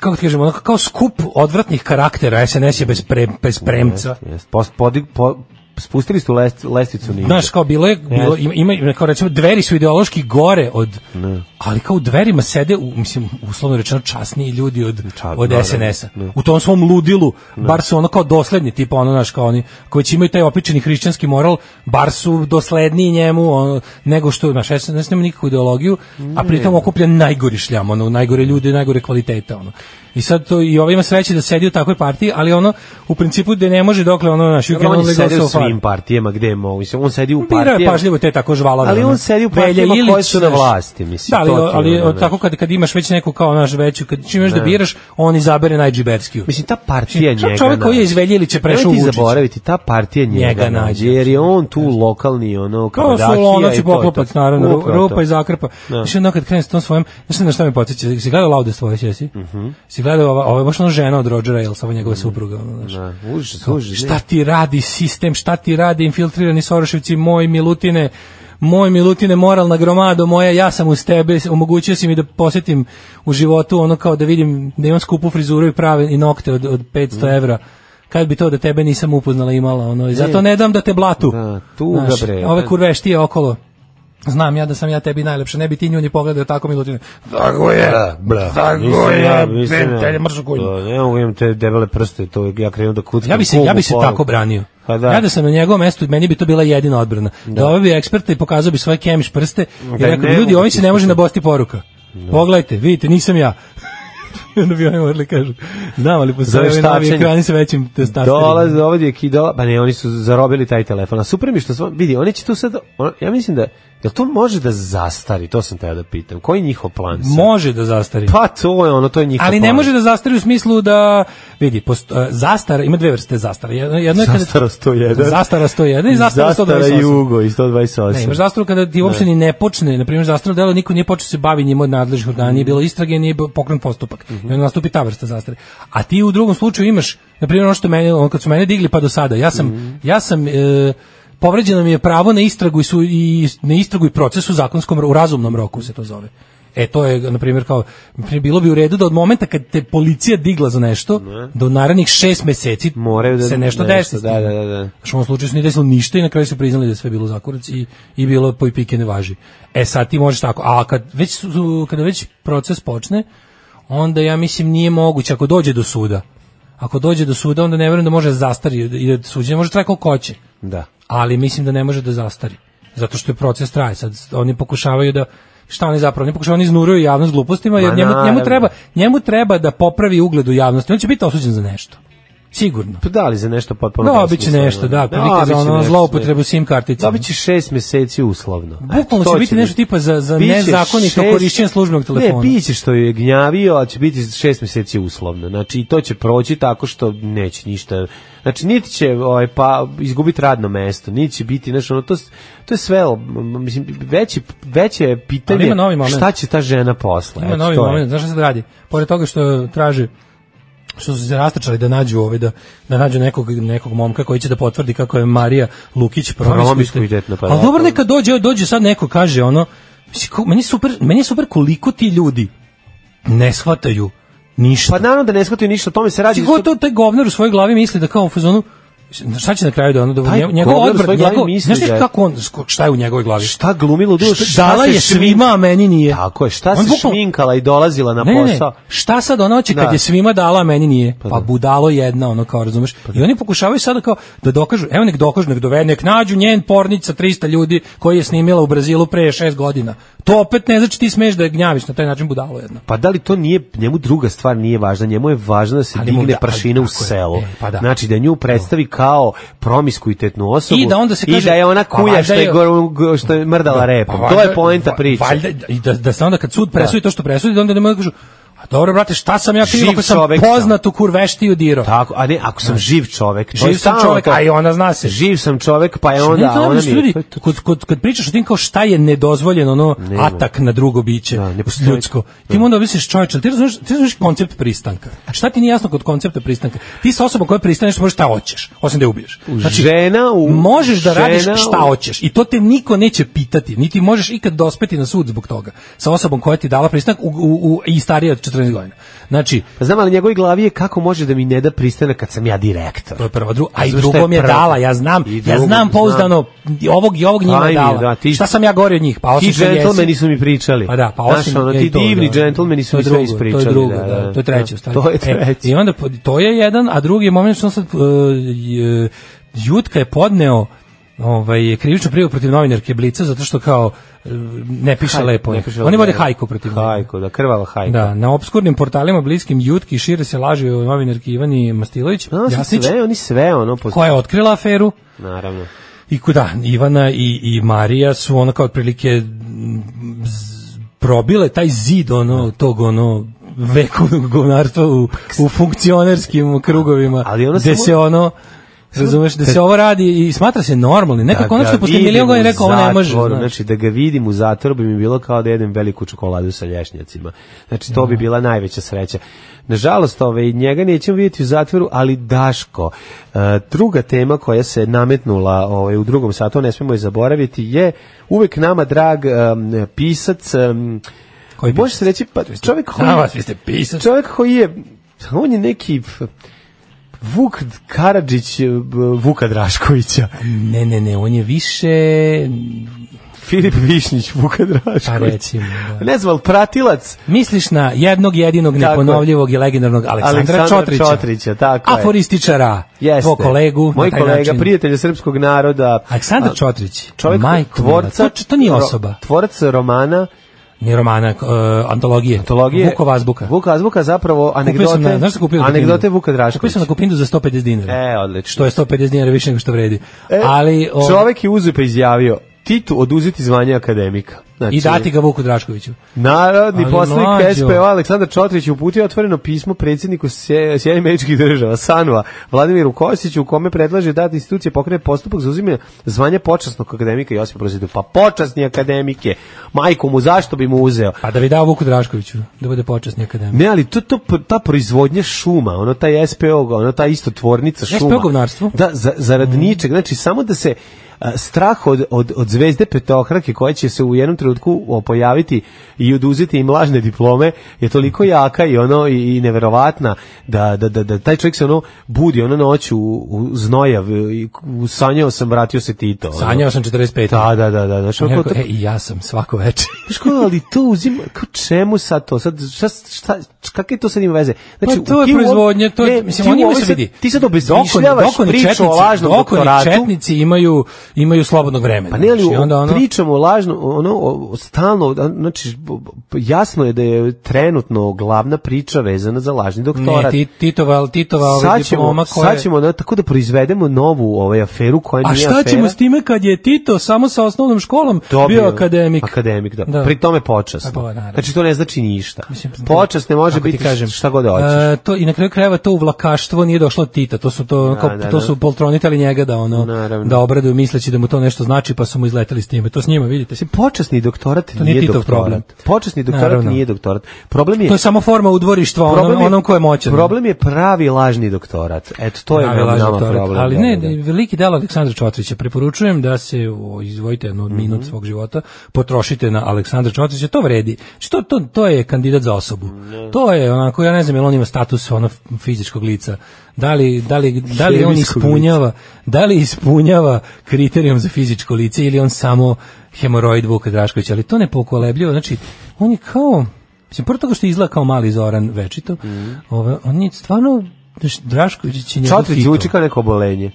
kako ti kažem, onako kao skup odvratnih karaktera, SNS je bez, pre, bez premca. Jest, post, podi, po, spustili ste lest, lestvicu niže. Znaš, kao bilo je, bilo, ima, ima- ima, kao recimo, dveri su ideološki gore od, ali kao u dverima sede, u, mislim, uslovno rečeno, časniji ljudi od, Ča- od da, da, SNS-a. U tom svom ludilu, bar su ono kao dosledni, tipa ono, znaš, kao oni, koji će imaju taj opičeni hrišćanski moral, bar su dosledniji njemu, ono, nego što, znaš, SNS nema nikakvu ideologiju, a pritom okuplja najgori šljam, ono, najgore ljude, najgore kvaliteta, ono. I sad to i ovaj ima sreće da sedi u takvoj partiji, ali ono u principu da ne može dokle ono naš you Dobro, can on je only go sedio u so far. svim partijama gde je mogu. Mislim, on sedi u Birao je partijama. pažljivo te tako žvalave. Ali ono. on sedi u Velja partijama koje Ilić, su na znaš. vlasti, mislim, Da, ali, to ti je ali ono, znaš. tako kad, kad imaš već neku kao naš veću, kad čim imaš da biraš, on izabere najđiberskiju. Mislim, ta partija Mislim, njega. čovjek koji je iz nađe. Velje Ilića prešao Nemoj ti u Vučića. zaboraviti, ta partija njega, Njega nađe, nađe. Jer je on tu lokalni, ono, Kao karadahija su lonac i i to je to. poklopac, naravno, ru- Upravo to. Da. rupa i zakrpa. Znači, onda kad krenem s tom svojom, znaš na šta me podsjeća, si gledao Laude svoje sjesi? Mhm. Si gledao, ova, ova je baš ona žena od Rodgera Elsa, ova njegova supruga, ono, znaš. Da, Užas, užas. Šta ti radi sistem, šta ti radi infiltrirani Soroševci, moj Milutine, moj Milutine, moralna gromado moja, ja sam uz tebe, omogućio si mi da posjetim u životu ono kao da vidim da imam skupu frizuru i prave i nokte od, od Mm. 500 evra. Kad bi to da tebe nisam upoznala imala, ono, i zato ne dam da te blatu. Da, tuga, Znaš, bre. pa- Ove kurve štije okolo. Znam ja da sam ja tebi najlepša, ne bi ti nju ni pogledao tako Milutine. Tako je, bra. Tako je, prijatelje, mrš u konju. Ne mogu imam te debele prste, to ja krenu da kuckam. Ja bi se, kugu ja bi se poruku. tako branio. Pa da. Ja da sam na njegovom mestu, meni bi to bila jedina odbrana. Da, ovaj bi eksperta i pokazao bi svoje kemiš prste i Da, rekao, ne bi, ljudi, mogu Da. ovaj se ne može na bosti poruka. Pogledajte, vidite, nisam ja. [laughs] I onda bi oni morali da kažu, znam, ali postoje Zove ovi novi štačenje. ekrani sa većim testasterima. Dolaze ovdje kidola, pa ne, oni su zarobili taj telefon. A super mi je što smo, vidi, oni će tu sad, on- ja mislim da, jel to može da zastari, to sam teo da pitam, koji je njihov plan sad? Može da zastari. Pa to je ono, to je njihov Ali plan. ne može da zastari u smislu da vidi posto, e, zastara ima dve vrste zastara. Jedno, jedno je kada Zastara 101. Zastara 101 i zastara 128. Zastara jugo i 128. Ne, imaš zastaru kada ti uopšte ni ne počne, na primjer zastaru delo niko nije počeo se bavi njima od nadležnih organa, nije bilo istrage, nije bio pokrenut postupak. I onda nastupi ta vrsta zastare. A ti u drugom slučaju imaš, na primjer ono što meni, ono kad su mene digli pa do sada, ja sam, ja sam e, povređeno mi je pravo na istragu i, su, i na istragu i proces u zakonskom ro- u razumnom roku se to zove. E to je na primjer kao bilo bi u redu da od momenta kad te policija digla za nešto do narednih šest meseci Moraju da se nešto, nešto, desi. s da, tim. da, da, da. Znaš, u ovom slučaju se nije desilo ništa i na kraju su priznali da je sve bilo zakurac i, i bilo je po i pike ne važi. E sad ti možeš tako, a kad već, su- kada već proces počne, onda ja mislim nije moguće ako dođe do suda. Ako dođe do suda, onda ne verujem da može da zastari i da suđenje može traje koliko hoće. Da. Ali mislim da ne može da zastari. Zato što je proces traje. Sad oni pokušavaju da šta oni zapravo, oni pokušavaju, oni iznuruju javnost glupostima, jer Ma njemu, njemu, naravno. treba, njemu treba da popravi ugled u javnosti. On će biti osuđen za nešto. Sigurno. Pa da li za nešto potpuno No, besmisleno? biće nešto, da, pa prilike za biće ono nešto, zloupotrebu ne. SIM kartice. Dobit će šest meseci uslovno. Bukvalno Eto, to će biti nešto tipa za, za Biće nezakonito šest- korišćenje službenog telefona. Ne, biće što je gnjavio, ali će biti šest meseci uslovno. Znači, i to će proći tako što neće ništa... Znači, niti će ovaj, pa, izgubiti radno mesto, niti će biti, znači, ono, to, s- to je sve, m, m, mislim, veće, veće je Ali pitanje ima novi moment. šta će ta žena posle. Ima Eto, novi to je. moment, znaš šta se radi? Pored toga što traže što su se rastrčali da nađu ovaj da da nađu nekog nekog momka koji će da potvrdi kako je Marija Lukić Promiskuitetna, promiskuitetna. pa Ali da. dobro neka dođe dođe sad neko kaže ono mislim, ko- meni je super meni je super koliko ti ljudi ne shvataju ništa. Pa naravno da ne shvataju ništa, o tome se radi. Sigurno to taj govnar u svojoj glavi misli da kao u fazonu na šta će na kraju da ono da Taj nje- njegov govnar u odbrat svojoj glavi njegov misli znaš li da je- kako on šta je u njegovoj glavi Šta glumilo duš? Šta- dala je svima a meni nije Tako je, šta On se bukvalno- šminkala i dolazila na ne, ne, ne, posao? šta sad ono hoće Da. kad je svima dala, a meni nije? Pa, da. Pa budalo jedna, ono kao, razumeš? I oni pokušavaju sada kao da dokažu, evo nek dokažu, nek dovede, nek nađu njen pornic sa 300 ljudi koji je snimila u Brazilu pre 6 godina. To opet ne znači ti smeš da je gnjaviš na taj način budalo jedna. Pa da li to nije, njemu druga stvar nije važna, njemu je važno da se Ali mu digne da- prašina u tako je, selu. e, pa da. Znači da nju predstavi kao promiskuitetnu osobu I da onda se i kaže- da je ona Pa kuja valjda što je, je- gor- go- što je mrdala repom. Pa to je valjda- poenta va- priče. Valjda, i da, da se onda kad sud presudi to što presudi, da onda ne mogu da kažu, a dobro, brate, šta sam ja krivo Živ ako sam čovek sam." poznatu kurveštiju dirao? Tako, a ne, ako sam živ čovek. to je Da. Živ sam stalno čovjek, to. a i ona zna se. Živ sam čovek, pa je Ne, onda... to je ono ona što mi je- ljudi, to je to. Kod, kod, kad pričaš o tim kao šta je nedozvoljeno ono Nema. atak na drugo biće Da, ne postoji. ljudsko, ti mu onda misliš čovječe, ali ti razumeš, ti razumeš koncept pristanka. A šta ti nije jasno kod koncepta pristanka? Ti sa osobom koja pristane što možeš šta hoćeš, osim da je ubiješ. žena u- možeš da radiš žena u- šta hoćeš i to te niko neće pitati, niti možeš ikad dospeti na sud zbog toga. Sa osobom koja ti je dala pristanak u, u, u, i starija od 14 godina. Znači, Pa znam, ali njegovoj glavi je kako može da mi ne da pristane kad sam ja direktor. To je prvo, drugo, a i Zato što drugom je je prvo. dala, ja znam, I ja drugom, znam znam. pouzdano i ovog i ovog njima Aj, je mi, dala. da, ti- Šta sam ja govorio od njih? Pa ti osim što džentlmeni jesi. su mi pričali. Pa da, pa Znaš, osim ono, je ti i to, divni da. džentlmeni su To je mi sve drugo, To ispričali, je drugo, da, da, da. to je treće u stvari. To je E, treće. I onda po- to je jedan, a drugi je moment što sam sad e, je- Jutka je podneo ovaj krivičnu prijavu protiv novinarke Blica zato što kao e, ne piše Hajko, lepo. ne je. piše Oni lepo, vode da. hajku protiv njega. Hajko, da, krvala hajko. Da, na obskurnim portalima bliskim Jutki šire se laži o novinarki Ivani Mastilović, Ono su Jasnić, sve, oni sve, ono, poz... koja je otkrila aferu, naravno. I kuda, Ivana i, i Marija su ono kao otprilike m, z- probile taj zid ono, tog ono vekovnog govnarstva u, u funkcionerskim krugovima, Ali ono gde samo- se ono Razumeš da se ovo radi i smatra se normalni. Nekako ono što ga posle milion Da, vidim godina u rekao ovo ne može. zatvoru, znaš. Znači, da ga vidim u zatvoru bi mi bilo kao da jedem veliku čokoladu sa lješnjacima. Znači, Da. to bi bila najveća sreća. Nažalost, ove, njega nećemo vidjeti u zatvoru, ali Daško, e, druga tema koja se nametnula ovaj, u drugom satu, ne smemo je zaboraviti, je uvek nama drag em, pisac, em, Koji pisac? može se reći, pa čovjek koji... A, vas, vi ste pisac. Čovjek koji je, on je neki... f- Vuk Karadžić e, b- Vuka Draškovića. Ne, ne, ne, on je više... Filip Višnjić, Vuka Pa Drašković. recimo, da. Ne znam, ali pratilac Misliš na jednog jedinog je. neponovljivog i legendarnog Aleksandra, Aleksandra Čotrića. Čotrića, tako je. Aforističara, jeste. tvoj kolegu. na Moj taj kolega, način. prijatelja srpskog naroda. Aleksandar a, Čotrić, Čovjek majko mila, tvorca, to, to nije osoba, Tvorac romana, ni romana, e, antologije, antologije. Vukova azbuka. Vuka Azbuka zapravo Kupio sam na, anegdote. znaš šta kupio na anegdote Kupindu? Vuka Kupio Draškovića. sam na Kupindu za 150 dinara. E, odlično. Što je 150 dinara više nego što vredi. E, Ali, o, čovjek je uzeo pa izjavio Titu oduzeti zvanje akademika. Znači, I dati ga Vuku Draškoviću. Narodni Ali poslanik mlađo. SPO Aleksandar Čotrić je uputio otvoreno pismo predsjedniku Sje- Sjedinjenih američkih država Sanva Vladimiru Kosiću u kome predlaže da institucije pokrene postupak za uzimanje zvanja počasnog akademika Josipa Broza Tita. Pa počasni akademik je. Majko mu zašto bi mu uzeo? Pa da bi dao Vuku Draškoviću, da bude počasni akademik. Ne, ali to, to ta proizvodnja šuma, ono taj SPO, ono ta isto tvornica šuma. SPO govnarstvo. Mhm. Da, za, zarad ničeg, znači samo da se a, strah od, od, od zvezde petohrake koja će se u jednom trenutku o, pojaviti i oduzeti im lažne diplome je toliko jaka i ono i, i neverovatna da, da, da, da taj čovjek se ono budi ono noću u, u znojav i u- sanjao sam vratio se Tito. ono. Sanjao sam 45. Da, da, da, da. Znači, ono, Neko, kao to- e, i ja sam svako večer. Znaš kao, ali to uzima, kao čemu sad to? Sad, šta, šta, kakve to sad ima veze? Pa to je ti u ovom- proizvodnja, to je, ne, mislim, ti u oni imaju ovoj se sad- vidi. Ti sad obezmišljavaš Dokoni- dokoni priču o lažnom dokoni doktoratu. četnici imaju imaju slobodnog vremena. Pa ne, ali znaš, i onda ono... ono, pričamo lažno, ono, o- o- stalno, a, znači, b- b- jasno je da je trenutno glavna priča vezana za lažni ne, doktorat. ti, Titova, Titova ovaj sad ćemo, diploma koja... sad ćemo da, tako da proizvedemo novu ovaj, aferu koja nije A šta afera. ćemo s time kad je Tito samo sa osnovnom školom Dobio bio akademik? Akademik, da. Da. Pri tome A, počasno. pa, naravno. znači, to ne znači ništa. Mislim, da. Počas ne može kako ti biti šta god hoćeš. E, to i na kraju krajeva to uvlakaštvo nije došlo od Tita, to su to kao, da, to da. su poltronitali njega da ono Naravno. da obraduju misleći da mu to nešto znači pa su mu izleteli s time. To s njima vidite. Mislim, počasni doktorat To nije nije Titov doktorat. problem. Počasni doktorat Naravno. nije doktorat. Problem je... To je samo forma udvorištva onom, onom ko je moćan. Problem je pravi lažni doktorat. Eto, to je Pravi nama lažni problem. doktorat. Ali ne, da, da. veliki delo Aleksandra Čotrića. Preporučujem da se o, izdvojite jednu Mhm. minut svog života, potrošite na Aleksandra Čotrića, to vredi. Znači, To, to, to je kandidat za osobu. To je onako, ja ne znam, jel on ima status ono fizičkog lica. Da li, da li, da li on Hemijskog ispunjava, da li ispunjava kriterijum za fizičko lice ili on samo hemoroid Vuka Draškovića, ali to ne pokolebljivo. Znači, on je kao, mislim, prvo toga što izgleda kao mali Zoran večito, Mhm. ove, on je stvarno, znaš, Drašković je njegov Čotrić Tito. zvuči kao neko obolenje.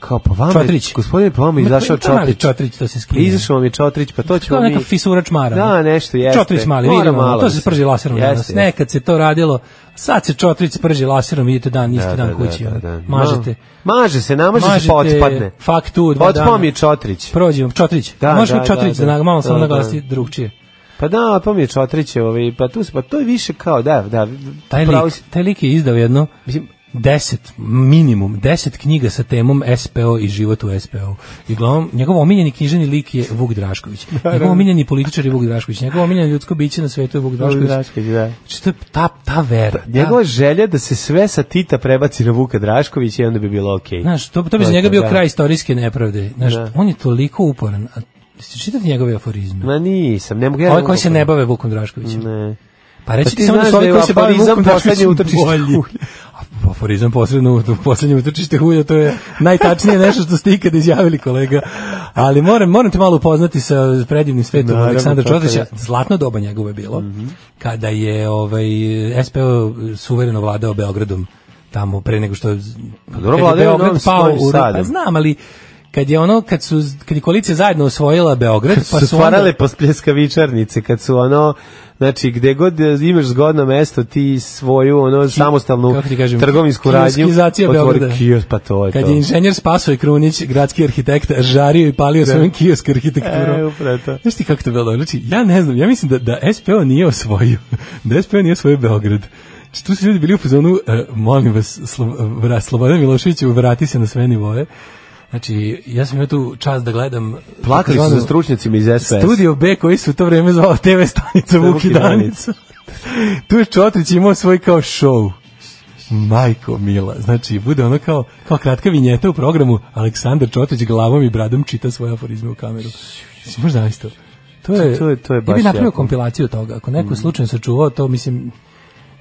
Kao pa vama, je- Čotrić. gospodine, pa vama je Ma, izašao to je mali Čotrić. Čotrić, to se skinje. Izašao vam je Čotrić, pa to Kao ćemo mi... neka fisura čmara. Da, nešto, jeste. Čotrić mali, Mora vidimo, malo to da se se- sprži laserom Jeste, danas. jeste. Nekad se to radilo, sad se Čotrić sprži laserom, idete dan, isti Da, dan da, kući, da, ono, da, da. mažete. Ma- Maže se, namaže se, pa Mažete otpadne. faktu, dva Otpao dana. mi je Čotrić. Prođemo, Čotrić. Da, Možeš da, mi Čotrić da, da, da. nag- malo samo Da, da. naglasi drugčije. Pa da, pa mi je Čotrić, ovaj, pa tu se, pa to je više kao, da, da. Taj pravo lik, si- taj lik je izdao jedno Mislim, 10, minimum, 10 knjiga sa temom SPO i život u SPO. I glavnom, njegov omiljeni knjiženi lik je Vuk [laughs] Drašković. Njegov omiljeni političar je Vuk Drašković. Njegov omiljeni ljudsko biće na svetu je Vuk Drašković. Drašković, da. Znači, to je ta, ta vera. Njegova ta, želja da se sve sa Tita prebaci na Vuka Draškovića i onda bi bilo okej. znaš, to, to bi To za je njega to, bio da. kraj istorijske nepravde. Znaš, Da. on je toliko uporan. A, jeste čitati njegove aforizme? Ma nisam, ne mogu ja. Ovi ne koji mogu- da- se ne bave Vukom Draškovićem. Ne. Pa reći Pa ti ti samo da znaš su ovi da je koji se bavi aforizam Vukom Draškovićem poslednje utočište bolji. [laughs] A Aforizam posredno u poslednje utočište hulja, to je najtačnije nešto što ste ikada izjavili kolega. Ali moram, moram te malo upoznati sa predivnim svetom Naravno, Mhm. Aleksandra kako Čotrića. ne. Zlatno doba njegovo je bilo, kada je ovaj, SPO suvereno vladao Beogradom tamo pre nego što je kad je Pa vladao je Beograd Novim pao Novim u ruke. Sadom. Pa znam, ali kad je ono kad su kad je koalicija zajedno osvojila Beograd pa su su onda- stvarale po spljeskavičarnice kad su ono znači gde god e, imaš zgodno mesto ti svoju ono samostalnu kako ti kažem, trgovinsku radnju kioskizacija otvori Beograda. kiosk pa to je Kad to je inženjer Spasoje Krunić, gradski arhitekt, žario i palio svojom kiosk arhitekturom. Da. E, upravo to. Znaš ti kako to je bilo? Znači, ja ne znam, ja mislim da, da SPO nije osvojio, [laughs] da SPO nije osvojio Beograd. Znači, tu su ljudi bili u fazonu, e, molim vas, Slo, vra, Slobodan Miloševiću, vrati se na sve nivoe. Znači, ja sam imao tu čast da gledam... plakali su takozvanu za stručnjacima iz SPS Studio B koji su u to vreme zvao TV stanica Vuki Danica. [laughs] tu je Čotrić imao svoj kao show. Majko Mila, znači bude ono kao, kao kratka vinjeta u programu Aleksandar Čotrić glavom i bradom čita svoje aforizme u kameru. Mislim, možda znaš to? To je, To je- to je ja baš bih napravio jako. kompilaciju toga. Ako neko slučajno sačuvao to, mislim,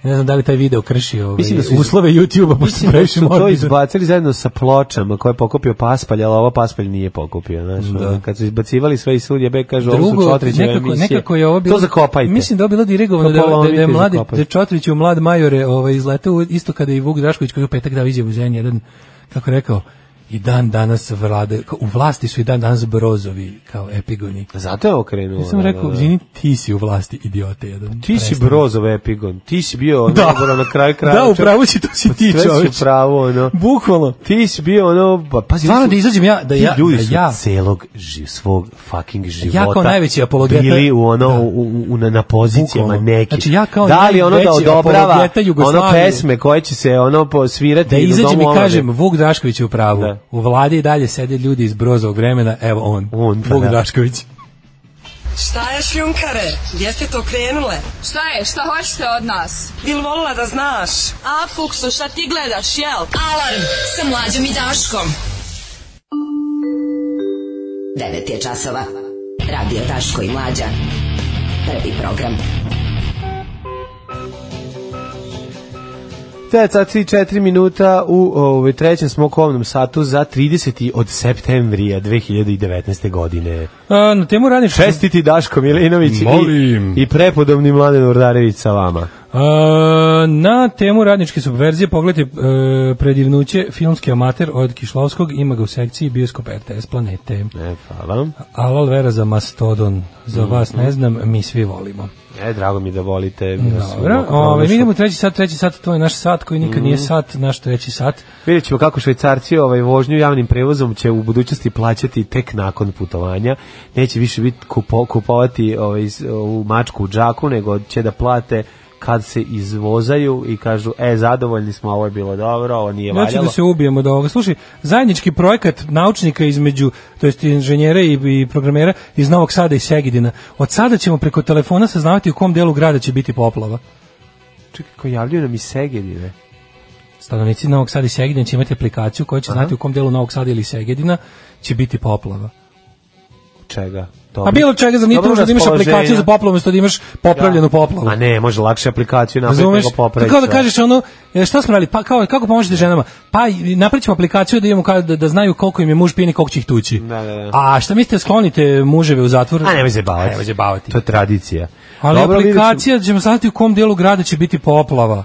ne znam da li taj video krši ovaj, Mislim da su iz- uslove YouTube-a, pošto su Mislim da previše su to morbidan. izbacili zajedno sa pločama koje je pokupio Paspalj, ali ovo Paspalj nije pokupio. Znaš, ono, Kad su izbacivali sve iz sudje, be kaže, ovo su Da. Drugo, Čotrićeve nekako, emisije. nekako je ovo bilo... To zakopajte. Mislim da je ovo bilo dirigovano To da, da, da je polomite i mladi, da zakopajte. je Čotrić u mlad majore ovaj, izletao isto kada je i Vuk Drašković koji je u petak dao izjavu za N1, kako je rekao, i dan danas vlade, kao, u vlasti su i dan danas brozovi kao epigoni. Zato je okrenuo. Ja sam rekao, izvini, ti si u vlasti, idiote jedan. Da, Ti si Prestani. Brozov epigon, ti si bio ono, [laughs] Da. ono, na kraju kraja. Pa Da, upravo si, to si ti Sve čoveč. si pravo, ono. Bukvalno. Ti si bio ono, pa, pazi, Stvarno oni su- da izađem ja, da ti ja, ljudi da su ja, celog živ, svog fucking života Ja kao najveći apologeta- Da. bili u ono u, u, u- na, na pozicijama Bukvalno. nekih. Znači, ja kao da li ono da najveći odobrava apologeta ono Jugoslavije. pesme koje će se ono posvirati da i u izađem Domu i omladine. kažem, Vuk Drašković je u pravu. Da. U vladi i dalje sede ljudi iz brozovog vremena, evo on, On, pa Vuk da. Drašković. Šta je šljunkare? Gdje ste to krenule? Šta je? Šta hoćete od nas? Bil volila da znaš? A, Fuksu, šta ti gledaš, jel? Alarm sa mlađom i Daškom. 9 je časova. Radio Daško i Mlađa. Prvi program. Te sat i 4 minuta u ovaj trećem smo kovnom satu za 30. od septembrija 2019. godine. A, na temu radničkog Čestiti Daško Milinović i, Molim. i prepodobni Mladen Urdarević sa vama. E, na temu radničke subverzije pogledajte e, predivnuće filmski amater od Kišlovskog ima ga u sekciji bioskop RTS Planete. E, hvala. Alal vera za Mastodon. Za vas ne znam, mi svi volimo. E, drago mi da volite. ja sam Dobro, ovako ove, mi pronašao. idemo u treći sat, treći sat, to je naš sat koji nikad Mhm. nije sat, naš treći sat. Vidjet ćemo kako švajcarci ovaj vožnju javnim prevozom će u budućnosti plaćati tek nakon putovanja. Neće više biti kupo, kupovati ovaj, s- ovu mačku u džaku, nego će da plate kad se izvozaju i kažu, e, zadovoljni smo, ovo je bilo dobro, ovo nije Znači valjalo. da se ubijemo do ovoga. Slušaj, zajednički projekat naučnika između, to jest inženjera i, i programera iz Novog Sada i Segedina. Od sada ćemo preko telefona saznavati u kom delu grada će biti poplava. Čekaj, ko javljaju nam i Segedine. Stanovnici Novog Sada i Segedina će imati aplikaciju koja će znati u kom delu Novog Sada ili Segedina će biti poplava. Čega? A Pa bilo čega, za nije Dobro tužno da imaš raspoloženje. aplikaciju za poplavu, umjesto da imaš popravljenu poplavu. A ne, može lakše aplikaciju napraviti Razumeš? nego popraviti. Kao da kažeš ono, e, šta smo radili, pa kao, kako pomožete ženama? Pa i napravit ćemo aplikaciju da, imamo kao, da, da znaju koliko im je muž pijen i koliko će ih tući. Da, da, da. A šta mislite, sklonite muževe u zatvor? A nemoj zajebavati. A nemoj zajebavati. To je tradicija. Ali Dobro, vidjet ćemo. aplikacija da ćemo saznati u kom delu grada će biti poplava.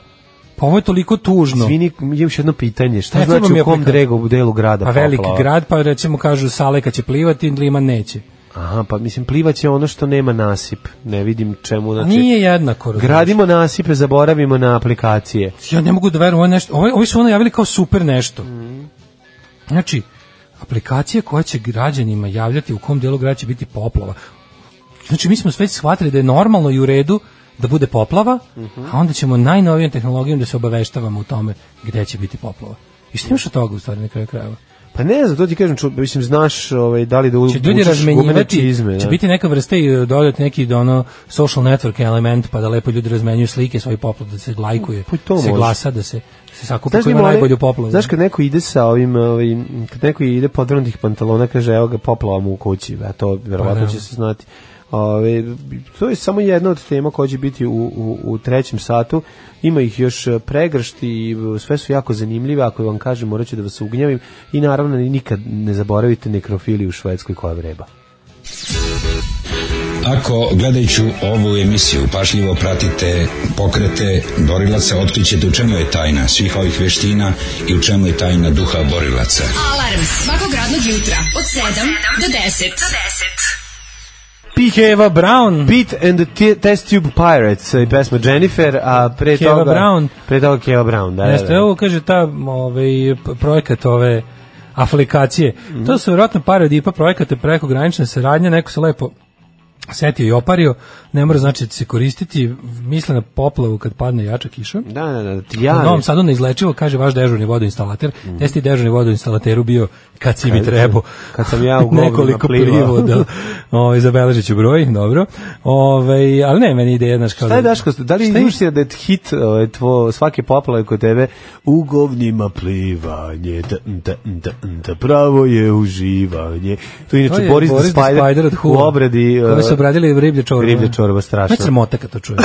Pa ovo je toliko tužno. Izvini, imam još jedno pitanje. Šta Ne, treba znači mi u kom aplikacija. dregu u delu grada? Pa veliki poplava? grad, pa recimo kažu Saleka će plivati, Liman neće. Aha, pa mislim plivaće ono što nema nasip. Ne vidim čemu A znači. Pa Nije jednako. razumeš? Gradimo nasipe, zaboravimo na aplikacije. Ja ne mogu da verujem, ovo je nešto, ovo, ovi su ono javili kao super nešto. Znači, aplikacija koja će građanima javljati u kom delu grada će biti poplava. Znači, mi smo sve shvatili da je normalno i u redu da bude poplava, a onda ćemo najnovijom tehnologijom da se obaveštavamo u tome gde će biti poplava. I što imaš od toga u stvari na kraju krajeva? Pa ne znam, to ti kažem, ču, mislim, znaš ovaj, da li Će da Znači, ljudi uvučeš gumene razmenjivati, čizme. će da. biti neka vrsta i dodati neki do ono social network element pa da lepo ljudi razmenjuju slike svoj poplava, da se lajkuje, Pa i to da se može. glasa, da se, da se sakupi Znaš ko da ima ima onaj- najbolju poplavu. Znaš kad neko ide sa ovim, ovim kad neko ide podvrnutih pantalona, kaže evo ga poplava mu u kući, a to verovatno da. će se znati. Ove, to je samo jedna od tema koja će biti u, u, u trećem satu. Ima ih još e, pregršt i e, sve su jako zanimljive, ako vam kažem morat ću da vas ugnjavim i naravno nikad ne zaboravite nekrofiliju u Švedskoj koja vreba. Ako gledajući ovu emisiju pašljivo pratite pokrete borilaca, otkrićete u čemu je tajna svih ovih veština i u čemu je tajna duha borilaca. Alarm svakog radnog jutra od 7 do 10. Piheva Brown. Beat and the T- Test Tube Pirates i pesma Jennifer, a pre Keva toga... Brown. Pre toga Keva Brown, da, da, Jeste, da. ovo kaže ta ovaj, p- projekat ove aplikacije. Mhm. To su vjerojatno pare od IPA projekata prekogranične saradnje, neko se lepo setio i opario, ne mora znači da će se koristiti, misle na poplavu kad padne jača kiša. Da, da, da, ti U javi. Novom Sadu neizlečivo, kaže vaš dežurni vodoinstalater. Mm. Jeste dežurni vodoinstalateru bio kad si mi trebao. kad [laughs] sam ja u govnima Nekoliko plivao. plivao, [laughs] da. Ovaj, zabeležit ću broj, dobro. Ovaj, ali ne, meni ideja, znaš, kao Šta je Daško, da li Šta je- izmišlja da je hit ovaj, tvo, svake poplave kod tebe u govnima plivanje, da, da, da, da, pravo je uživanje. To je To inače je Znači, Boris, the Spider, od u Who-a, obradi... Koji su eh, obradili riblje čorba. Riblje čorba, strašno. Me sramota kad to [coughs] čujem.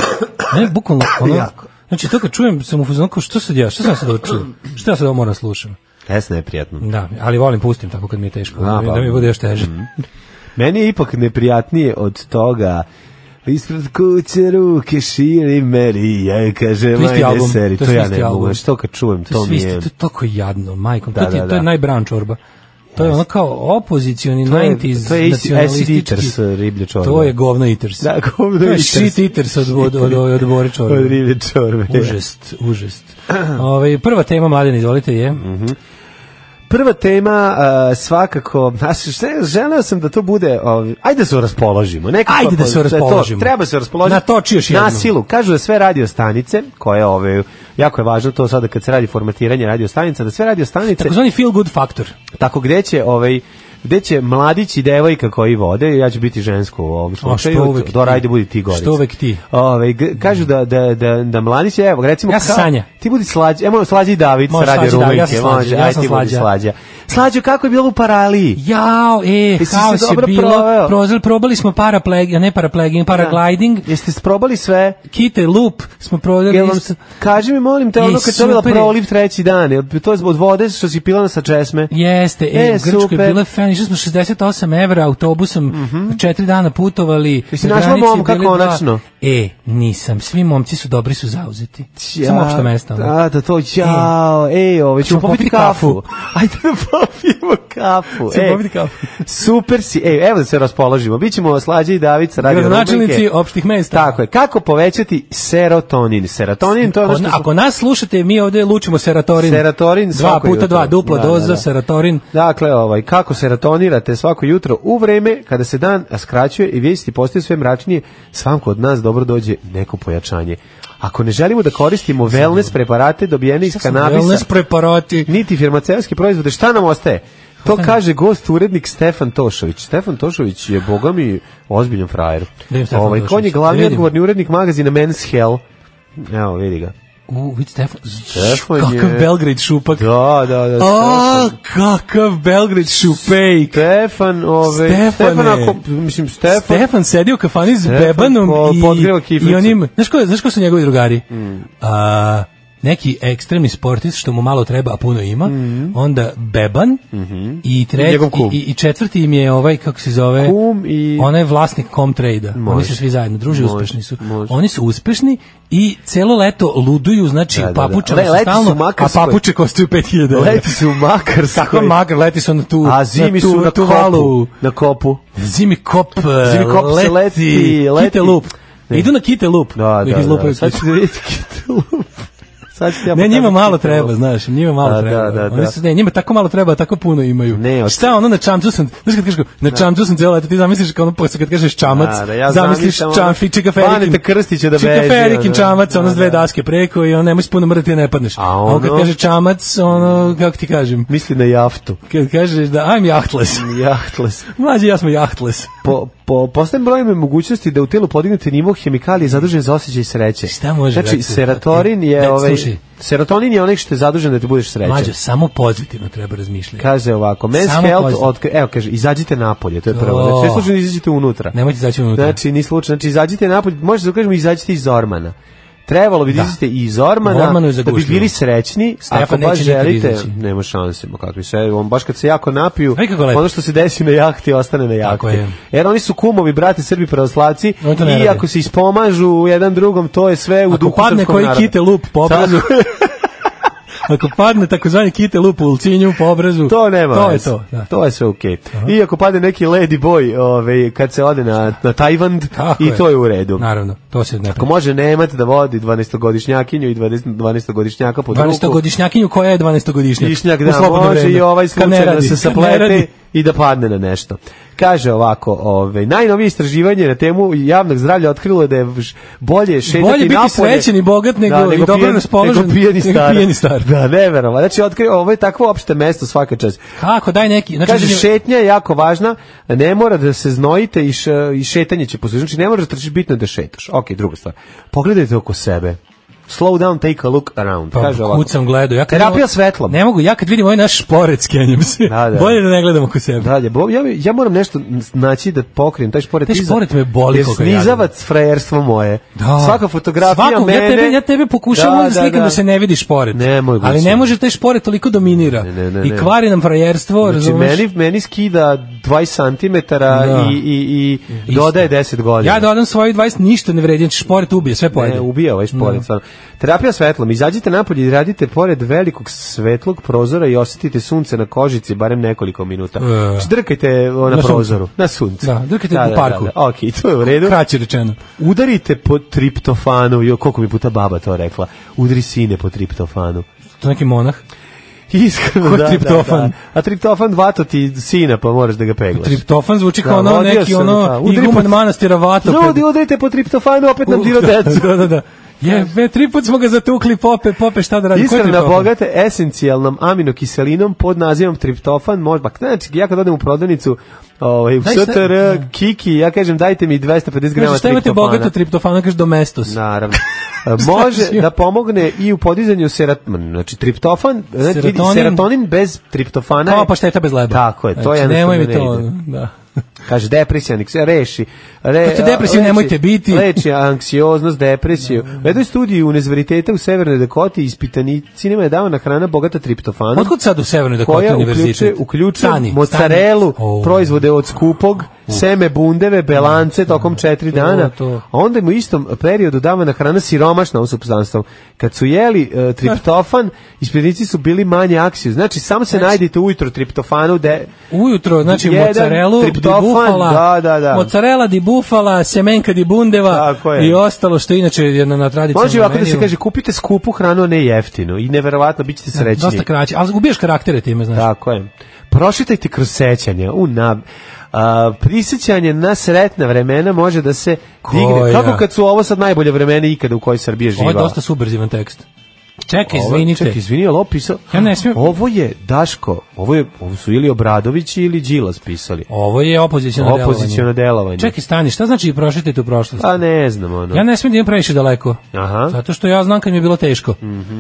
Ne, bukvalno, ono, Jako. znači to kad čujem sam u fuzonu, kao, što sad ja, što sam sad ovo čuo? Što ja sad ovo moram da slušam? Jesno je prijatno. Da, ali volim pustim tako kad mi je teško, Da, da, mi- pa. da mi bude još teže. Meni je ipak neprijatnije od toga Ispred kuće ruke širi Merija, kaže, To je isti majde album, seri. to To, je ja isti ne album. mogu, što kad čujem, to, To, mi svi je... ste, to je toliko jadno, majkom. Da, to, ti, je- da, to je da. najbran čorba. To je ono kao opozicioni To je- 90s to je isti- nacionalistički. acid eaters, riblja čorba. To je govno eaters. Da, govno To je eaters. shit eaters od, od, od, od, od Bore čorbe. Od riblje čorbe. Užest, užest. Ove, prva tema, mladen, izvolite, je... Mm, Prva tema uh, svakako, a s- se- želeo sam da to bude, ovaj, ajde da se raspoložimo. Nekako, Ajde da se to- raspoložimo. treba se raspoložiti. Na to čiji još jednom. Na silu. Kažu da sve radio stanice, koje ove, jako je važno to sada kad se radi formatiranje radio stanica, da sve radio stanice, Takozvani feel good faktor. tako gde će ovaj gde će mladić i devojka koji vode, ja ću biti žensko u ovom što slučaju, uvek do ti. rajde budi ti gorica. Što uvek ti. Ove, g- kažu da, da, da, da mladić, evo, recimo... Ja sam kao- Sanja. Ti budi slađi, evo, slađi David, Može, sa radio slađi David, ja Rumenke, sam slađa, može, ja aj sam ti budi slađa. slađa. Slađo, kako je bilo u paraliji? Jao, e, Jesi se haos je dobro bilo. proveo? Da. Prozor, probali smo parapleg, a ne parapleging, paragliding, Jeste probali sve? kite, loop, smo prodali. Jel vam se, kaži mi, molim te, ono Ej, kad je to bila super je. proliv treći dan, jel to je od vode što si pila sa česme? Jeste, e, E, u Grčkoj super. Mhm. je bila fan, išli smo 68 evra autobusom, četiri dana putovali. Jesi na našla granici momka bili dva. konačno? E, nisam. Svi momci su dobri su zauzeti. Samo opšte mesto. ono. E. Da, da, to, jao, ej, ove, Hoćemo ćemo popiti popiti kafu. kafu. [laughs] Ajde da popijemo kafu. Ćemo ej. popiti kafu. Super si, ej, evo da se raspoložimo. Bićemo Slađe i Davica radio Gradonačelnici rubrike. opštih mesta. Tako je, kako povećati serotonin? Serotonin, to je ono Ako, što... smo- ako nas slušate, mi ovde lučimo seratorin. Seratorin dva svako puta jutro. dva, dupla Da, doza da, da. seratorin. Dakle, ovaj, kako se ratonirate svako jutro u vreme kada se dan skraćuje i vijesti postaju sve mračnije, svako od nas dobro dođe neko pojačanje. Ako ne želimo da koristimo wellness preparate dobijene iz kanabisa, Wellness preparati. niti farmaceutske proizvode, šta nam ostaje? To kaže gost urednik Stefan Tošović. Stefan Tošović je, boga mi, ozbiljan frajer. Da im Stefan Ovaj, Kon je Tošović. Da glavni vidim. odgovorni urednik magazina Men's Health. Evo, vidi ga. U, vidi Stefan. Stefan kakav je- Belgrade šupak. Da, da, da. A, kakav Belgrade šupejk. Stefan, ove, Stefane. Stefan, ako, mislim, Stefan, Stefan sedi u kafani s E, pa- Stefan Bebanom po- podgreva i, kiflicu. Mm. i onim, znaš ko, znaš ko su njegovi drugari? A, neki ekstremni sportist što mu malo treba, a puno ima, onda Beban i, tret, Mm. Mhm. Njegov kum. i, i četvrti im je ovaj, kako se zove, Kum i- onaj vlasnik Comtrade-a. Oni Može. su svi zajedno, druži, Može, uspešni su. može. Oni su uspešni i celo leto luduju, znači Da, da, da, da. papuče Le- su leti su u stalno, a Makarskoj. papuče kostuju 5000 evra. leti su u Makarskoj. da Kako magar, leti su na tu, A zimi tu, su na tu kopu. valu. Na kopu. Zimi [laughs] kop, Zimi zimi kop uh, leti, se se leti, leti, leti. Kite lup. Ne. Idu na kite lup. Da, Ih da, da. izlupaju Sad kite. ćete [laughs] vidjeti kitelup. [laughs] Sad ćete ja Ne, njima pokazati malo kitelup. treba, znaš, njima malo Da, treba. Da, da, da. Oni su, ne, njima tako malo treba, a tako puno imaju. Ne, od- Šta ono na čamcu sam, znaš kad kažeš, kao, na čamcu sam cijelo leto, ti zamisliš kao ono, posle kad kažeš čamac, Da, da, ja zamisliš zamislim ono- čamfi, čika Baneta Ferikin, Krstića da čika beže, Ferikin ono. čamac, ono s Da, dve da. daske preko i on nemoj se puno mrdati, ne padneš. A on kad ono? kaže čamac, ono, kako ti kažem, Misli na jaftu. kad kažeš da I'm jahtless, Jahtles. [laughs] mlađi ja smo jahtless. Po, po postojem brojem je mogućnosti da u telu podignete nivo hemikalije zadužen za osjećaj sreće. Šta može, Znači, brate? serotonin je... Ne, ovaj, slušaj. serotonin je onaj što je zadužen da ti budeš srećan. Mlađo, samo pozitivno treba razmišljati. Kaže ovako, men's Samo health, pozitivno. otkri, evo kaže, izađite napolje, to je prvo. To. Znači, sve slučajno izađite unutra. Nemojte izaći unutra. Znači, ni slučajno, znači izađite napolje, možete da kažemo izađite iz Ormana. Trebalo bi da izađete iz U Ormana, Ormanu je da bi zagušljivo. bili srećni, Stefan ako baš neće nikad želite, izaći. nema šanse, ma kakvi se, on baš kad se jako napiju, Vidi kako lepo. ono što se desi na jahti, ostane na Tako jahti. je. Jer oni su kumovi, brate, Srbi pravoslavci, Oni to ne i rade. ako se ispomažu jedan drugom, to je sve u Ako duhu padne srpskog koji naroda. kite lup po obrazu. Ako padne takozvani kite lup u ulcinju po obrazu. [laughs] To nema. To je veze. to. Da. To je sve okej. I ako pade neki lady boy, ovaj kad se ode na na Tajvand Tako i je. to je u redu. Naravno, to se ne Ako može Nemac da vodi 12-godišnjakinju i 20 12-godišnjaka pod ruku. 12-godišnjakinju koja je 12-godišnjak. Višnjak, U da, slobodno može vreme. i ovaj Kad slučaj ne da radi, se kad ne saplete radi. i da padne na nešto. Kaže ovako, ove, najnovije istraživanje na temu javnog zdravlja otkrilo je da je ž- bolje šetati Bolje biti napolje- srećen i bogat nego- i dobro pijan- raspoložen nego pijeni nego star. pijeni star. Da, neverovatno. Znači, otkrio, ovo je takvo opšte mesto svaka čast. Kako, daj neki. Znači, Kaže, šetnja je jako važna, ne mora da se znojite i, š, i šetanje će poslušati. Znači, ne mora da trčiš, bitno je da šetaš. Ok, druga stvar. Pogledajte oko sebe. Slow down, take a look around. Pa, Kaže ovako. kucam gledao. Ja kad Terapija vidim- svetlom. Ne mogu, ja kad vidim ovaj naš šporet, skenjam se. Da, da. Bolje da ne gledam oko sebe. Dalje, bo, ja, ja moram nešto naći da pokrijem taj šporet. Taj iza- šporet me boli Jer koliko ja snizavac frajerstvo moje. Svaka fotografija Da. Svakog, mene... Ja tebe, ja tebe pokušavam da, slikam da, se ne vidi šporet. Nemoj, Ali Gucci. ne može taj šporet toliko dominira. Ne, ne, ne, ne. I kvari nam frajerstvo, Znači, razumeš? meni, meni skida 20 cm Da. i, i, i Isto. dodaje 10 godina. Ja dodam svoju 20, ništa ne vredim, šporet ubije, sve pojede. Ne, ubija ovaj šporet, Da. stvarno. Terapija svetlom. Izađite napolje i radite pored velikog svetlog prozora i osjetite sunce na kožici barem nekoliko minuta. E. Znači, drkajte o, na, Na suncu. prozoru, na suncu. Da, drkajte u parku. Da, da. Ok, to je u redu. Kraće rečeno. Udarite po triptofanu, jo, koliko mi puta baba to rekla. Udri sine po triptofanu. [laughs] To je neki monah. Iskreno, Ko da, da, triptofan? da. A triptofan vato ti sina, pa moraš da ga peglaš. Triptofan zvuči Da, kao ono vodio neki sam, da. ono Udri iguman po- manastira vato. Ljudi, udarite po triptofanu, opet nam diro [laughs] decu. da, da, da. Je, be, tri put smo ga zatukli, pope, pope, šta da radi? Ko je Iskreno triptofan? bogate esencijalnom aminokiselinom pod nazivom triptofan, možda, znači, ja kad odem u prodavnicu, ovaj, u Daj, šta- STR, Kiki, ja kažem, dajte mi 250 grama triptofana. Da, Kaže, šta imate bogato triptofana, kaže domestos. [laughs] Naravno. Može znači? da pomogne i u podizanju serotonin, znači triptofan, znači, vidi, Serotonin. serotonin bez triptofana. Kao je- pa šteta bez leba. Tako je, to znači, je Nemoj mi to, jednostavno ne ide. ono, da. Kaže depresija, nek se reši. Re, Kad ste depresivni, leči- nemojte biti. Mm. Leči anksioznost, depresiju. U jednoj studiji univerziteta u Severnoj Dakoti ispitanicima je davana hrana bogata triptofanom. Otkud sad u Severnoj Dakoti koja univerzitet? uključuje, uključuje Stani, stani. mozzarelu, O. proizvode od skupog seme bundeve, belance tokom četiri dana. to. A onda im u istom periodu davana hrana siromašna u supstanstvom. Kad su jeli e, triptofan, isprednici su bili manje aksiju. Znači, samo se najdete ujutro triptofanu. De, Ujutro, znači Jedan mozzarelu, di triptofan, bufala, da, da, da. mozzarella, di bufala, semenka di bundeva Tako je. i ostalo što inače je na, na tradicionalnom Može i ovako da se meniju. E, kaže, kupite skupu hranu, a ne jeftinu. I neverovatno, bit ćete srećni. Dosta kraće, ali ubiješ karaktere time, znaš. Tako je. Prošitajte kroz sećanje. U na a, prisjećanje na sretna vremena može da se digne. Koja? Kako kad su ovo sad najbolje vremena ikada u kojoj Srbija živa. Ovo je dosta subverzivan tekst. Čekaj, Ovo- izvinite. Čekaj, izvini, ali ovo pisao... Ja ne smijem- Ovo je, Daško, ovo, je, ovo su ili Obradović ili Đilas pisali. Ovo je opoziciono Opoziciono delovanje. Čekaj, stani, šta znači prošitajte u prošlost? A ne znam, ono. Ja ne smijem da idem previše daleko. Aha. Mhm. Zato što ja znam kad mi je bilo teško.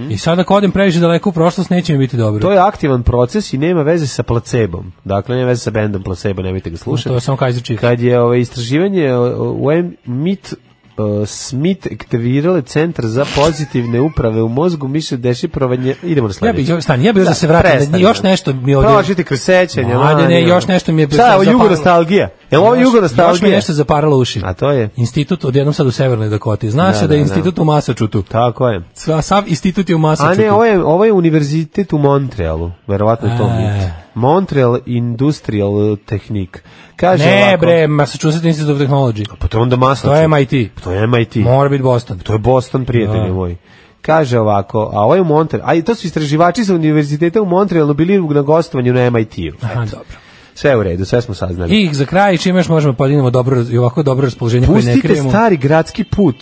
I sad ako odem previše daleko u prošlost, neće mi biti dobro. To je aktivan proces i nema veze sa placebom. Dakle, nema veze sa bendom placebo, nemojte ga slušati. To je samo Kaiser Chiefs. Kad je ovo istraživanje u MIT uh, Smith aktivirale centar za pozitivne uprave u mozgu, mi se dešifrovanje... Idemo na Ja sledeće. bih još stani, ja bih još da se vratim. da- prestani. Još nešto mi ovdje. Prošiti kroz sećanje. Mladene, manje, još nešto mi je Šta je ovo zapalilo. jugonostalgija? Je li ovo Još- jugonostalgija? Još mi je nešto zaparalo uši. A to je? Institut odjednom sad u Severnoj Dakoti. Zna se da je da, da. institut u Masačutu. Tako je. Sva, sav institut je u A Masačutu. ne, ovo je, ovo je univerzitet u Montrealu, verovatno je to E. MIT. Montreal Industrial Technique. Kaže Ne, ovako, bre, Massachusetts Institute of Technology. Pa to je onda masno. To je MIT. To je MIT. Mora biti Boston. To je Boston, prijatelju Da. moj. Kaže ovako, a ovo je u Montrealu. A i to su istraživači sa univerziteta u Montrealu bili na gostovanju na MIT-u. Aha, dobro. Sve je u redu, sve smo saznali. I za kraj čime još možemo podinemo dobro i ovako dobro raspoloženje koje ne Pustite krijemo. stari gradski put.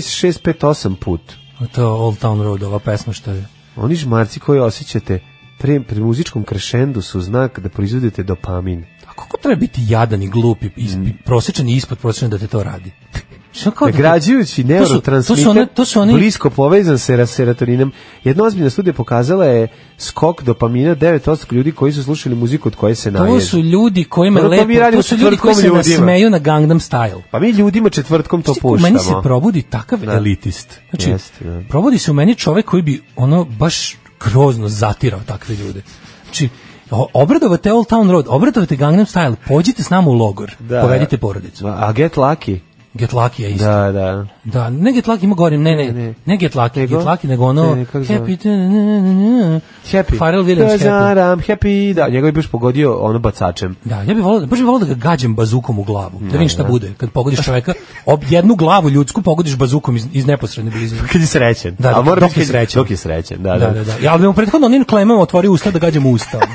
14658 put. A To je Old Town Road, ova pesma što je. Oni žmarci koje osjećate pre, pri muzičkom krešendu su znak da proizvodite dopamin. A kako treba biti jadan i glup i, i Mm. prosječan i ispod prosječan da te to radi? Što kao da- Nagrađujući To su- to su one- neurotransmiter to su oni- blisko povezan sa serotoninem, jedna ozbiljna studija pokazala je skok dopamina 9% ljudi koji su slušali muziku od koje se To naježu. su ljudi koji me Ono, da to mi lepo, radimo to su ljudi četvrtkom koji se ljudima. nasmeju na Gangnam Style. Pa mi ljudima četvrtkom to Znaš ti, u puštamo. Meni se probudi takav elitist. Znači, Da. Jeste, da. probudi se u meni čovek koji bi ono baš grozno zatirao takve ljude. Znači, o- obradovate Old Town Road, obradovate Gangnam Style, pođite s nama u logor, Da. povedite porodicu. A Get Lucky? Get Lucky je isto. Da, da. Da, ne Get Lucky ima gorim, ne, ne, ne, Ne. Get Lucky, Nego? Get Lucky, nego ono Ne, ne, kako se zove? Happy, da, da, da, da. Happy. Pharrell Williams Cause Happy. I'm happy. Da, njega je baš pogodio ono bacačem. [laughs] Da, ja bih volao, baš bih volao da ga gađam bazukom u glavu. Da vidim šta bude kad pogodiš čoveka, ob jednu glavu ljudsku pogodiš bazukom iz, iz neposredne blizine. Kad je srećen. Da, A dok- mora dok biti je kad- srećen. Dok je srećen, da, Da, da, da. Ja, ali mu prethodno onim klemama otvorio usta da gađam u usta. [laughs] ono.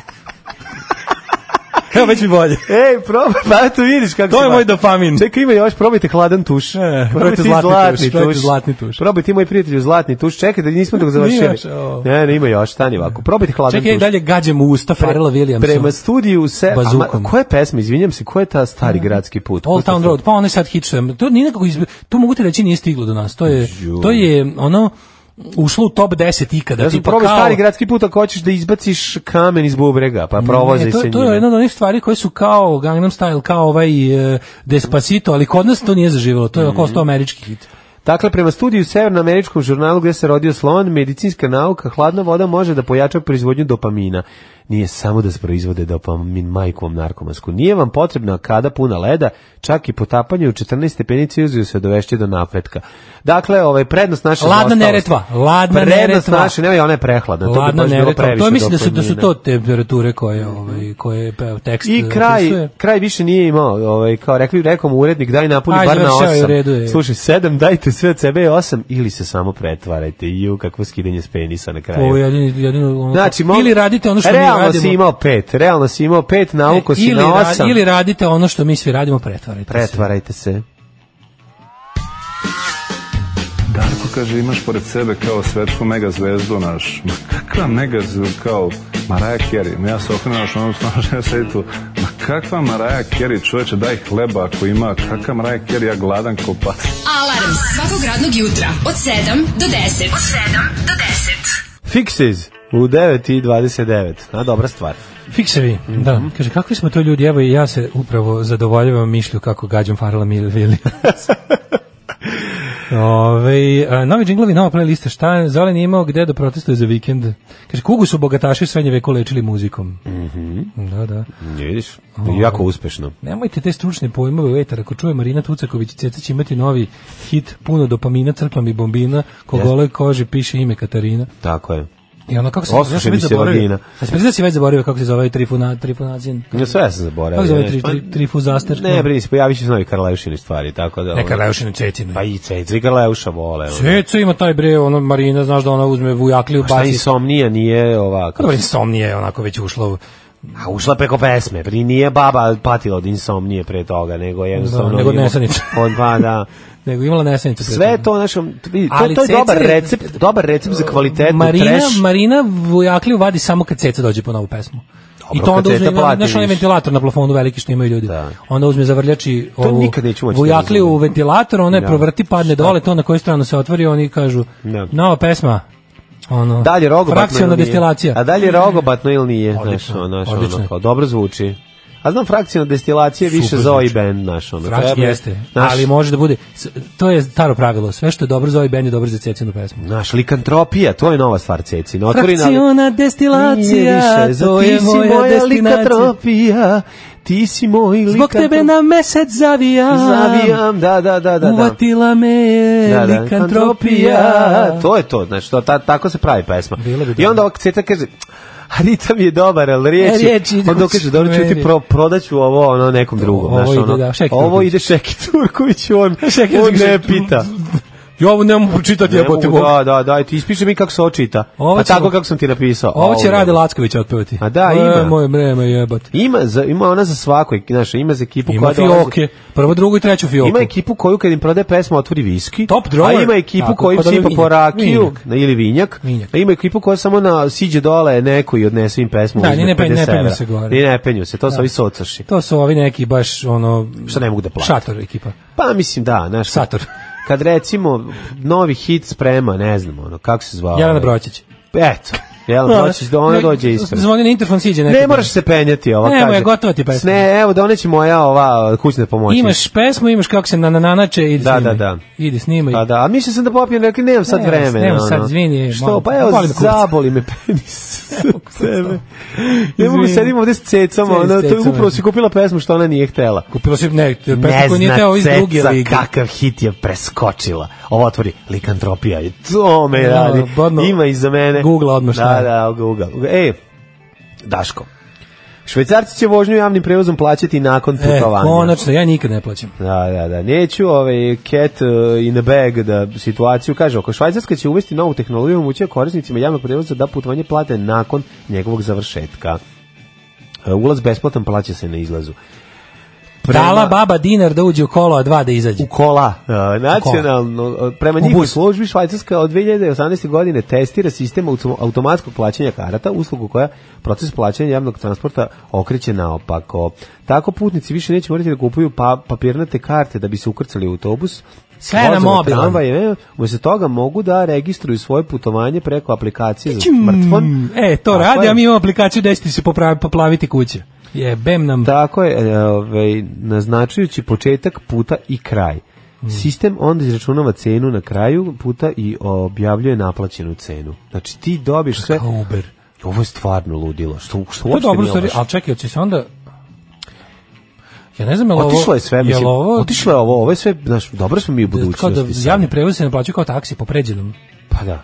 Evo već mi bolje. Ej, probaj, [laughs] pa eto vidiš kako To se je baš- moj dopamin. E, Čekaj, ima još, probajte hladan tuš. probajte zlatni tuš, probajte zlatni tuš. Probajte, moj prijatelju, zlatni tuš. Čekaj, da nismo dok završili. još, o. ne, ne, ima još, stani ovako. Probajte hladan Čekaj, tuš. dalje gađam u usta Farela Williamsa. Prema studiju se... Bazukom. Bazukom. Koja je pesma, izvinjam se, koja je ta stari gradski put? Old Koja je Town ta- Road, pa onaj sad hit što je, to nije nekako izbe, to mogu ti reći nije stiglo do nas, to je, to je ono, ušlo u top 10 ikada, Ja sam tipa probao Da pa kao, stari gradski put ako hoćeš da izbaciš kamen iz bubrega, pa provozaj Ne, to, se to je njime. jedna od onih stvari koje su kao Gangnam Style, kao ovaj e, Despacito, ali kod nas to nije zaživjelo, to je mm. oko 100 Mhm. američki hit. Dakle, prema studiju u Severnoameričkom žurnalu gdje se rodio slon, medicinska nauka, hladna voda može da pojača proizvodnju dopamina. Nije samo da se proizvode dopamin majkom narkomansku. Nije vam potrebno kada puna leda, čak i potapanje u 14 stepeni Celzijusa se dovešće do napretka. Dakle, ovaj prednost naše Ladna zaostalosti- Neretva, ladna prednost Neretva. naše, ne, ona je prehladna, Da, to bi Ladna baš bilo neretva. previše. To je, mislim da su, da su to dopamina. temperature koje, ovaj, koje pe- tekst I e, kraj, opisuje. kraj više nije imao, ovaj, kao rekli, rekao mu urednik, daj napuni Aj, bar na završava i znači, u osam. redu je. Slušaj, sedam, dajte sve od sebe je osam, ili se samo pretvarajte. Ju, kakvo skidanje s penisa na kraju. Ovo je jedino, jedino ono, Znači, mo- ili radite ono što mi realno radimo. E, si imao pet, realno si imao pet, nauko si ili, na ra- osam. ili radite ono što mi svi radimo, pretvarajte se. Pretvarajte se. Darko kaže imaš pored sebe kao svetsku megazvezdu naš. Ma kakva megazvezdu kao Mariah Carey. Ma ja se okrenuo naš onom snažem sedi tu. Ma kakva Mariah Carey čoveče daj hleba ako ima. Kakva Mariah Carey ja gladan ko pas. Alarm svakog radnog jutra od 7 do 10. Od 7 do 10. Fixes u 9 i 29. A dobra stvar. Fiksevi, Mhm. da. Kaže, kakvi smo to ljudi, evo i ja [laughs] se upravo zadovoljavam mišlju kako gađam Farela Williams. Ove, a, novi džinglovi, nova playlista. Šta je, Zolen je imao gde da protestuje za vikend? Kaže, kugu su bogataši u srednje veku lečili muzikom. Mhm. Da, da. Vidiš, jako uspešno. Nemojte te stručne pojmove vetar. Ako čuje Marina Tucaković, Ceca će imati novi hit puno dopamina, crklam i bombina, ko Jes. gole kože piše ime Katarina. Tako je. I ono kako se Osuši ja sam mi već se zaboravio. vagina. A se priznaš si već zaboravio kako se zove ovaj trifuna, trifunacin. Ja sve ja sam zaboravio. Kako se zove tri, nešto. tri, trifuzaster? Ne, brini se, pojavit će se novi Karleušini stvari, tako da... Ne, Karleušine, Cetine. Pa i Ceca, i Karleuša vole. ono. Cecu ima taj bre, ono Marina, znaš da ona uzme vujakliju, A Pa Šta baci insomnija nije ovako? Dobro, insomnija je onako već ušla u... A ušla preko pesme, pri nije baba patila od insomnije pre toga, nego jednostavno... Da, nego od ima- [laughs] nesanice. On, pa da. nego imala nesanicu. Sve je to, znaš, on- vidi, to, Ali to je Ceca dobar je- recept, dobar recept za kvalitetu Marina, trash. Marina Vujakliju vadi samo kad Ceca dođe po novu pesmu. I to kad onda Ceca uzme, plati znaš onaj više. ventilator na plafonu veliki što imaju ljudi. Onda uzme zavrljači To ovu nikad neću moći da Vujakliju razumem. u ventilator, ona je Da. provrti, padne dole, to na koju stranu se otvori, oni kažu, Da. nova pesma, ono, Dalje rogobatno frakciona ili nije? destilacija. A da, dalje rogobatno ili nije? Znaš, Odlično, ono, znaš, ono, odlično. kao, dobro zvuči. A znam, frakcijna destilacija je više Super za ovaj zvuči. band, znaš, ono. Frač treba je- jeste, znaš, ali može da bude, s- to je staro pravilo, sve što je dobro za ovaj band je dobro za Cecinu pesmu. Znaš, likantropija, to je nova stvar, Cecina. Otvori na- Frakciona Nije destilacija, više, za to ti je si moja moja destinacija. likantropija, ti si moj Zbog tebe na mesec zavijam. Zavijam, da, da, da, da, da. Uvatila me je Da, da. likantropija. To je to, znači, to, ta, tako se pravi pesma. I onda ovak Ceta kaže, "A ritam je dobar, ali E, riječi... riječi idu onda on kaže, u dobro, ću ti smeri." pro, prodaću ovo ono, nekom drugom. Ovo znaš, ide, ono, da, Šeki ovo Turković. ide Šeki Turković, on, Šeki on Turković. ne pita. Ja ovo nemam pročitati, Ne jebote mogu, Bog. da, da, da, ti ispiše mi kako se očita. Ovo pa ćemo- tako kako sam ti napisao. Ovo će je. Rade Lacković otpevati. A da, E, ima. Moje vreme jebate. Ima, za, ima ona za svaku, znaš, ima za ekipu Ima koja dolazi- fioke. Prvo, drugo i treću fioku. Ima ekipu koju kad im prode pesma otvori viski, Top a drawer. ima ekipu Tako, koju pa dobro, sipa vinjak. po rakiju Vinjak. na, ili vinjak, a ima ekipu koja samo na siđe dole neko i odnese im pesmu. Da, uzme ni ne penju- ne 50 penju evra. se gore. Ni ne penju se, to su Da. ovi socaši. To su ovi neki baš ono... Što ne mogu da plate. Šator ekipa. Pa mislim da, znaš. Sator. Kad recimo novi hit sprema, ne znam, ono, kako se zvao. Ovaj, Jelena Broćić. Eto, [laughs] Jelena Broćić, da ona Ne, dođe ispred. Zvoni na interfon, siđe neko. Ne moraš se penjati, ova Nemoj, kaže. gotova ti pesma. Ne, evo, doneći moja ova kućna pomoćnica. Imaš pesmu, imaš kako se nananače, idi Da, snimaj. da, da. Idi snimaj. Pa da, a mislio sam da popijem, rekli nemam sad Nemam- vremena. nemam sad, ono. izvini, Što, molim. da pa evo, Boli me kurac. zaboli me [laughs] penis. Sebe. Ne mogu Izvini. sedim ovde s cecama, Sedi s ona, to je cecama. upravo si kupila pesmu što ona nije htela. Kupila si ne, pesma koju nije teo iz druge lige. kakav hit je preskočila. Ovo otvori, likantropija, je. to me Da, radi. bodno. Ima iza mene. Googla odmah šta Da, je. da, Google. E, Daško, Švajcarci će vožnju javnim prevozom plaćati nakon E, putovanja. konačno, ja nikad ne plaćam. Da, da, da. Neću ovaj cat uh, in a bag da situaciju kaže ako Švajcarska će uvesti novu tehnologiju omogućuje korisnicima javnog prevoza da putovanje plate nakon njegovog završetka. E, Ulaz besplatan plaća se na izlazu. Prema- Dala baba dinar da uđe u kolo, a dva da izađe. U kola. E, Nacionalno, e, prema U njihovoj bus. službi Švajcarska od 2018. godine testira sistem autom- automatskog plaćanja karata, uslugu koja proces plaćanja javnog transporta okreće naopako. Tako putnici više neće morati da kupuju pa, papirnate karte da bi se ukrcali u autobus, Sve na vozove, mobilom. tramvaje, e, umesto toga mogu da registruju svoje putovanje preko aplikacije za Ćum. smartfon. E, to Tako radi, je. a mi imamo aplikaciju da ćete se popravi, poplaviti kuće. Jebem nam. Tako je, e, ovaj, naznačujući početak puta i kraj. Mm. Sistem onda izračunava cenu na kraju puta i objavljuje naplaćenu cenu. Znači ti dobiješ sve... Kao Uber. Ovo je stvarno ludilo. Što, što To je uopšte dobro, nije stvari, loše. ali čekaj, će se onda... Ja ne znam, je li ovo... Pa Otišlo je sve, mislim, li ovo... otišlo je ovo, ovo je sve, znaš, dobro smo mi u Kao da budućnosti. sad. javni prevoz se ne plaćaju kao taksi po pređenom. Pa da.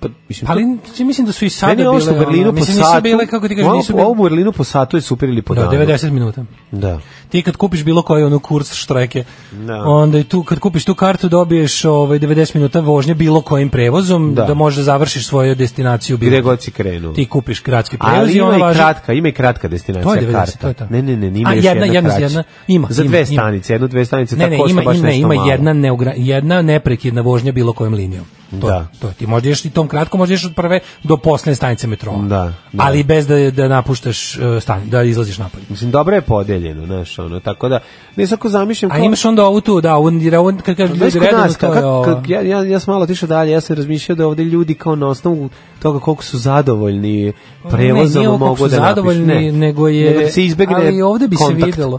Pa, mislim, Pa to- ali mislim da su i sada Meni je bile... ovo što u Berlinu ono, po mislim, satu... nisu bile, kako ti kažeš, ovo- nisu Ovo bile... u Berlinu po satu je super ili po Da, danu. 90 minuta. Da. Ti kad kupiš bilo koji ono kurs štreke, Da. onda i tu kad kupiš tu kartu dobiješ ovaj 90 minuta vožnje bilo kojim prevozom Da. da, možeš da završiš svoju destinaciju bilo. Gde god si krenuo. Ti kupiš gradski prevoz Ali i ima ona i važi. kratka, ima i kratka destinacija To je 90, karta. to je to. Ne, ne, ne, ne, ima A, još jedna, jedna, jedna, kraća. jedna, ima, Za ima, dve ima. stanice, jedno, dve stanice, Ne, ne, tako ima, baš ima, nešto ima malo. jedna, neugra, jedna neprekidna vožnja bilo kojom linijom. To, Da. da. to je. ti možda ješ i tom kratko, možda ješ od prve do poslednje stanice metroa. Da, da. Ali bez da, da napuštaš eh, stan, da izlaziš napolje. Mislim, dobro je podeljeno, znaš, ono, tako da, ne svako zamišljam A imaš onda ovu tu, da, on, on, kad kažeš Znaš, ljudi kod redano, nas, to kak- je ova. kak- ja, ja, ja sam malo otišao dalje, ja sam razmišljao da ovde ljudi kao na osnovu toga koliko su zadovoljni prevozom ne, nije ovo kako mogu su da napišu. zadovoljni, Ne, nego je da se izbegne ali ovde bi kontakt. se videlo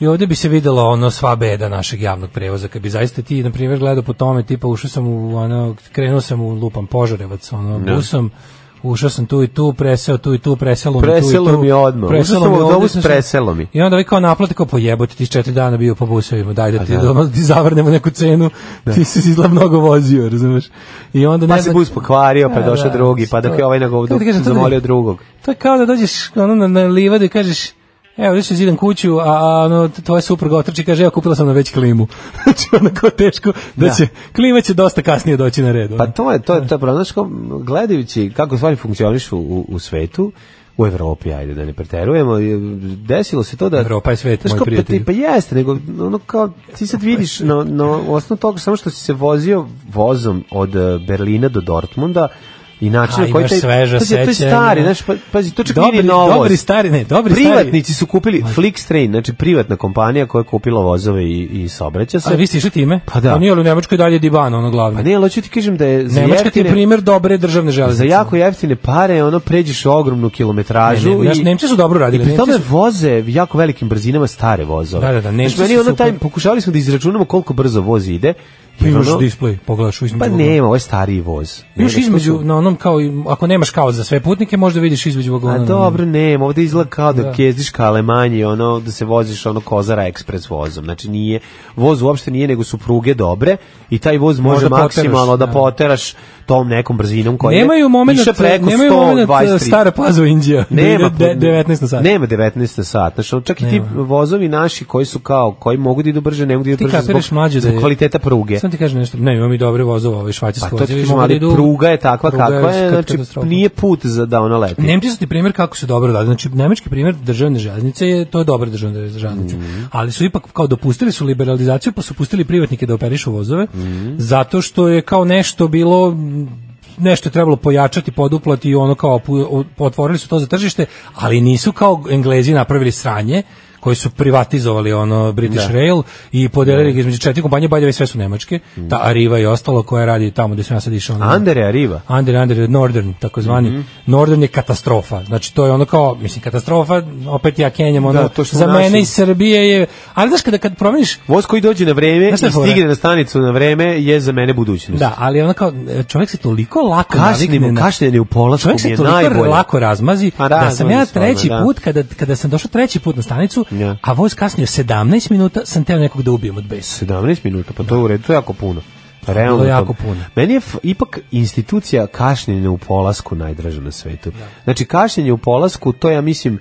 I ovdje bi se videla ono sva beda našeg javnog prevoza, kad bi zaista ti, na primjer, gledao po tome, tipa ušao sam u, ono, krenuo sam u lupan Požarevac, ono, Ne. busom, ušao sam tu i tu, preseo tu i tu, preselo mi tu i tu. Preselo mi odmah. Ušao sam mi u ovdje, autobus, znaš, preselo mi. I onda ovaj kao naplate, kao pojebote, ti si četiri dana bio po busovima, daj da ti, da. da. ono, ti zavrnemo neku cenu, ti si izla mnogo vozio, razumeš? I onda Pa ne se znam- bus pokvario, pa Da, došao da, drugi, pa dok je ovaj Kako da nagovdu ti kažem, to zamolio je- drugog. To je kao da dođeš ono, na, na livadu i kažeš Evo, ovdje ću zidam kuću, a, a ono, t- tvoja supruga otrči i kaže, evo, kupila sam na već klimu. [laughs] Znači, onako teško da, Da. će, klima će dosta kasnije doći na red. Pa to je, to je, to je, pravo. Znaš, kao, gledajući kako stvari funkcionišu u, u svetu, u Evropi, ajde da ne preterujemo, je- desilo se to da... Evropa je svet, Znaš, moj kao, pa ti- prijatelju. Pa Pa, jeste, nego ono kao, ti sad vidiš na, na osnovu toga samo što si se vozio vozom od eh, Berlina do Dortmunda, i način A, na koji imaš taj, sveža to je, to je sećanja. stari, znaš, pa, pazi, to čak Dobri- nije ni novost. dobri stari, ne, dobri stari. Privatnici su kupili Flixtrain, znači privatna kompanija koja je kupila vozove i, i saobraća se. A vi ste išli time? Pa da. Pa nije, ali u Nemačkoj dalje Diban, ono glavno. Pa ne, ali hoću ti kažem da je za Nemačka ti je jeftine- primjer dobre državne Za železnice. jako jeftine pare, ono, pređeš ogromnu kilometražu. Ne, ne, znaš, i- Nemci su dobro radili, I pri Nemci tome su- voze jako velikim brzinama stare vozove. Da, da, da, Nemci Znaš, meni su ono taj, super. pokušali smo da izračunamo koliko brzo voz ide. Pa jer imaš ono- display, pogledaš u između. Pa vagona. nema, ovo je stariji voz. Još Nego što između, su- na onom kao, i- ako nemaš kao za sve putnike, možda vidiš između vagona. A na- dobro, nema, ovde izgleda kao da, Da. kezdiš ka Alemanji, ono, da se voziš ono Kozara ekspres vozom. Znači nije, voz uopšte nije, nego su pruge dobre i taj voz može Možda poteraš, maksimalno da da. poteraš tom nekom brzinom koja pa je Nemaju momenat, išla preko nemaju 100, momenat 23. stara pazova Indija. da Nema ide de- po- 19 na sat. Nema 19 na sat. Znači, čak i ti vozovi naši koji su kao, koji mogu da idu brže, ne mogu da idu Ti brže kapiraš zbog, mlađe da zbog je- kvaliteta pruge. Sam da ti kažem nešto, ne, imamo i dobre vozova, ove Pa švajcarske to ti vozove. kažem, ali pruga je takva kakva je, znači nije put za da ona leti. Nemci su ti primjer kako se dobro radi. Znači, nemački primjer državne železnice je, to je dobra državna železnica. Ali su ipak kao dopustili su liberalizaciju, pa su pustili privatnike da operišu vozove, zato što je kao nešto bilo m, nešto je trebalo pojačati, poduplati i ono kao pu- o- otvorili su to za tržište, ali nisu kao Englezi napravili sranje koji su privatizovali ono British Da. Rail i podelili ga između četiri kompanije, by the way, sve su nemačke, ta Arriva i ostalo koja radi tamo gde sam ja sad išao. ono- Andere Arriva. Under, under, Northern, takozvani. Mhm. Northern je katastrofa. Znači, to je ono kao, mislim, katastrofa, opet ja kenjam, ono, Da, to što za naši- mene iz Srbije je... Ali znaš, kada, kad promeniš... Voz koji dođe na vreme i Znaš šta je fora? stigne na stanicu na vreme je za mene budućnost. Da, ali ono kao, čovjek se toliko lako navikne Kašnjenje, na- kašnjenje u polasku Čovjek mi se je toliko najbolje. lako razmazi Pa da sam ja razmazi stvarno, treći da. put, kada, kada sam došao treći put na stanicu, Ja. a voz kasnio 17 minuta, sam teo nekog da ubijem od besa. 17 minuta, pa to je u redu, to je jako puno. Realno Bilo je to- jako puno. Meni je f- ipak institucija kašnjenja u polasku najdraža na svetu. Da. Znači kašnjenje u polasku, to ja mislim,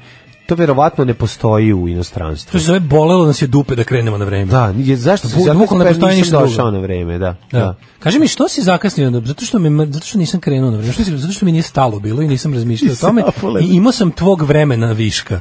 to verovatno ne postoji u To inostranstvu. se zove bolelo nas je dupe da krenemo na vreme. Da, je, zašto se da Bu- bukvalno ne postoji ništa drugo. došao na vreme, da. Da. da. Kaži mi što si zakasnio, onda? zato što, me, zato što nisam krenuo na vreme, Što si- zato što mi nije stalo bilo i nisam razmišljao o tome Zapale. i imao sam tvog vremena viška.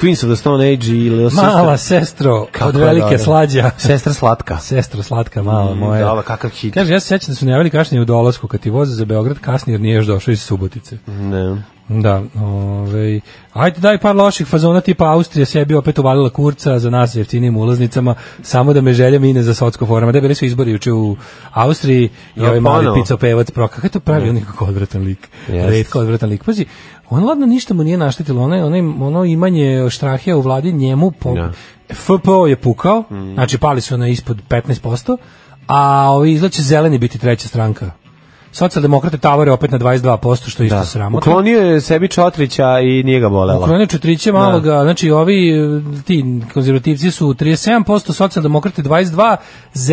Queens of the Stone Age ili Mala sestro, Kako od je velike dobro. slađa. [laughs] Sestra slatka. Sestra slatka, mala moja. Da, ovo, kakav hit. Kaže, ja se sećam da su najavili kašnjenje u dolasku kad ti voze za Beograd kasni jer nije još došao iz Subotice. Ne. Da, ovaj, ajde daj par loših fazona tipa Austrija sebi opet uvalila kurca za nas jeftinim ulaznicama, samo da me želja mine za socko forama. Da bili su izbori juče u Austriji i Ja, ovaj mali ponovo. picopevac proka. Kako je to pravi on nekako odvratan lik? Jeste. Retko odvratan lik. Pazi, on ladno ništa mu nije naštetilo, ono, ono, ono imanje štrahija u vladi njemu po, Da. Mm. FPO je pukao, znači pali su na ispod 15%, a ovi izgled će zeleni biti treća stranka. Socijaldemokrate tavore opet na 22%, što je isto Da. sramotno. Uklonio je sebi Čotrića i nije ga bolela. Uklonio četriće Da. maloga, znači ovi e, ti konzervativci su 37%, socijaldemokrati 22,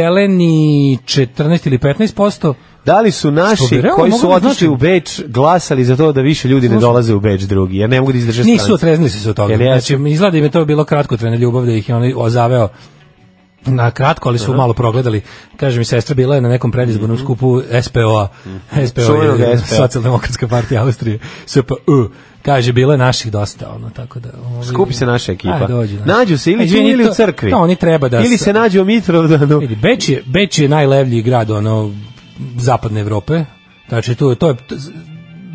zeleni 14 ili 15%. Da li su Što bi naši realno koji su moglo da znači- otišli u Beč glasali za to da više ljudi ne dolaze u Beč drugi, jer ne mogu da izdrže stranicu? Nisu otreznili su se od toga. Jel jesu? Znači, izgleda im je to bilo kratko trena ljubav da ih je on ozaveo na kratko, ali su malo progledali. Kaže mi, sestra bila je na nekom predizbornom skupu SPO-a. SPO Mhm. Čuvenog je SPO. socijaldemokratska partija Austrije. SPU. Kaže, bilo je naših dosta, ono, tako da... ovaj- Skupi se naša ekipa. Aj, dođu, da. Nađu se ili Aj, tu izvini, ili to- u crkvi. To oni treba da... Ili s- se nađu u Mitrovdanu. Vidi, Beč je, Beč je najlevlji grad ono zapadne Evrope. Znači tu je- to je to-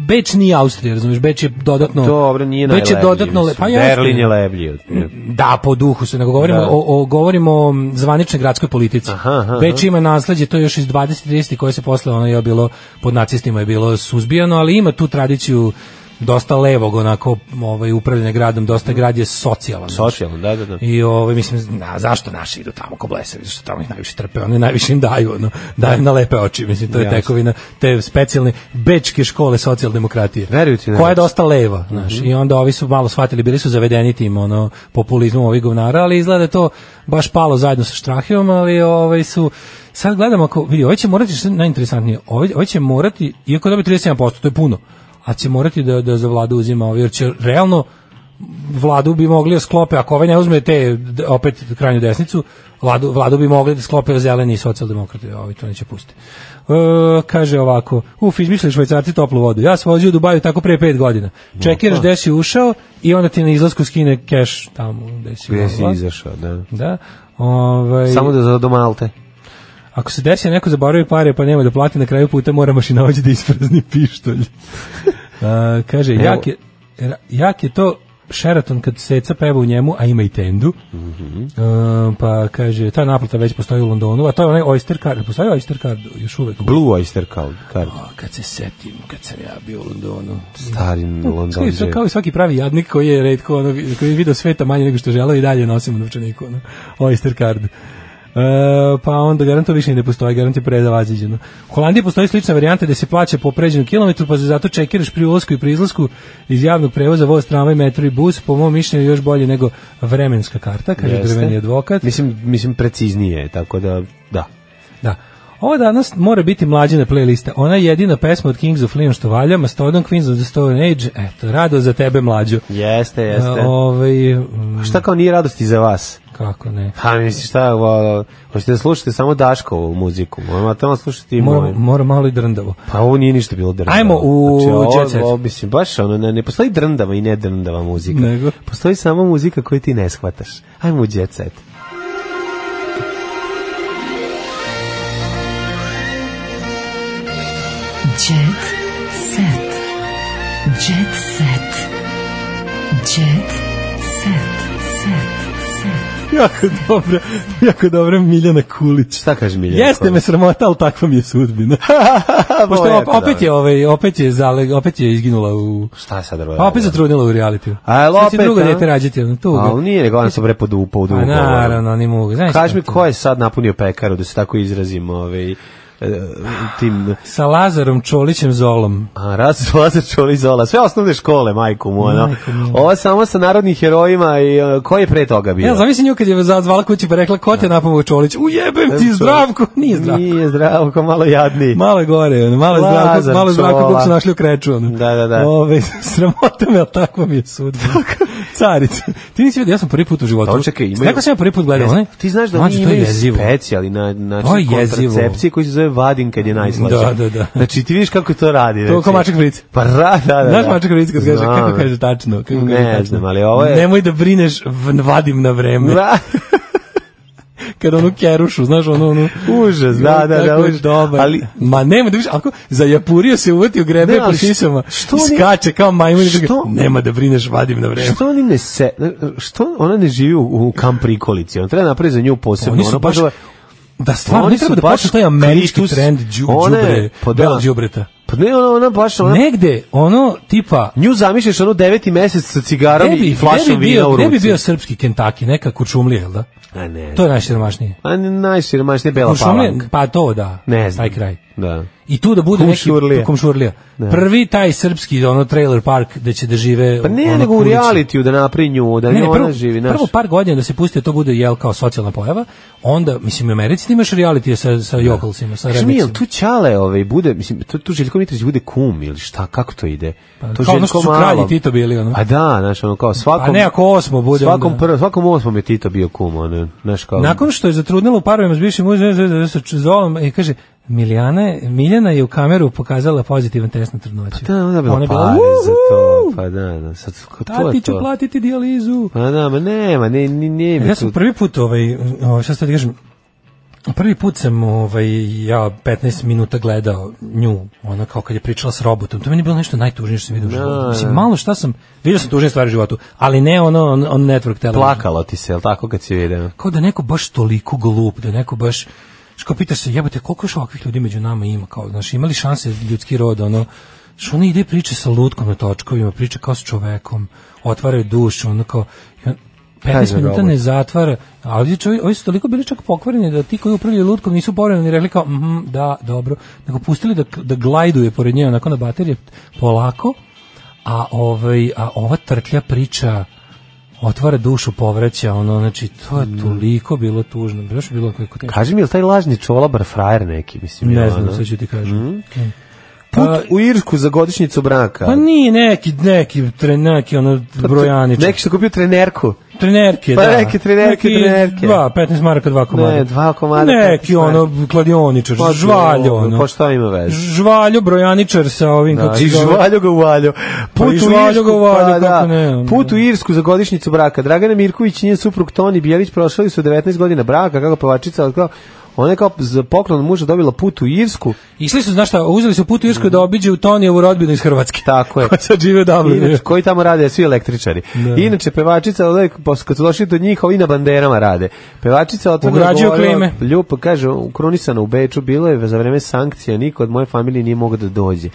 Beč nije Austrija, razumiješ, Beč je dodatno... [laughs] Dobro, nije Beč najlevlji. je dodatno... le- mislim. pa jeste. Berlin je levlji. Da, po duhu se, nego govorimo, Da. o, o, govorimo o zvaničnoj gradskoj politici. Aha, aha, Beč ima nasledđe, to je još iz 20-30 koje se posle ono je bilo pod nacistima je bilo suzbijano, ali ima tu tradiciju dosta levog onako ovaj upravljanja gradom, dosta grad je socijalan. znaš. Mhm. Socijalan, da, da, da. I ovaj mislim na zašto naši idu tamo ko blesavi, što tamo ih najviše trpe, oni najviše im daju, ono, daju im na lepe oči, mislim to je Jasno. tekovina te specijalne bečke škole socijaldemokratije. Verujte da koja je dosta leva, Mhm. znaš, i onda ovi su malo shvatili, bili su zavedeni tim ono populizmom ovih govnara, ali izgleda da je to baš palo zajedno sa Štrahijom, ali ovaj su sad gledamo ako vidi, ovaj će morati što je najinteresantnije, ovaj, ovaj će morati iako dobi 37%, to je puno, a će morati da da za vladu uzima, ovaj, jer će realno vladu bi mogli da sklope, ako ovaj ne uzme te, d- opet krajnju desnicu, vladu, vladu bi mogli da sklope zeleni i socijaldemokrati, ovi to neće pustiti. E, kaže ovako, uf, izmišljaju švajcarci toplu vodu. Ja sam vozio u Dubaju tako pre pet godina. Čekiraš gde si ušao i onda ti na izlasku skine keš tamo gde si, Gde si ulazio. izašao, da. Da. Ovaj, Samo da za do Malte. Ako se desi da neko zaboravi pare pa nema da plati, na kraju puta mora mašinovođe da isprazni [laughs] pištolj. A, kaže, Evo. jak je, ra- jak je to Sheraton kad seca peva u njemu, a ima i tendu. Mhm. A, pa kaže, ta naplata već postoji u Londonu, a to je onaj Oyster Card. Postoji Oyster Card još uvek. Blue Oyster Card. card. A, kad se setim, kad sam ja bio u Londonu. Stari Kao i, Londonđe. kao i svaki pravi jadnik koji je redko, ono, vi- koji je video sveta manje nego što želeo i dalje nosim u novčaniku, ono, Oyster card. E, pa onda garanto više i ne postoji, garant je predavaziđeno. U Holandiji postoji slična varijanta da se plaća po pređenom kilometru, pa se zato čekiraš pri ulasku i pri izlasku iz javnog prevoza, voz, tramvaj, metro i bus, po mom mišljenju još bolje nego vremenska karta, kaže Jeste. drveni advokat. Mislim, mislim preciznije, je, tako da, da. Da. Ovo danas mora biti mlađina playlista. Ona je jedina pesma od Kings of Leon što valja, Mastodon, Queens of the Stone Age, eto, rado za tebe mlađo. Jeste, jeste. E, ovaj, mm, A šta kao nije radosti za vas? Kako ne? Ha, misli Pa, šta, o, hoćete da slušate samo Daškovu muziku, moramo tamo slušati i Mora, moju. mora malo i drndavo. Pa ovo nije ništa bilo drndavo. Ajmo u ovo- Jet Set. ovo, mislim, baš ono, ne, ne postoji drndava i ne drndava muzika. Nego? Postoji samo muzika koju ti ne shvataš. Ajmo u Jet Set. Jet set. Jet set. Jet set. Set. Set. Jako dobro, jako dobro Miljana Kulić. Šta kaže Miljana Jeste Kulić? me sramota, ali takva mi je [laughs] sudbina. Pošto Ovo je op- jako opet je, dobro. ovaj, opet je, zale, opet je izginula u... Šta sad radi? A opet zatrudnila u realitiju. A, jel Sad će opet, drugo a? dete rađati, ono, tu. A on nije, nego ona se bre podupao u Pa drugu. naravno, oni mogu. Znaš Kaži mi kako? ko je sad napunio pekaru, da se tako izrazim, ovaj, e, tim... Sa Lazarom Čolićem Zolom. A, raz, Lazar Čolić Zola, sve osnovne škole, majku mu, ono. Ovo samo sa narodnim herojima i e, ko je pre toga bio? Ja zamisli nju kad je zazvala kući pa rekla ko te napamao Čolić? Ujebem ti zdravko! Nije zdravko. Nije zdravko, malo jadniji. [laughs] Malo je gore, ono, malo je zdravko, Lazar malo je zdravko Čola. kako su našli u kreču. Ono. Da, da, da. Ove, [laughs] sramota me, ali takva mi je [laughs] sudbina. Carica. Ti nisi vidio, ja sam prvi put u životu. Pa čekaj, imaju... Rekao sam ja prvi put gledao. Ne znam, onaj- Ti znaš da Mlađe, oni to je imaju jezivo. specijali na, način To je jezivo. kontracepcije koji se zove vadin kad je najslađa. Da, da, da. Znači ti vidiš kako to radi. To znači. kao mačak fric. Pa ra, da, da, da. Znaš mačak fric kad kaže, Znam. kako kaže tačno? Kako kaže Ne tačno? znam, ali ovo je- Nemoj da brineš, v- vadim na vreme. [laughs] Da, Kad onu kerušu, znaš, onu, onu... užas, da, da, da, Tako je užas. Dobar. Ali, Ma nema da više, ako zajapurio se uvatio grebe Ne, po ali što- šisama, što što oni- skače kao majmun i kaže, što- nema da brineš, vadim na vreme. što oni ne se, što ona ne živi u, u kamp prikolici, on treba napraviti za nju posebno. Oni su ono, pa baš- zove- Da, stvarno, Oni ne treba su da baš počne taj američki Kristus. trend džu, One- džubre, pa da. bela džubreta. Pa ne, ona, ona baš, ona, Negde, ono, tipa, nju zamišljaš ono deveti mesec sa cigarom gde bi, gde i bi flašom vina bio, u ruci. gde bi bio srpski Kentucky, neka kurčumlija, jel da? A ne, To je najsiromašnije. a ne, najsiromašnije bela Kuršumlija, palanka. pa to da, Ne znam. taj kraj. Da. I tu da bude Komšurlija. neki komšurlija. Da. Prvi taj srpski ono trailer park da će da žive Pa ne, ono, nego u kulići. realitiju da napravi nju, da Ne, ne, ona prvo, živi. Naš. prvo par godina da se pusti da to bude jel kao socijalna pojava, onda, mislim, u Americi ti imaš reality sa, sa jokalcima, sa Da. Kaži mi, jel rednicima. tu Ćale ovaj, bude, mislim, tu, tu Željko Mitrović bude kum ili šta, kako to ide? Pa, to kao ono što su kralji Malom. Tito bili, ono. A da, znaš, ono kao svakom... A ne, ako osmo bude, Svakom, onda- prvo, svakom osmom je Tito bio kum, ono, znaš kao... Nakon što je zatrudnila u parovima s bivšim mužem, sa Zolom, i kaže, Miljana, je- Miljana je u kameru pokazala pozitivan test na trudnoću. Da, ona je bila Ona je bila, pare za to, "Uhu, pa da, da, sad, ko, to Tati je ću to. platiti dijalizu. Pa da, ma nema, ne, ne, ne, Ja sam prvi put, ovaj, ovaj, šta sad kažem, prvi put sam ovaj, ja 15 minuta gledao nju, ona kao kad je pričala s robotom, to meni je bilo nešto najtužnije što sam vidio u Da, životu. Mislim, malo šta sam, vidio sam tužnije stvari u životu, ali ne ono, on, on network television. Plakalo ti se, jel tako, kad si vidio? Kao da je neko baš toliko glup, da je neko baš, što pitaš se, jebote, koliko još ovakvih ljudi među nama ima, kao, znaš, imali šanse ljudski rod, ono, Što ona ide priče sa lutkom na točkovima, priča kao s čovekom, otvaraju dušu, ono kao, i on 15 Kaže minuta robot. ne zatvara, a ovdje čovi, ovi su toliko bili čak pokvareni da ti koji upravljaju lutkom nisu boreni, ni rekli kao, mhm, da, dobro, nego pustili da, da glajduje pored nje, onako na baterije, polako, a, ovaj, a ova trklja priča otvara dušu, povraća, ono, znači, to Mm. je toliko bilo tužno, baš je bilo kako teško. Kaži mi, je li taj lažni čolabar frajer neki, mislim? Ne je da? znam, ono? sad ću ti kažem. Mm. Put u Irsku za godišnjicu braka. Pa nije neki, neki, tre, neki ono Pa to- brojanič. Neki što je kupio trenerku. trenerke, Pa da. neke trenerke, Neki trenerke. Dva, 15 maraka, dva komada. Ne, dva komada, 15 Neki maraka. ono, kladioničar, Pa žvaljo, dobro, ono. Pa šta ima veze? Žvaljo, brojaničar sa ovim, Da, kako I se zove. žvaljo ga uvaljo. Pa Put i u žvaljo Irsku, ga uvaljo, pa kako da. ne, ono. Put u Irsku za godišnjicu braka. Dragana Mirković i njen suprug Toni Bijelić prošli su 19 godina braka, kako pevačica otkrila. Ona je kao za poklon od muža dobila put u Irsku. Išli su, znaš šta, uzeli su put u Irsku Mm. da obiđu Tonijevu rodbinu iz Hrvatske. Tako je. Koja [laughs] sad žive dobro. Inače, koji tamo rade, svi električari. Da. Inače, pevačica, uvek, pos- kad su došli do njih, ovi na banderama rade. Pevačica otvorno Ugrađuju klime. Ljupo, kaže, ukronisana u Beču, bilo je za vreme sankcija, niko od moje familije nije mogao da dođe.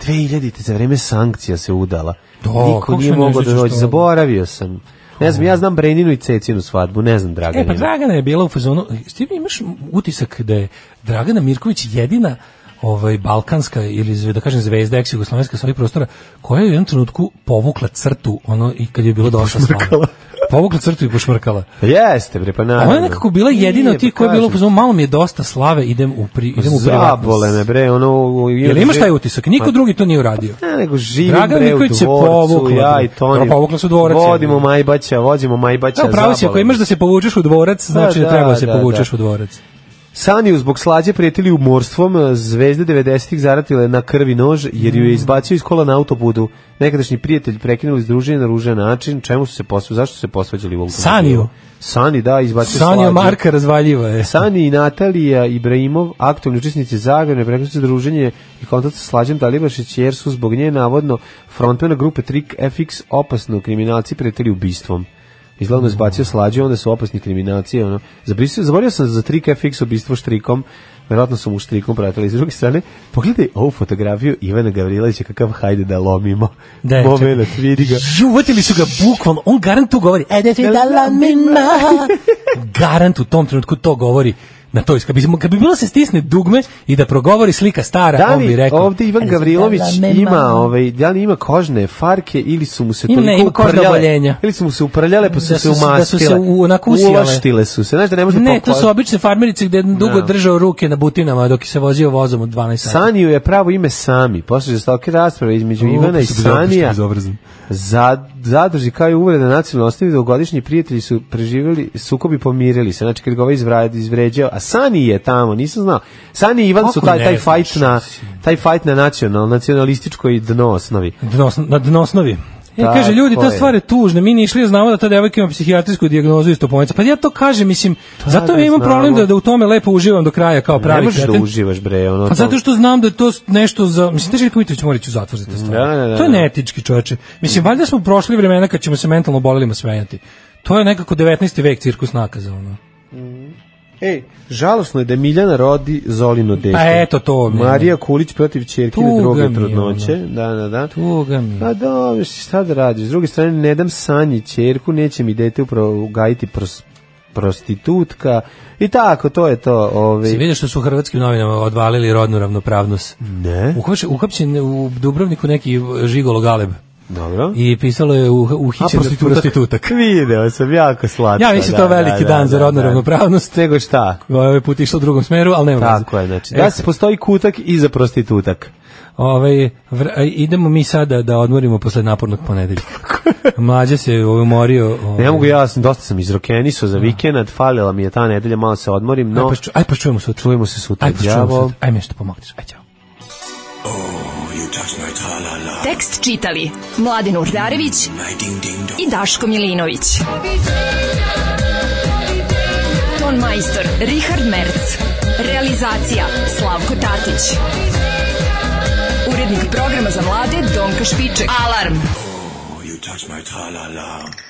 2000-te za vreme sankcija se udala. Da, niko kako nije se ne mogao da sjećaš dođe, toga? zaboravio sam. Ne znam, ja znam Breninu i Cecinu svadbu, ne znam Dragana. E, pa Dragana je bila u fazonu, ti imaš utisak da je Dragana Mirković jedina ovaj balkanska ili zve- da kažem zvezda eks jugoslovenska sa ovih prostora koja je u jednom trenutku povukla crtu ono i kad je bilo došla slava. Povukla crtu i pošvrkala. Jeste, bre, pa naravno. Ona je nekako bila jedina od Nije, tih pa koja je bila u kažem. fazonu, malo mi je dosta slave, idem u, pri, idem u privatnost. Zabole me, bre, ono... Jel imaš taj utisak? Niko drugi to nije uradio. Ne, nego živim Dragan bre u Nikolić je dvorcu, povukla, ja bre. i Toni. Pa povukla su dvorac, Vodimo je. Majbaća, vozimo Majbaća. Da, pravo si, zabole. ako imaš da se povučeš u dvorac, znači da, da, treba da se da, povučeš da. u dvorac. Saniju zbog slađe prijetili umorstvom, eh, zvezde 90-ih zaratile na krvi nož, jer Mm. ju je izbacio iz kola na autobudu. Nekadašnji prijatelj prekinuli združenje na ružan način. Čemu su se posvađali? Zašto su se posvađali u automobilu? Saniju? Sani, da, izbacio Sanja slađe. Marka razvaljiva je. E, Sani i Natalija Ibrahimov, aktualni učesnici Zagrebe, prekriče se druženje i kontakt sa Slađem Talibašić, jer su zbog nje navodno frontmena grupe Trik FX opasno kriminalci preteli ubistvom. Izgledno je zbacio slađe, onda su opasni kriminalci. Ono. Zabrisio, zaborio sam za Trik FX ubistvo štrikom, verovatno su mu štrikom pratili. S druge strane, pogledaj ovu fotografiju Ivana Gavrilovića, kakav hajde da lomimo. Da, čekaj. Moment, vidi ga. Ju, uvatili su ga bukvalno, on garant tu govori. E, da ti da lamina. Garant u tom trenutku to govori na toj kad bi, kad bi bilo da se stisne dugme i da progovori slika stara, Da on bi li rekao. da, ovdje Ivan Gavrilović ima, ovaj, da li ima kožne farke ili su mu se Ima, toliko ne, ima kožna uprljale- oboljenja. Ili su mu se uprljale pa su Da se su se- umastile. da su se u- onako usijale. Ulaštile su se, znaš da ne može Ne, to pokvar- Da. su obične farmerice gde je dugo držao ruke na butinama dok je se vozio vozom od 12 sati. Saniju je pravo ime Sami. Posle žestoke rasprave između pa Ivana i Sanija za, zadrži kao i uvreda nacionalno ostavi dogodišnji da prijatelji su preživjeli sukobi i pomirili se. Znači kad ga ovaj izvra- izvređao, a Sani je tamo, nisam znao. Sani i Ivan su Kako taj, ne taj znaš, fajt na taj fajt na nacional, nacionalističkoj dno osnovi. Dno, na dno osnovi. E, Tako kaže, ljudi, je. ta stvar je tužna. Mi išli znamo da ta devojka ima psihijatrijsku dijagnozu iz topovnica. Pa ja to kažem, mislim, zato da, ja imam znamo. problem da, da u tome lepo uživam do kraja kao Ne pravi možeš da kreten. uživaš bre, ono. Pa to- zato što znam da je to nešto za... Mislim, Teška Mitrović mora ići u zatvor za te stvari. Da, da, da, to je da. neetički čoveče. Mislim, valjda smo prošli vremena kad ćemo se mentalno bolelima smenjati. To je nekako 19. vek cirkus nakaza. Ono. Ej, E, žalosno je da Miljana rodi Zolino dete. Pa eto to. mi je. Marija Kulić protiv čerkine Tuga mi druge je, trudnoće. Da, da, da. Tuga mi je. Pa dobro, si šta da radiš? S druge strane, ne dam sanji čerku, neće mi dete upravo gajiti pros- prostitutka. I tako, to je to. ovaj. Si Ove. vidio što su u hrvatskim novinama odvalili rodnu ravnopravnost. Ne, Uhvaš- Uhapćen je u Dubrovniku neki žigolo galeb. dobro. I pisalo je u, uhićen prostitutak. Video sam, jako slatko. Ja mislim da, to je veliki da, dan da, za rodnu da. ravnopravnost. Nego šta? Ovaj put je išlo u drugom smeru, ali nema veze. Tako je, znači, da E, se postoji kutak i za prostitutak. Ovaj vr- idemo mi sada da odmorimo posle napornog ponedeljka. Mlađe se ovaj, umorio. Ovaj. Ne mogu ja, sam, dosta sam izrokenisao za vikend, falila mi je ta nedelja, malo se odmorim, Aj no pa, ču- aj pa čujemo sutra. čujemo se sutra, Aj pa čujemo đavo. sutra. Aj mi nešto pomogneš. Aj ćao. Tekst čitali Mladin Urdarević i Daško Milinović. Ton majstor Richard Merc. Realizacija Slavko Tatić. Urednik programa za mlade Donka Špiček. Alarm! You touch my tra-la-la.